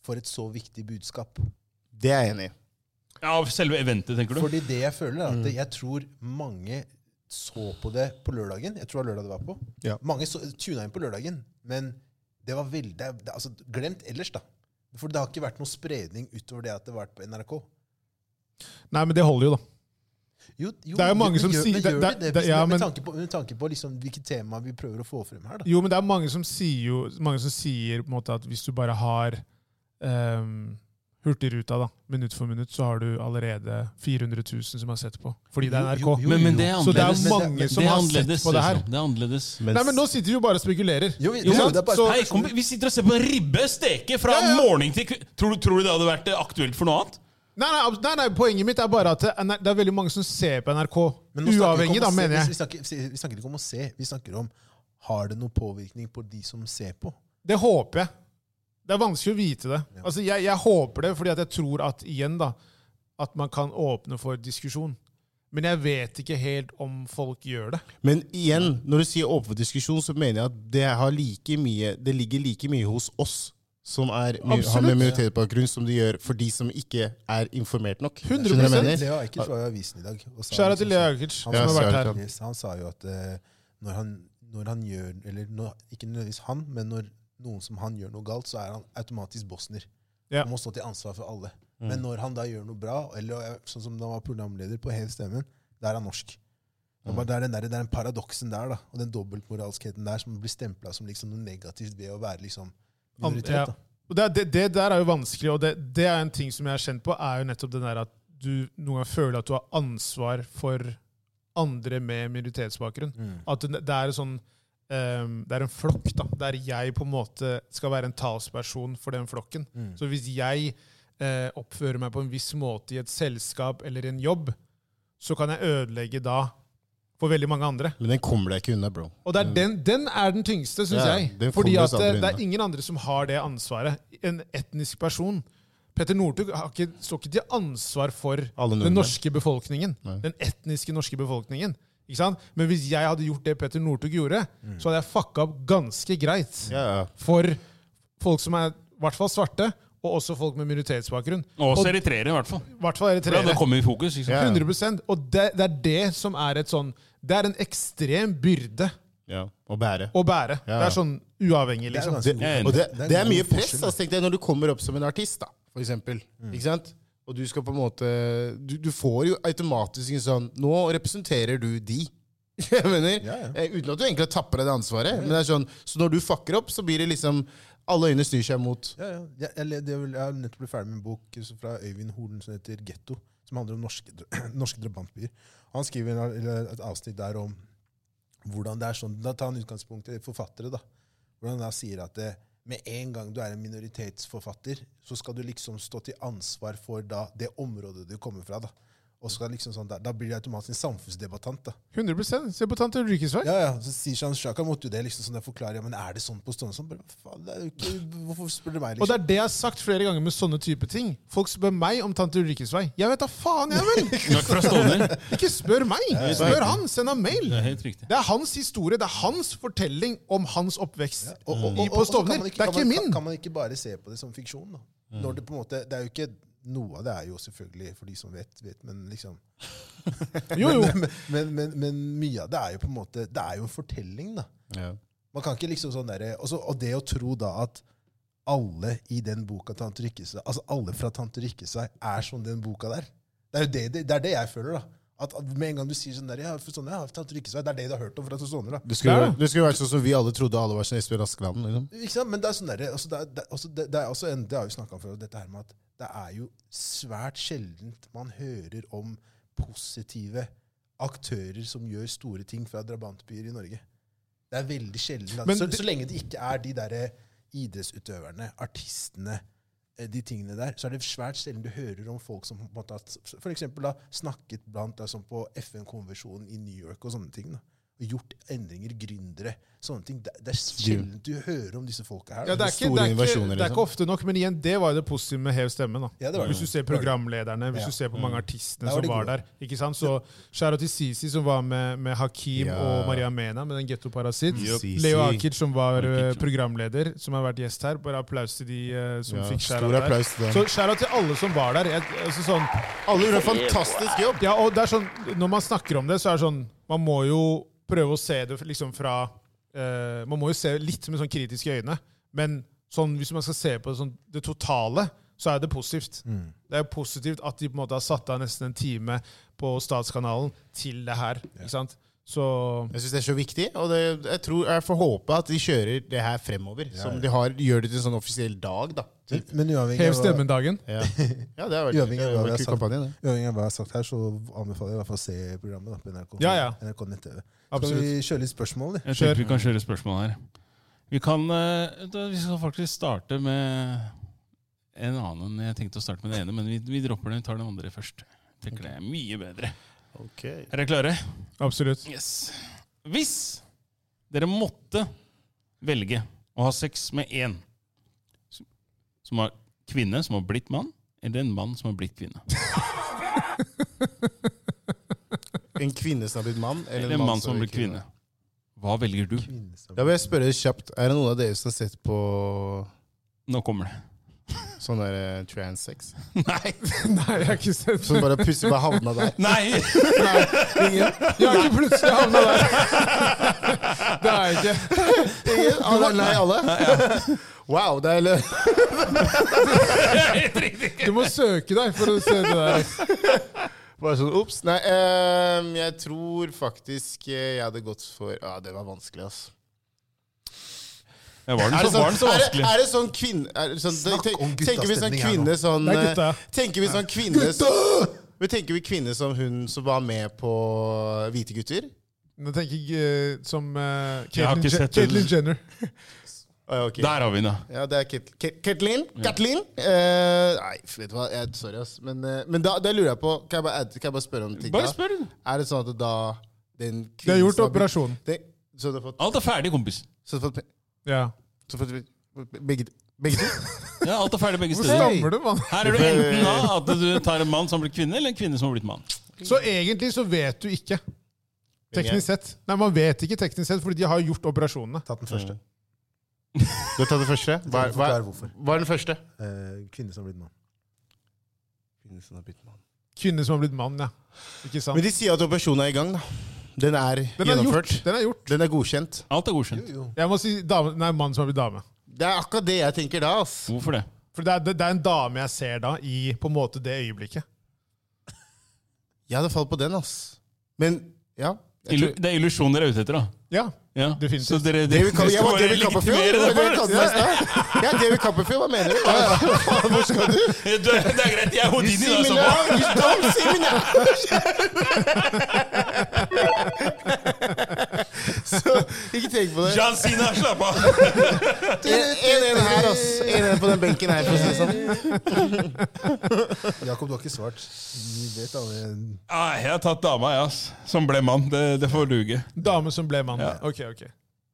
[SPEAKER 2] for et så viktig budskap.
[SPEAKER 3] Det er jeg enig i.
[SPEAKER 4] Ja, Selve eventet, tenker du?
[SPEAKER 2] Fordi det jeg føler, er at jeg tror mange så på det på lørdagen. Jeg tror det var lørdag det var på.
[SPEAKER 5] Ja.
[SPEAKER 2] Mange så, tuna inn på lørdagen, men det var veldig det, det, altså, Glemt ellers, da. For det har ikke vært noen spredning utover det at det har vært på NRK.
[SPEAKER 1] Nei, men det holder jo, da.
[SPEAKER 2] Jo, jo,
[SPEAKER 1] Det er jo
[SPEAKER 2] men-
[SPEAKER 1] mange
[SPEAKER 2] men
[SPEAKER 1] som
[SPEAKER 2] gjør-
[SPEAKER 1] sier-
[SPEAKER 2] men
[SPEAKER 1] det-
[SPEAKER 2] gjør
[SPEAKER 1] det-
[SPEAKER 2] vi det,
[SPEAKER 1] det- ja,
[SPEAKER 2] med,
[SPEAKER 1] men-
[SPEAKER 2] tanke på, med tanke på liksom hvilket tema vi prøver å få frem her, da.
[SPEAKER 1] Jo, men det er mange som sier, jo, mange som sier på en måte at hvis du bare har ehm, Hurtigruta, da, minutt for minutt, så har du allerede 400 000 som har sett på. Fordi det er NRK.
[SPEAKER 2] Jo, jo, jo,
[SPEAKER 4] Men, men det er
[SPEAKER 1] Så det er
[SPEAKER 4] annerledes.
[SPEAKER 2] jo
[SPEAKER 1] mange som
[SPEAKER 4] det er
[SPEAKER 1] har sett
[SPEAKER 4] annerledes.
[SPEAKER 1] på det her.
[SPEAKER 4] liksom. Det er annerledes.
[SPEAKER 5] Mens,
[SPEAKER 1] Nei, men Nå sitter vi jo bare og spekulerer.
[SPEAKER 2] Jo, vi-
[SPEAKER 1] Ikke
[SPEAKER 2] jo,
[SPEAKER 1] sant?
[SPEAKER 2] det er bare-
[SPEAKER 1] så,
[SPEAKER 4] Hei, kom, vi sitter og ser på ribbe steke fra
[SPEAKER 1] Ja, ja.
[SPEAKER 4] morgen til kveld. Tror, du- tror du det hadde vært eh, aktuelt for noe annet?
[SPEAKER 1] nei, nei, abs- nei, nei, Poenget mitt er bare at det er- det er veldig mange som ser på NRK.
[SPEAKER 2] Men nå snakker vi ikke om
[SPEAKER 1] Uavhengig,
[SPEAKER 2] å
[SPEAKER 1] da,
[SPEAKER 2] se,
[SPEAKER 1] mener
[SPEAKER 2] Vi
[SPEAKER 1] jeg.
[SPEAKER 2] snakker, vi snakker ikke om å se, vi snakker om har det noen påvirkning på de som ser på?
[SPEAKER 1] Det håper jeg. Det er vanskelig å vite det. Altså, jeg, jeg håper det, fordi at jeg tror at igjen da, at man kan åpne for diskusjon. Men jeg vet ikke helt om folk gjør det.
[SPEAKER 5] Men igjen, når du sier åpen for diskusjon, så mener jeg at det, har like mye, det ligger like mye hos oss som er, har
[SPEAKER 1] Absolutt.
[SPEAKER 5] med minoritetsbakgrunn, som det gjør for de som ikke er informert nok.
[SPEAKER 1] 100%.
[SPEAKER 5] Skjønner du hva jeg mener?
[SPEAKER 2] Leo Ajkic var jo i avisen i dag. og sa
[SPEAKER 1] Skjæra
[SPEAKER 2] liksom
[SPEAKER 1] til Lea Ajkic, som
[SPEAKER 2] Ja,
[SPEAKER 1] har vært
[SPEAKER 5] skjæra
[SPEAKER 1] her.
[SPEAKER 5] til
[SPEAKER 2] Yes, han sa jo at eh, når, han, når han gjør Eller når, ikke nødvendigvis han, men når noen som han gjør noe galt, så er han automatisk bosner.
[SPEAKER 1] Ja.
[SPEAKER 2] Han må stå til ansvar for alle.
[SPEAKER 5] Mm.
[SPEAKER 2] Men når han da gjør noe bra, eller eh, sånn som da han var programleder på Hev stemmen, da er han norsk. Det
[SPEAKER 5] Mm.
[SPEAKER 2] er bare- Det er den, der, det er den paradoksen der, da, og den dobbeltmoralskheten der som blir stempla som liksom noe negativt ved å være liksom
[SPEAKER 1] Han-
[SPEAKER 2] minoritet.
[SPEAKER 1] ja.
[SPEAKER 2] da.
[SPEAKER 1] Og det, er- det, det der er jo vanskelig, og det, det er en ting som jeg har kjent på, er jo nettopp den der at du noen ganger føler at du har ansvar for andre med minoritetsbakgrunn. At det, det er en sånn ehm, det er en flokk, da, der jeg på en måte skal være en talsperson for den flokken. Så hvis jeg eh, oppfører meg på en viss måte i et selskap eller i en jobb, så kan jeg ødelegge da for veldig mange andre.
[SPEAKER 5] Men den kommer deg ikke unna, bro.
[SPEAKER 1] Og det er den, den er den tyngste, syns
[SPEAKER 5] Ja, den
[SPEAKER 1] jeg.
[SPEAKER 5] kommer
[SPEAKER 1] Fordi at
[SPEAKER 5] oss aldri
[SPEAKER 1] det, det er
[SPEAKER 5] unna.
[SPEAKER 1] ingen andre som har det ansvaret. En etnisk person. Petter Northug har ikke, står ikke til ansvar for den
[SPEAKER 5] nordmenn.
[SPEAKER 1] norske befolkningen. Den etniske norske befolkningen. Ikke sant? Men hvis jeg hadde gjort det Petter Northug gjorde, så hadde jeg fucka opp ganske greit
[SPEAKER 5] Mm. Ja, ja.
[SPEAKER 1] for folk som er i hvert fall svarte, og også folk med minoritetsbakgrunn.
[SPEAKER 4] Og så eritreere, i hvert fall.
[SPEAKER 1] I hvert fall
[SPEAKER 4] Ja, det
[SPEAKER 1] eritreere.
[SPEAKER 4] kommer i fokus. Ikke sant?
[SPEAKER 5] Ja.
[SPEAKER 1] 100 Og det, det er det som er et sånn Det er en ekstrem byrde
[SPEAKER 5] ja. Å bære.
[SPEAKER 1] å bære.
[SPEAKER 5] Ja.
[SPEAKER 1] Det er sånn uavhengig,
[SPEAKER 2] Det er
[SPEAKER 1] liksom.
[SPEAKER 2] ganske
[SPEAKER 5] Det-
[SPEAKER 2] god-
[SPEAKER 4] jeg er enig.
[SPEAKER 5] Og det,
[SPEAKER 2] er
[SPEAKER 5] det er mye
[SPEAKER 2] god
[SPEAKER 5] press
[SPEAKER 2] forskjell, Mm.
[SPEAKER 5] altså, tenk deg, når du kommer opp som en artist, da, for eksempel. Ikke sant? Og du skal på en måte Du, du får jo automatisk en sånn Nå representerer du de. Jeg mener,
[SPEAKER 2] Ja, ja.
[SPEAKER 5] Eh, Uten at du egentlig har tappet deg det ansvaret. Men det er sånn, så når du fucker opp, så blir det liksom Alle øyne snur seg mot
[SPEAKER 2] Ja, ja. Jeg, jeg, le- det, er vel- jeg har nettopp blitt ferdig med en bok eh, fra Øyvind Holen som heter 'Getto', som handler om norske, dr- norske drabantbyer. Og Han skriver en, eller et avsnitt der om hvordan det er sånn Da tar han utgangspunkt i forfattere, da. Hvordan han da sier at eh, med en gang du er en minoritetsforfatter, så skal du liksom stå til ansvar for da det området du kommer fra. Da Og så skal liksom sånn, da, da blir du automatisk en samfunnsdebattant. da
[SPEAKER 1] 100 Se på tante Ulrikkes vei.
[SPEAKER 2] sånn- ja, ja, så sier Shan Shaka måtte jo det liksom sånn jeg forklarer, ja, men er det sånn på stående sånn? Bare, faen, det er jo ikke, hvorfor spør du meg,
[SPEAKER 1] Og
[SPEAKER 2] liksom?
[SPEAKER 1] det er det jeg har sagt flere ganger med sånne type ting. Folk spør meg om tante Ulrikkes vei. Jeg vet da faen, jeg vel!
[SPEAKER 4] Du er ikke fra Stovner.
[SPEAKER 1] Ikke spør meg! Spør han! Send ham mail!
[SPEAKER 4] Det er helt riktig.
[SPEAKER 1] Det er hans historie, det er hans fortelling om hans oppvekst
[SPEAKER 2] Og- og-
[SPEAKER 1] i- på
[SPEAKER 2] og- og så Mm. kan
[SPEAKER 1] Stovner.
[SPEAKER 2] man
[SPEAKER 1] Det er ikke
[SPEAKER 2] kan man,
[SPEAKER 1] min!
[SPEAKER 2] Kan, kan man ikke bare se på det som fiksjon, da? Når det på en måte, det er jo ikke noe av det er jo selvfølgelig for de som vet, vet men liksom
[SPEAKER 1] Jo, jo.
[SPEAKER 2] men, men, men, men mye av det er jo på en måte Det er jo en fortelling, da. Man kan ikke liksom sånn derre og så- Og det å tro da at alle i den boka Tante Rikkesvei, altså alle fra Tante Rikkesvei er som den boka der. Det er jo det, det, det, er det jeg føler, da. At at Med en gang du sier sånn der, ja, for sånn, ja, Tante Rikkesvei, det er det du har hørt om fra Sogn, da.
[SPEAKER 5] Det skulle,
[SPEAKER 1] Der,
[SPEAKER 5] vært- det skulle vært sånn som vi alle trodde alle var som Espen Askeland. Liksom.
[SPEAKER 2] Ikke sant? Men det er sånn derre- altså det, er- det, er- altså det, det er også en, det har vi snakka om før, dette her med at det er jo svært sjeldent man hører om positive aktører som gjør store ting fra drabantbyer i Norge. Det er veldig sjelden. da.
[SPEAKER 1] Men
[SPEAKER 2] Så,
[SPEAKER 1] det-
[SPEAKER 2] så lenge det ikke er de derre idrettsutøverne, artistene, eh, de tingene der, så er det svært sjelden du hører om folk som på en måte har s- for eksempel da, snakket blant altså, på FN-konvensjonen i New York og sånne ting. da. Og gjort endringer, gründere, sånne ting. Det, det er sjelden du hører om disse folka her.
[SPEAKER 1] Ja, det, er
[SPEAKER 5] store
[SPEAKER 1] ikke,
[SPEAKER 5] liksom.
[SPEAKER 1] det, er ikke,
[SPEAKER 5] innovasjoner,
[SPEAKER 1] det er ikke ofte nok, men igjen, det var jo det positive med Hev stemmen. da.
[SPEAKER 2] Ja, det var det.
[SPEAKER 1] Hvis du ser programlederne, hvis
[SPEAKER 2] Ja.
[SPEAKER 1] du ser på mange av artistene
[SPEAKER 2] Der var
[SPEAKER 1] som
[SPEAKER 2] de
[SPEAKER 1] var
[SPEAKER 2] gode.
[SPEAKER 1] der. ikke sant? Så Shara til Sisi, som var med, med Hakim
[SPEAKER 5] Ja.
[SPEAKER 1] og Maria Mena med den Getto Parasitt.
[SPEAKER 5] Yup. Sisi.
[SPEAKER 1] Leo Akic, som var
[SPEAKER 4] Akic,
[SPEAKER 1] eh,
[SPEAKER 4] ja.
[SPEAKER 1] programleder, som har vært gjest her. Bare applaus til de eh, som
[SPEAKER 5] Ja,
[SPEAKER 1] fikk
[SPEAKER 5] stor
[SPEAKER 1] Shara der.
[SPEAKER 5] applaus til dem.
[SPEAKER 1] Så Shara til alle som var der. Jeg, altså sånn,
[SPEAKER 5] Alle gjorde en fantastisk jobb!
[SPEAKER 1] ja, og det er sånn, Når man snakker om det, så er det sånn man må jo prøve å se det liksom fra eh, Man må jo se litt med sånn kritiske øyne. Men sånn, hvis man skal se på det, sånn, det totale, så er det positivt. Det er jo positivt at de på en måte har satt av nesten en time på Statskanalen til det her. ikke sant? Så
[SPEAKER 3] Jeg syns det er så viktig, og det, jeg, tror, jeg får håpe at de kjører det her fremover. Som de har, gjør det til en sånn offisiell dag, da.
[SPEAKER 2] Men, men uavhengig
[SPEAKER 1] hev
[SPEAKER 2] av hva-
[SPEAKER 1] stemmen-dagen.
[SPEAKER 3] Ja, ja det har vært,
[SPEAKER 2] uavhengig
[SPEAKER 3] det har
[SPEAKER 2] av hva jeg
[SPEAKER 3] vært
[SPEAKER 2] har
[SPEAKER 3] kul
[SPEAKER 2] sagt-
[SPEAKER 3] kampanje, det.
[SPEAKER 2] uavhengig av hva jeg har sagt her, så anbefaler jeg i hvert fall å se programmet da, på NRK.
[SPEAKER 1] Ja, ja.
[SPEAKER 2] NRK Nett-TV. Skal
[SPEAKER 1] Absolutt.
[SPEAKER 2] vi kjøre litt spørsmål? eller?
[SPEAKER 4] Jeg tenker vi kan kjøre spørsmål her. Vi kan eh, da, Vi skal faktisk starte med en annen. Jeg tenkte å starte med det ene, men vi, vi dropper den. Vi tar den andre først. Jeg tenker det er mye bedre. Er dere klare?
[SPEAKER 1] Absolutt.
[SPEAKER 4] Yes. Hvis dere måtte velge å ha sex med én som- som har kvinne som har blitt mann, eller en mann som har blitt kvinne.
[SPEAKER 3] En kvinne som har blitt mann,
[SPEAKER 4] Eller en mann som har blitt kvinne. Hva velger du?
[SPEAKER 3] Da vil jeg spørre kjapt, er det noen av dere som har sett på
[SPEAKER 4] Nå kommer det.
[SPEAKER 3] sånn der eh, transsex?
[SPEAKER 4] Nei!
[SPEAKER 1] Nei, jeg har ikke sett
[SPEAKER 3] Som bare plutselig bare havna der?
[SPEAKER 4] Nei!
[SPEAKER 1] Jeg har ikke plutselig havna der! Det har jeg ikke.
[SPEAKER 3] Ingen? Alle, nei, alle? Wow, det er lø-
[SPEAKER 4] Helt riktig!
[SPEAKER 1] Du må søke deg for å se det der. altså.
[SPEAKER 3] bare sånn ops. Nei, ehm, jeg tror faktisk eh, jeg hadde gått for Ja, det var vanskelig, ass.
[SPEAKER 4] Ja, var
[SPEAKER 3] Er
[SPEAKER 4] den
[SPEAKER 3] det
[SPEAKER 4] så, var
[SPEAKER 3] sånn,
[SPEAKER 4] den så
[SPEAKER 3] er det,
[SPEAKER 4] vanskelig?
[SPEAKER 3] er det sånn kvinne er det sånn,
[SPEAKER 2] Snakk
[SPEAKER 3] tenk-
[SPEAKER 2] om
[SPEAKER 3] Tenker vi sånn
[SPEAKER 2] guttastemning her nå.
[SPEAKER 3] kvinne sånn
[SPEAKER 1] Det er
[SPEAKER 3] eh,
[SPEAKER 1] gutta.
[SPEAKER 3] Tenker vi sånn kvinne som- Vi tenker vi kvinne som hun som var med på Hvite gutter?
[SPEAKER 1] Nå tenker jeg eh, som uh,
[SPEAKER 4] Jeg har
[SPEAKER 1] Caitlyn
[SPEAKER 4] ikke
[SPEAKER 1] Je-
[SPEAKER 4] sett det.
[SPEAKER 1] Caitlyn Jenner.
[SPEAKER 3] Å, ja, ok.
[SPEAKER 4] Der har vi den, da.
[SPEAKER 3] Ja, det er Ket- Ket- Ketlin. Kathleen? Eh, nei, vet du hva, jeg, sorry, ass. Men, eh, men da, da lurer jeg på Kan jeg bare, add- kan jeg bare spørre om en ting?
[SPEAKER 4] Bare
[SPEAKER 3] da?
[SPEAKER 4] spør. du.
[SPEAKER 3] Er det sånn at da den
[SPEAKER 1] De har gjort
[SPEAKER 3] som blitt-
[SPEAKER 1] operasjonen.
[SPEAKER 3] det- Så du har fått,
[SPEAKER 4] Alt er ferdig, kompis.
[SPEAKER 3] så du har fått, pe-
[SPEAKER 1] Ja.
[SPEAKER 3] så du har fått be- begge, begge to?
[SPEAKER 4] Ja, alt er ferdig begge
[SPEAKER 1] Hvor
[SPEAKER 4] steder.
[SPEAKER 1] stammer det, mann?
[SPEAKER 4] Her er du enten da at du tar en mann som har blitt kvinne, eller en kvinne som har blitt mann.
[SPEAKER 1] Så egentlig så vet du ikke. Teknisk sett. Nei, man vet ikke teknisk sett, fordi de har gjort operasjonene.
[SPEAKER 2] Tatt den første.
[SPEAKER 3] Du har tatt den første? Hva, hva,
[SPEAKER 2] Forklar hvorfor.
[SPEAKER 3] hva er den første?
[SPEAKER 2] Eh, Kvinne som har blitt mann.
[SPEAKER 1] Kvinner som har blitt mann, ja. Ikke sant?
[SPEAKER 3] Men de sier at operasjonen er i gang, da. Den er
[SPEAKER 1] Den er
[SPEAKER 3] gjennomført.
[SPEAKER 1] gjort. Den er gjort.
[SPEAKER 3] Den er godkjent.
[SPEAKER 4] Alt er godkjent.
[SPEAKER 1] Jeg må si dame, nei, mann som har blitt dame.
[SPEAKER 3] Det er akkurat det jeg tenker da, ass.
[SPEAKER 4] Hvorfor det?
[SPEAKER 1] For det er, det, det er en dame jeg ser da, i på en måte det øyeblikket.
[SPEAKER 3] Jeg hadde falt på den, ass. Men ja. jeg
[SPEAKER 4] Illu
[SPEAKER 3] tror-
[SPEAKER 4] det er illusjon dere er ute etter, da.
[SPEAKER 1] Ja.
[SPEAKER 4] Ja.
[SPEAKER 1] Definitivt.
[SPEAKER 4] Så dere,
[SPEAKER 3] Det
[SPEAKER 4] dere,
[SPEAKER 3] vi kaller, jeg
[SPEAKER 4] skal
[SPEAKER 3] var
[SPEAKER 4] bare
[SPEAKER 3] David Copperfield.
[SPEAKER 4] legitimere
[SPEAKER 3] Det var det vi
[SPEAKER 4] det
[SPEAKER 3] kalte meg i stad. Jeg er David Copperfield, hva mener du? Ja, ja. Hvor skal du?
[SPEAKER 4] for- Du, Det er greit, jeg er
[SPEAKER 3] You see
[SPEAKER 4] Houdini, da.
[SPEAKER 3] me
[SPEAKER 4] Så
[SPEAKER 3] now,
[SPEAKER 4] hva?
[SPEAKER 3] you don't see me now. Så, ikke tenk på det.
[SPEAKER 4] John Sina, slapp av!
[SPEAKER 3] 1-1 her, ass. 1-1 på den benken her, for å si det sånn.
[SPEAKER 2] Jakob, du har ikke svart. Vi vet alle
[SPEAKER 4] Ah, jeg har tatt dama, jeg, ass. Som ble mann. Det, det får duge.
[SPEAKER 1] Dame som ble mann. Ok, ok.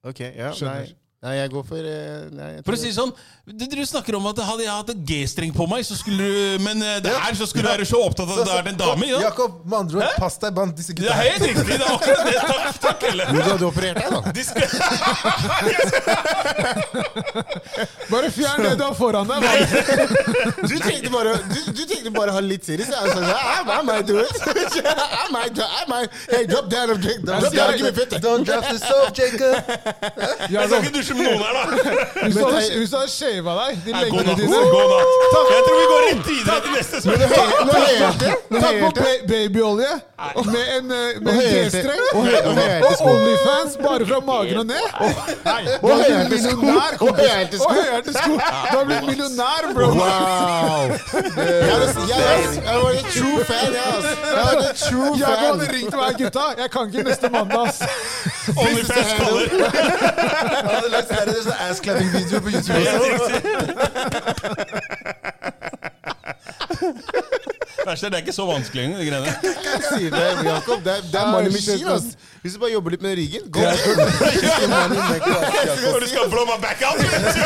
[SPEAKER 3] Ok, ja, nei.
[SPEAKER 1] Skjønner.
[SPEAKER 3] Nei, jeg går for eh, nei, jeg
[SPEAKER 4] For å
[SPEAKER 3] tror-
[SPEAKER 4] si det sånn, du, du snakker om at hadde jeg hatt en G-streng på meg, så skulle du Men eh, det her så skulle du være så opptatt av at det er en dame. Ja.
[SPEAKER 2] Jakob, med andre ord, pass deg blant disse
[SPEAKER 4] Det
[SPEAKER 2] gutta.
[SPEAKER 4] er
[SPEAKER 2] her.
[SPEAKER 4] helt riktig. Det er akkurat det. Takk, takk Helle.
[SPEAKER 3] Du hadde operert deg, da.
[SPEAKER 4] De skal...
[SPEAKER 1] Bare fjern det du har foran deg! mann.
[SPEAKER 3] Du tenkte bare, du, du tenkte bare å ha litt seriøst. Jeg sa sånn, I might do it. I might, do- I might. Hey, drop down, drop down, drop down, give me fifty.
[SPEAKER 2] Don't draft yourself, Jacob!
[SPEAKER 1] Ja, sånn.
[SPEAKER 4] Jeg skal ikke dusje med noen her, da.
[SPEAKER 1] hvis du hadde- hvis du hadde shava deg, de
[SPEAKER 4] Nei, god
[SPEAKER 1] leggene
[SPEAKER 4] natt.
[SPEAKER 1] dine
[SPEAKER 4] God natt. Jeg tror vi går rett videre til neste spørsmål.
[SPEAKER 3] Nå heter det. Nå
[SPEAKER 1] Ta på
[SPEAKER 3] heter det.
[SPEAKER 1] ba- babyolje og med en, eh, med en
[SPEAKER 3] høye til-
[SPEAKER 1] G-streng.
[SPEAKER 3] og høye- og høye til
[SPEAKER 1] Og
[SPEAKER 3] sko.
[SPEAKER 1] Onlyfans bare fra magen og ned. Nei, du
[SPEAKER 3] Og
[SPEAKER 1] har
[SPEAKER 3] høye
[SPEAKER 1] blitt
[SPEAKER 3] til sko.
[SPEAKER 1] millionær,
[SPEAKER 3] Og
[SPEAKER 1] kompis.
[SPEAKER 3] høye til
[SPEAKER 1] Og
[SPEAKER 3] sko.
[SPEAKER 1] høye til sko. Du har blitt millionær, bro.
[SPEAKER 3] Wow! Jeg var- jeg var- jeg var en true fan, jeg, altså. Jeg var en true
[SPEAKER 1] Jeg
[SPEAKER 3] fan.
[SPEAKER 1] hadde ringt meg, gutta. Jeg kan ikke neste mandag, ass.
[SPEAKER 4] Onlyfans kaller.
[SPEAKER 2] Han hadde lagt flere sånne ass-clapping-videoer på YouTube.
[SPEAKER 4] Det
[SPEAKER 2] også.
[SPEAKER 4] er riktig. Verst er det er ikke så vanskelig engang, de greiene.
[SPEAKER 3] Jeg sier det, Jakob. Det er, det er money machine, altså. Hvis du bare jobber litt med ryggen gå.
[SPEAKER 4] Når du skal blow my back out! Greit,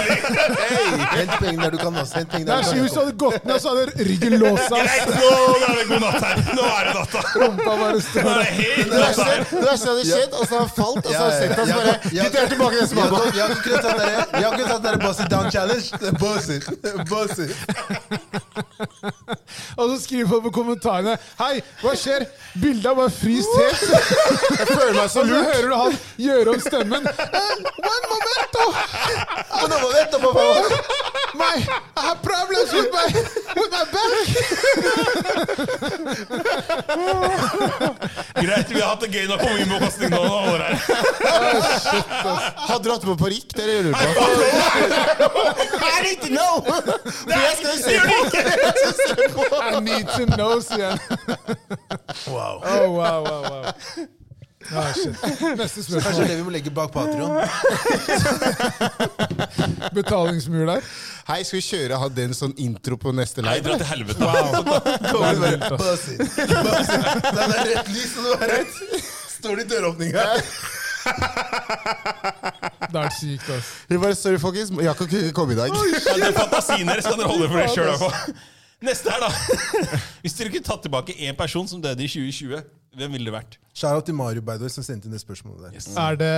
[SPEAKER 2] Hey, hent pengene der du kan også. Hent pengene
[SPEAKER 1] Det
[SPEAKER 2] der
[SPEAKER 1] er
[SPEAKER 2] du
[SPEAKER 1] så
[SPEAKER 2] kan.
[SPEAKER 1] hvis du hadde gått ned, så hadde ryggen låst seg. ass.
[SPEAKER 4] nå er det god natt her! Nå er det natta!
[SPEAKER 1] Rumpa bare står
[SPEAKER 4] Nå er
[SPEAKER 1] der.
[SPEAKER 4] det helt
[SPEAKER 3] Det
[SPEAKER 4] natta
[SPEAKER 3] verste
[SPEAKER 4] her!
[SPEAKER 3] det verste hadde skjedd, og så har han falt, og så har han sett han så bare Gutt, jeg er tilbake neste
[SPEAKER 2] Jeg
[SPEAKER 3] mandag.
[SPEAKER 2] kunne- Jeg kunne tatt dere- jeg kunne tatt dere Boss it down challenge. Boss it. Boss it.
[SPEAKER 1] Og så skriver folk på kommentarene Hei, hva skjer? Bildet er bare fryst helt.
[SPEAKER 3] Jeg føler meg så
[SPEAKER 1] Og så
[SPEAKER 3] lurt.
[SPEAKER 1] hører du han gjøre om stemmen. Eh, One momento!
[SPEAKER 3] Og nå må vi vente på meg.
[SPEAKER 1] My, I have problems with my, with my back!
[SPEAKER 4] Greit, vi har hatt det gøy nok på Vimbo-kastning nå. nå holder det her.
[SPEAKER 3] Hadde du hatt på parykk? Det er det jeg lurer på. I need to know! For jeg skal jo se på. Jeg skal se på.
[SPEAKER 1] I need to know, sier han.
[SPEAKER 2] Wow.
[SPEAKER 1] Oh, wow, wow, wow. Ah, shit. Neste
[SPEAKER 2] Kanskje det
[SPEAKER 1] spørsmål.
[SPEAKER 2] er det vi må legge bak Patreon.
[SPEAKER 1] Betalingsmur der.
[SPEAKER 3] Hei, skal vi kjøre ha den sånn intro på neste
[SPEAKER 4] Nei,
[SPEAKER 3] live?
[SPEAKER 4] dra til helvete.
[SPEAKER 2] Kommer det bare Boss it. Boss it. Det er rett lys, og det er rett. Står det i døråpninga.
[SPEAKER 1] Det er sykt, ass.
[SPEAKER 3] Vi bare, Sorry, folkens. Jakob kunne ikke komme i dag.
[SPEAKER 4] Ja, det er fantasien deres kan dere holde for dere sjøl, i hvert fall. Neste her, da. Hvis dere kunne tatt tilbake én person som døde i 2020, hvem ville det vært?
[SPEAKER 2] Shout-out til Mario by the way, som sendte inn det spørsmålet der.
[SPEAKER 1] Er det,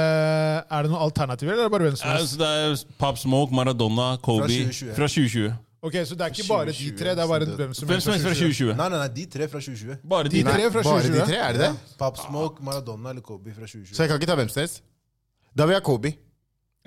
[SPEAKER 1] er det noen alternativer, eller er det bare hvem som helst?
[SPEAKER 4] Altså, det er Pop Smoke, Maradona, Kobe
[SPEAKER 2] Fra 2020.
[SPEAKER 4] fra 2020.
[SPEAKER 1] Ok, Så det er ikke bare de tre, det er bare hvem som
[SPEAKER 4] Hvem
[SPEAKER 1] helst.
[SPEAKER 4] som helst fra 2020.
[SPEAKER 2] Nei, nei, nei, de tre fra 2020.
[SPEAKER 4] Bare de
[SPEAKER 1] De
[SPEAKER 4] tre.
[SPEAKER 1] tre fra
[SPEAKER 3] Bare de
[SPEAKER 1] 2020.
[SPEAKER 3] tre, er det det?
[SPEAKER 2] Pop Smoke, Maradona eller Kobe fra 2020.
[SPEAKER 3] Så jeg kan ikke ta hvem som helst? Da vil jeg ha Kobe. Jeg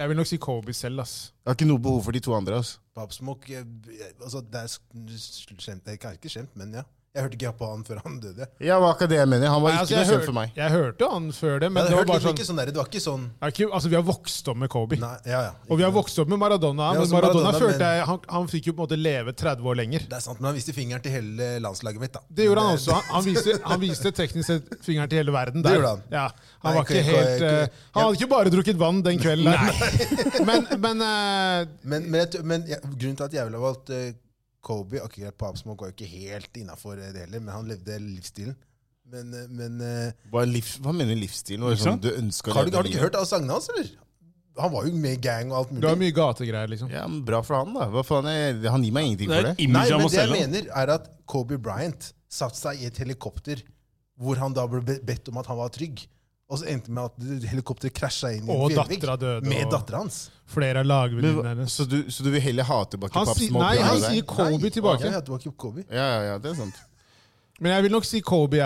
[SPEAKER 1] Jeg vil nok si Kobe selv, ass.
[SPEAKER 3] har ikke noe behov for de to andre. altså.
[SPEAKER 2] Pop Smoke jeg, jeg, altså, Det er sk- skjemt, det er kanskje ikke skjemt, men ja. Jeg hørte ikke på han før han døde.
[SPEAKER 3] Ja, hva er ikke det jeg mener? Han var
[SPEAKER 1] Nei,
[SPEAKER 3] ikke
[SPEAKER 1] altså,
[SPEAKER 3] noe
[SPEAKER 1] jeg,
[SPEAKER 3] kjent
[SPEAKER 1] hørte-
[SPEAKER 3] for meg.
[SPEAKER 1] jeg hørte han før det,
[SPEAKER 2] Jeg
[SPEAKER 1] men
[SPEAKER 2] hadde
[SPEAKER 1] det var
[SPEAKER 2] hørt
[SPEAKER 1] bare
[SPEAKER 2] liksom
[SPEAKER 1] sånn
[SPEAKER 2] ikke sånn der, det var ikke sånn
[SPEAKER 1] er ikke, altså, Vi har vokst opp med Kobe.
[SPEAKER 2] Nei, ja, ja.
[SPEAKER 1] Og vi har vokst opp med Maradona.
[SPEAKER 2] Ja,
[SPEAKER 1] Men
[SPEAKER 2] altså,
[SPEAKER 1] Maradona
[SPEAKER 2] Maradona,
[SPEAKER 1] følte
[SPEAKER 2] men-
[SPEAKER 1] jeg, han, han fikk jo på en måte leve 30 år lenger.
[SPEAKER 2] Det er sant, men han viste fingeren til hele landslaget mitt, da.
[SPEAKER 1] Det gjorde han også. Han, han, viste, han viste teknisk sett fingeren til hele verden. Der.
[SPEAKER 2] Det gjorde han.
[SPEAKER 1] Ja,
[SPEAKER 2] Nei,
[SPEAKER 1] han, var
[SPEAKER 2] ikke-
[SPEAKER 1] ikke helt,
[SPEAKER 2] ikke-
[SPEAKER 1] eh, han hadde ikke bare drukket vann den kvelden. Der. Men, men eh,
[SPEAKER 2] Men, men, jeg, t- men jeg, grunnen til at jeg ville ha valgt eh, Kobe ok, greit, Pop Smoke var jo ikke helt innafor eh, det heller, men han levde livsstilen. Men, eh, men eh,
[SPEAKER 3] Hva, er livs, hva mener livsstilen? Hva er det sånn, du ønsker å
[SPEAKER 2] har, du,
[SPEAKER 3] leve
[SPEAKER 2] har du ikke
[SPEAKER 3] livet?
[SPEAKER 2] hørt alle sangene hans, eller? Han var jo med i gang og alt mulig.
[SPEAKER 1] det var mye gategreier, liksom.
[SPEAKER 3] Ja, men Bra for han, da. Hva faen er, han gir meg ingenting
[SPEAKER 4] Det er
[SPEAKER 3] for det.
[SPEAKER 4] et
[SPEAKER 2] Nei,
[SPEAKER 4] image av
[SPEAKER 2] men
[SPEAKER 4] oss
[SPEAKER 2] det jeg
[SPEAKER 4] selv. da.
[SPEAKER 2] mener, er at Kobe Bryant satte seg i et helikopter hvor han da ble be- bedt om at han var trygg. Og så endte det med at det- helikopteret krasja inn i en
[SPEAKER 1] Og
[SPEAKER 2] fjellvegg
[SPEAKER 1] dattera døde,
[SPEAKER 2] med
[SPEAKER 1] og-
[SPEAKER 2] dattera hans.
[SPEAKER 1] Flere av
[SPEAKER 3] Men,
[SPEAKER 1] lagvenninnene
[SPEAKER 3] hva-
[SPEAKER 1] hennes.
[SPEAKER 3] så, du, så du vil heller ha tilbake
[SPEAKER 1] Han
[SPEAKER 3] Pop
[SPEAKER 1] sier-
[SPEAKER 3] Smoke?
[SPEAKER 1] nei,
[SPEAKER 3] enn
[SPEAKER 1] han
[SPEAKER 3] deg?
[SPEAKER 1] sier Kobe
[SPEAKER 2] Nei,
[SPEAKER 1] tilbake.
[SPEAKER 2] Ja, det var ikke Kobe.
[SPEAKER 3] Ja, ja, ja, det er sant.
[SPEAKER 1] Men jeg vil nok si Kobe, jeg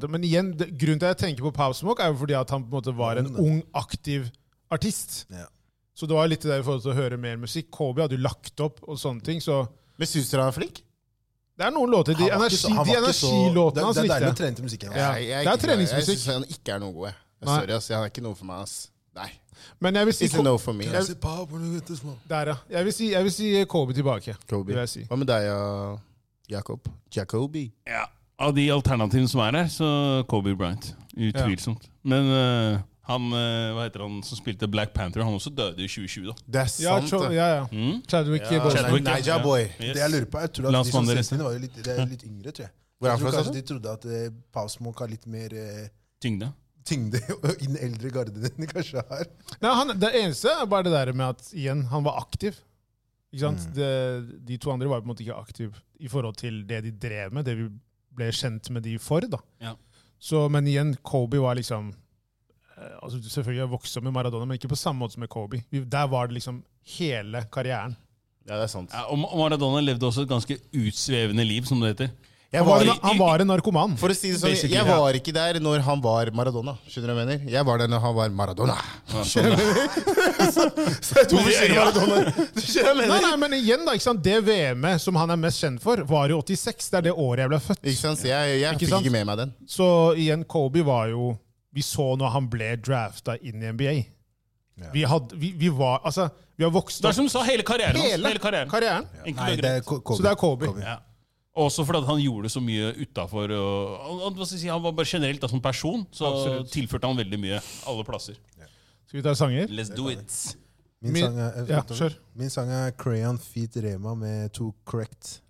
[SPEAKER 1] òg. Men igjen, det, grunnen til at jeg tenker på Pop Smoke, er jo fordi at han på en måte var
[SPEAKER 2] Mm.
[SPEAKER 1] en ung, aktiv artist.
[SPEAKER 2] Ja.
[SPEAKER 1] Så det var litt det der i forhold til å høre mer musikk. Kobe hadde jo lagt opp og sånne ting, så
[SPEAKER 3] Men syns dere han er flink?
[SPEAKER 1] det er noen låter. De,
[SPEAKER 2] Han var ikke så-
[SPEAKER 1] energi,
[SPEAKER 2] han
[SPEAKER 1] de
[SPEAKER 2] var ikke så- det-
[SPEAKER 1] energilåtene hans
[SPEAKER 2] Det er deilig å
[SPEAKER 1] likte jeg.
[SPEAKER 2] trene til musikken. altså.
[SPEAKER 1] Ja.
[SPEAKER 2] Ja.
[SPEAKER 3] Nei,
[SPEAKER 1] det er
[SPEAKER 3] ikke-
[SPEAKER 1] treningsmusikk.
[SPEAKER 3] Jeg syns han ikke er noe god. jeg. Jeg
[SPEAKER 1] Nei.
[SPEAKER 3] Sorry, ass. Han er ikke noe for meg, ass. Nei.
[SPEAKER 1] Men jeg vil si,
[SPEAKER 3] It's a
[SPEAKER 1] Ko-
[SPEAKER 3] no for me. ass.
[SPEAKER 1] der, ja. jeg vil si, jeg vil si Kobe tilbake.
[SPEAKER 3] Kobe.
[SPEAKER 1] Det vil jeg si.
[SPEAKER 3] Hva med deg, ja, Jakob? Jacobi?
[SPEAKER 4] Ja. Av de alternativene som er her, så Kobe Bryant. Utvilsomt. Men eh, han eh, hva heter han som spilte Black Panther, han også døde i 2020, da.
[SPEAKER 3] Det er
[SPEAKER 1] Ja,
[SPEAKER 3] sant.
[SPEAKER 1] Cho,
[SPEAKER 3] da.
[SPEAKER 1] ja, ja.
[SPEAKER 2] Mm.
[SPEAKER 1] Chadwick Boseman.
[SPEAKER 4] Chadwick, ja.
[SPEAKER 3] Naija boy.
[SPEAKER 4] Yes.
[SPEAKER 2] Det jeg lurer på, jeg tror at de som
[SPEAKER 4] Landsmannen deres.
[SPEAKER 2] sendte inn, var jo litt, det er litt yngre, tror jeg.
[SPEAKER 3] Hvor er
[SPEAKER 2] jeg
[SPEAKER 3] han
[SPEAKER 2] tror
[SPEAKER 3] fra, sa
[SPEAKER 2] kanskje
[SPEAKER 3] du?
[SPEAKER 2] de trodde at eh, Pop Smoke har litt mer eh,
[SPEAKER 4] Tyngde.
[SPEAKER 2] tyngde i den eldre garden enn de kanskje har.
[SPEAKER 1] Nei, han, det eneste er bare det der med at igjen, han var aktiv. Ikke sant?
[SPEAKER 3] Mm.
[SPEAKER 1] Det, de to andre var på en måte ikke aktive i forhold til det de drev med, det vi ble kjent med de for. da.
[SPEAKER 4] Ja.
[SPEAKER 1] Så, men igjen, Kobe var liksom eh, altså Selvfølgelig har jeg vokst opp med Maradona, men ikke på samme måte som med Kobe. Vi, der var det liksom hele karrieren.
[SPEAKER 3] Ja, det er sant.
[SPEAKER 4] Ja, og Ma- Maradona levde også et ganske utsvevende liv, som det heter.
[SPEAKER 3] Jeg
[SPEAKER 1] Han var,
[SPEAKER 3] var,
[SPEAKER 1] en, han var en narkoman.
[SPEAKER 3] for å si det sånn,
[SPEAKER 4] Basically,
[SPEAKER 3] jeg
[SPEAKER 4] ja.
[SPEAKER 3] var ikke der når han var Maradona. Skjønner du hva jeg mener? Jeg var der når han var Maradona.
[SPEAKER 4] Ja, sånn, ja.
[SPEAKER 3] To forskjellige
[SPEAKER 4] Ja.
[SPEAKER 3] Maradonaer. Du skjønner hva jeg
[SPEAKER 1] Nei,
[SPEAKER 3] mener?
[SPEAKER 1] nei, men igjen da, ikke sant? Det VM-et som han er mest kjent for, var i 86. Det er det året jeg ble født.
[SPEAKER 3] Ikke sant? Så jeg, jeg
[SPEAKER 1] Ikke
[SPEAKER 3] fikk
[SPEAKER 1] sant?
[SPEAKER 3] ikke med meg den.
[SPEAKER 1] Så igjen, Kobe var jo Vi så når han ble drafta inn i NBA. Vi, hadde, vi, vi var Altså, vi har vokst
[SPEAKER 4] Det
[SPEAKER 1] opp
[SPEAKER 4] er som du sa, hele karrieren hans. Hele, karrieren.
[SPEAKER 1] karrieren.
[SPEAKER 4] Enkelt
[SPEAKER 2] Nei,
[SPEAKER 4] og
[SPEAKER 2] det
[SPEAKER 4] greit.
[SPEAKER 2] er Ko- Kobe.
[SPEAKER 1] Så det er Kobe.
[SPEAKER 4] Ja. Også fordi at han gjorde så mye utafor. Si, han var bare generelt da, som person, så
[SPEAKER 1] Absolutt.
[SPEAKER 4] tilførte han veldig mye alle plasser.
[SPEAKER 1] Skal vi ta sanger?
[SPEAKER 4] Let's do it.
[SPEAKER 2] Min,
[SPEAKER 1] Min-
[SPEAKER 2] sang er, eh,
[SPEAKER 1] ja, kjør.
[SPEAKER 2] min sang er Crayon Feet Rema med To Correct.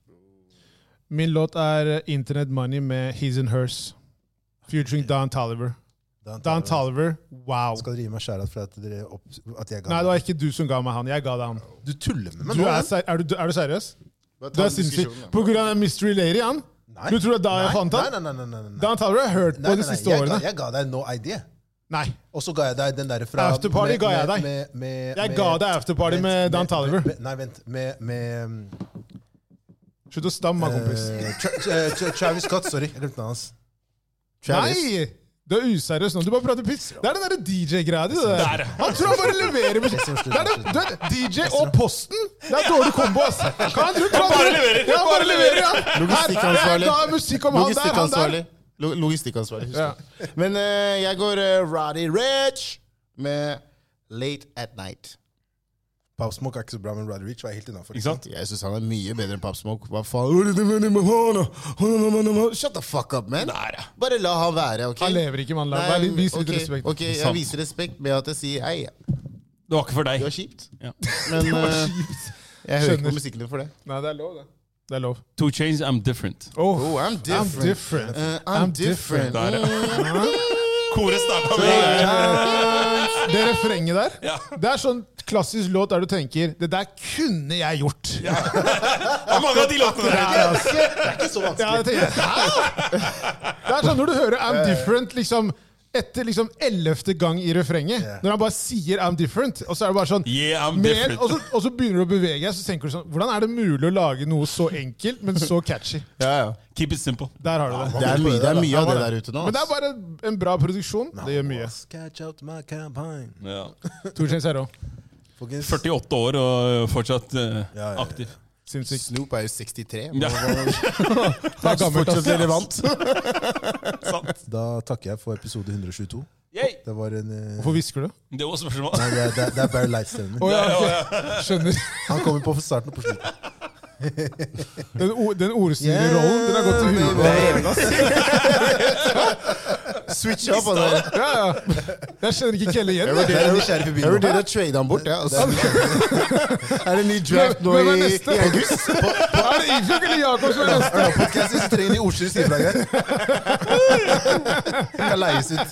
[SPEAKER 1] Min låt er eh, Internet Money med His and Hers. Featuring Don Tolliver.
[SPEAKER 2] Dan
[SPEAKER 1] Don Tolliver,
[SPEAKER 2] Toliver.
[SPEAKER 1] wow.
[SPEAKER 2] Skal dere gi meg skjæra for at, dere opp, at jeg ga
[SPEAKER 1] Nei, det var ikke du som ga meg han. Jeg ga deg han.
[SPEAKER 2] Du tuller med meg
[SPEAKER 1] Du
[SPEAKER 2] nå?
[SPEAKER 1] er,
[SPEAKER 2] ja.
[SPEAKER 1] ser- er, du, er du seriøs?
[SPEAKER 3] Bare ta
[SPEAKER 1] Du er
[SPEAKER 3] en
[SPEAKER 1] sinnssyk.
[SPEAKER 3] diskusjon, da.
[SPEAKER 1] På grunn av den Mystery Lady, han?
[SPEAKER 2] Nei.
[SPEAKER 1] Du tror det er da jeg
[SPEAKER 2] Nei,
[SPEAKER 1] fant den?
[SPEAKER 2] Nei, nei, nei. nei, nei, nei.
[SPEAKER 1] Den har jeg hørt
[SPEAKER 2] Nei,
[SPEAKER 1] på de
[SPEAKER 2] nei, nei,
[SPEAKER 1] siste
[SPEAKER 2] jeg
[SPEAKER 1] årene.
[SPEAKER 2] Ga, jeg ga deg no idea.
[SPEAKER 1] Nei.
[SPEAKER 2] Og så ga jeg deg den der fra
[SPEAKER 1] Afterparty
[SPEAKER 2] med-
[SPEAKER 1] ga jeg deg.
[SPEAKER 2] med- med-
[SPEAKER 1] Jeg
[SPEAKER 2] med-
[SPEAKER 1] ga deg afterparty
[SPEAKER 2] vent,
[SPEAKER 1] med Dan Toliver.
[SPEAKER 2] med- Nei, vent. Med, med um,
[SPEAKER 1] Slutt å stamme, kompis.
[SPEAKER 2] eh, Tra- Tra- Tra- Travis Scott, sorry. Jeg glemte navnet hans.
[SPEAKER 1] Nei! Du er useriøs nå. Du bare prater piss. Det er den derre DJ-greia di. det der. Han tror han bare leverer musikk.
[SPEAKER 2] som
[SPEAKER 1] Det
[SPEAKER 2] slutt,
[SPEAKER 1] er det,
[SPEAKER 2] slutt.
[SPEAKER 1] du vet, DJ og Posten! Det er dårlig kombo, ass. Han bare
[SPEAKER 4] leverer.
[SPEAKER 1] Ja, han bare leverer, ja.
[SPEAKER 3] Logistikkansvarlig.
[SPEAKER 1] Her, her, da er musikk om han der, han der.
[SPEAKER 3] Logistikkansvarlig. Lo- Logistikkansvarlig. husk det. Men eh, jeg går uh, Roddy Rich med Late At Night.
[SPEAKER 2] Pop Smoke er ikke så bra, men Roddy Rich var helt innafor.
[SPEAKER 4] Ikke sant?
[SPEAKER 3] Jeg syns han er mye bedre enn Pop Smoke. Hva faen? Shut the fuck up, man. Bare la han være, OK?
[SPEAKER 1] Han lever ikke, mann. La- Vær litt- Vis litt
[SPEAKER 3] ok,
[SPEAKER 1] respekt.
[SPEAKER 3] ok, jeg viser respekt med at jeg sier hei.
[SPEAKER 4] Det var ikke for
[SPEAKER 3] Det
[SPEAKER 4] deg.
[SPEAKER 3] var kjipt.
[SPEAKER 4] Ja.
[SPEAKER 3] Men eh, jeg hører ikke
[SPEAKER 1] Skjønner.
[SPEAKER 3] på musikken din for det.
[SPEAKER 1] Nei, det er lov, det. Det er lov.
[SPEAKER 4] Two chains, I'm different.
[SPEAKER 1] Oh,
[SPEAKER 3] Oh, I'm
[SPEAKER 1] I'm
[SPEAKER 3] different.
[SPEAKER 1] different.
[SPEAKER 3] Eh, I'm different.
[SPEAKER 4] Der, ja. Koret starta
[SPEAKER 1] Det refrenget der,
[SPEAKER 4] Ja.
[SPEAKER 1] det er sånn klassisk låt der du tenker Det der kunne jeg gjort. Ja,
[SPEAKER 4] Mange av de låtene der.
[SPEAKER 1] jeg tenker, Hæ? Det er sånn når du hører I'm different liksom etter liksom ellevte gang i refrenget, når han bare sier I'm different, og så er det bare sånn
[SPEAKER 4] Yeah, I'm
[SPEAKER 1] mer-
[SPEAKER 4] different.
[SPEAKER 1] og, så, og så begynner du å bevege deg, så tenker du sånn Hvordan er det mulig å lage noe så enkelt, men så catchy?
[SPEAKER 3] Ja, ja.
[SPEAKER 4] Keep it simple.
[SPEAKER 1] Der har du det.
[SPEAKER 3] Det er mye, det er mye av det der ute nå.
[SPEAKER 1] Men det er
[SPEAKER 3] ass.
[SPEAKER 1] bare en bra produksjon. Det gjør mye.
[SPEAKER 2] Catch out my campaign.
[SPEAKER 4] Ja.
[SPEAKER 1] To Chainz er òg.
[SPEAKER 2] Folkens,
[SPEAKER 4] 48 år og fortsatt eh,
[SPEAKER 2] ja, ja.
[SPEAKER 4] aktiv.
[SPEAKER 1] Sinnssykt.
[SPEAKER 3] Snoop er jo 63.
[SPEAKER 1] Det
[SPEAKER 4] Ja.
[SPEAKER 1] er gammelt, ass.
[SPEAKER 3] relevant.
[SPEAKER 4] Sant.
[SPEAKER 2] da takker jeg for episode 122.
[SPEAKER 4] Yay.
[SPEAKER 2] Det var en eh,
[SPEAKER 1] Hvorfor hvisker du?
[SPEAKER 4] Det var spørsmålet.
[SPEAKER 2] det, er- det, er- det er Barry Light-stemmen min.
[SPEAKER 1] Å ja, ok. Skjønner.
[SPEAKER 2] Han kommer på for starten og på slutten.
[SPEAKER 1] Den, o- den ordstyrerrollen, den er gått til huet. på.
[SPEAKER 3] Switch up han der.
[SPEAKER 1] Ja, ja. Jeg kjenner ikke Kelle igjen. jeg.
[SPEAKER 2] Jeg er nysgjerrig forbi
[SPEAKER 3] Jeg
[SPEAKER 2] nå.
[SPEAKER 3] vurderer å trade han bort. Ja, altså. Er det ny draft nå
[SPEAKER 1] Hvem er
[SPEAKER 3] i,
[SPEAKER 1] neste?
[SPEAKER 3] i august?
[SPEAKER 1] Er det Ifjok eller Jakob som er neste?
[SPEAKER 2] Podcast hvis du trenger en ordstyr stilflagg her. Kan leies ut.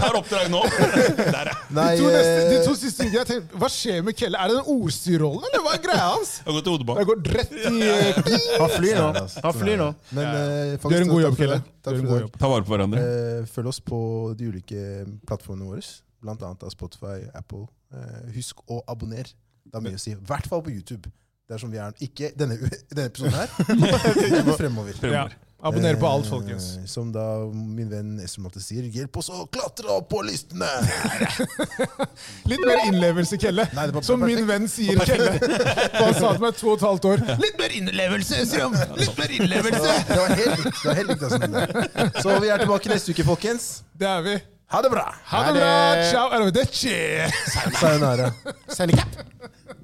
[SPEAKER 4] Tar oppdrag nå. Der, ja.
[SPEAKER 2] Nei,
[SPEAKER 1] De to, neste, de
[SPEAKER 2] eh,
[SPEAKER 1] to siste ukene, jeg tenkte, Hva skjer med Kelle? Er det den ordstyrerrollen, eller hva er greia hans?
[SPEAKER 4] Jeg har gått til
[SPEAKER 1] Jeg
[SPEAKER 4] hodebank.
[SPEAKER 1] går rett i eh,
[SPEAKER 3] Han flyr
[SPEAKER 2] Sånn er det,
[SPEAKER 3] nå.
[SPEAKER 2] altså.
[SPEAKER 3] Han flyr nå.
[SPEAKER 2] men, eh, faktisk,
[SPEAKER 1] Du gjør en god
[SPEAKER 2] takk
[SPEAKER 1] jobb,
[SPEAKER 2] for i
[SPEAKER 1] Kelle. Du
[SPEAKER 2] dag.
[SPEAKER 1] gjør
[SPEAKER 2] Takk
[SPEAKER 1] en god
[SPEAKER 2] for i dag.
[SPEAKER 1] jobb.
[SPEAKER 4] Ta vare på hverandre.
[SPEAKER 2] Eh, Følg oss på de ulike plattformene våre, blant annet av Spotify, Apple. Eh, Husk å abonner. Det er mye å si. I hvert fall på YouTube. Det er som vi er Ikke denne, denne episoden her, men fremover.
[SPEAKER 1] Ja. Abonner på alt, folkens.
[SPEAKER 2] Eh, Som da min venn Esrom alltid sier, hjelp oss å klatre opp på listene!
[SPEAKER 1] Litt mer innlevelse, Kelle.
[SPEAKER 2] Nei, det var
[SPEAKER 1] Som min
[SPEAKER 2] perfekt.
[SPEAKER 1] venn sier, Kelle. Han sa til meg to og et halvt år. Litt mer innlevelse, Esrom! Litt mer
[SPEAKER 2] Det
[SPEAKER 1] innlevelse!
[SPEAKER 2] var- det var helt likt. det var helt likt, altså, men det- Så vi er tilbake neste uke, folkens.
[SPEAKER 1] Det er vi.
[SPEAKER 2] Ha det bra!
[SPEAKER 1] Ha det bra! Ciao! Arrivederci!
[SPEAKER 2] Sayonara.
[SPEAKER 3] Sending cap.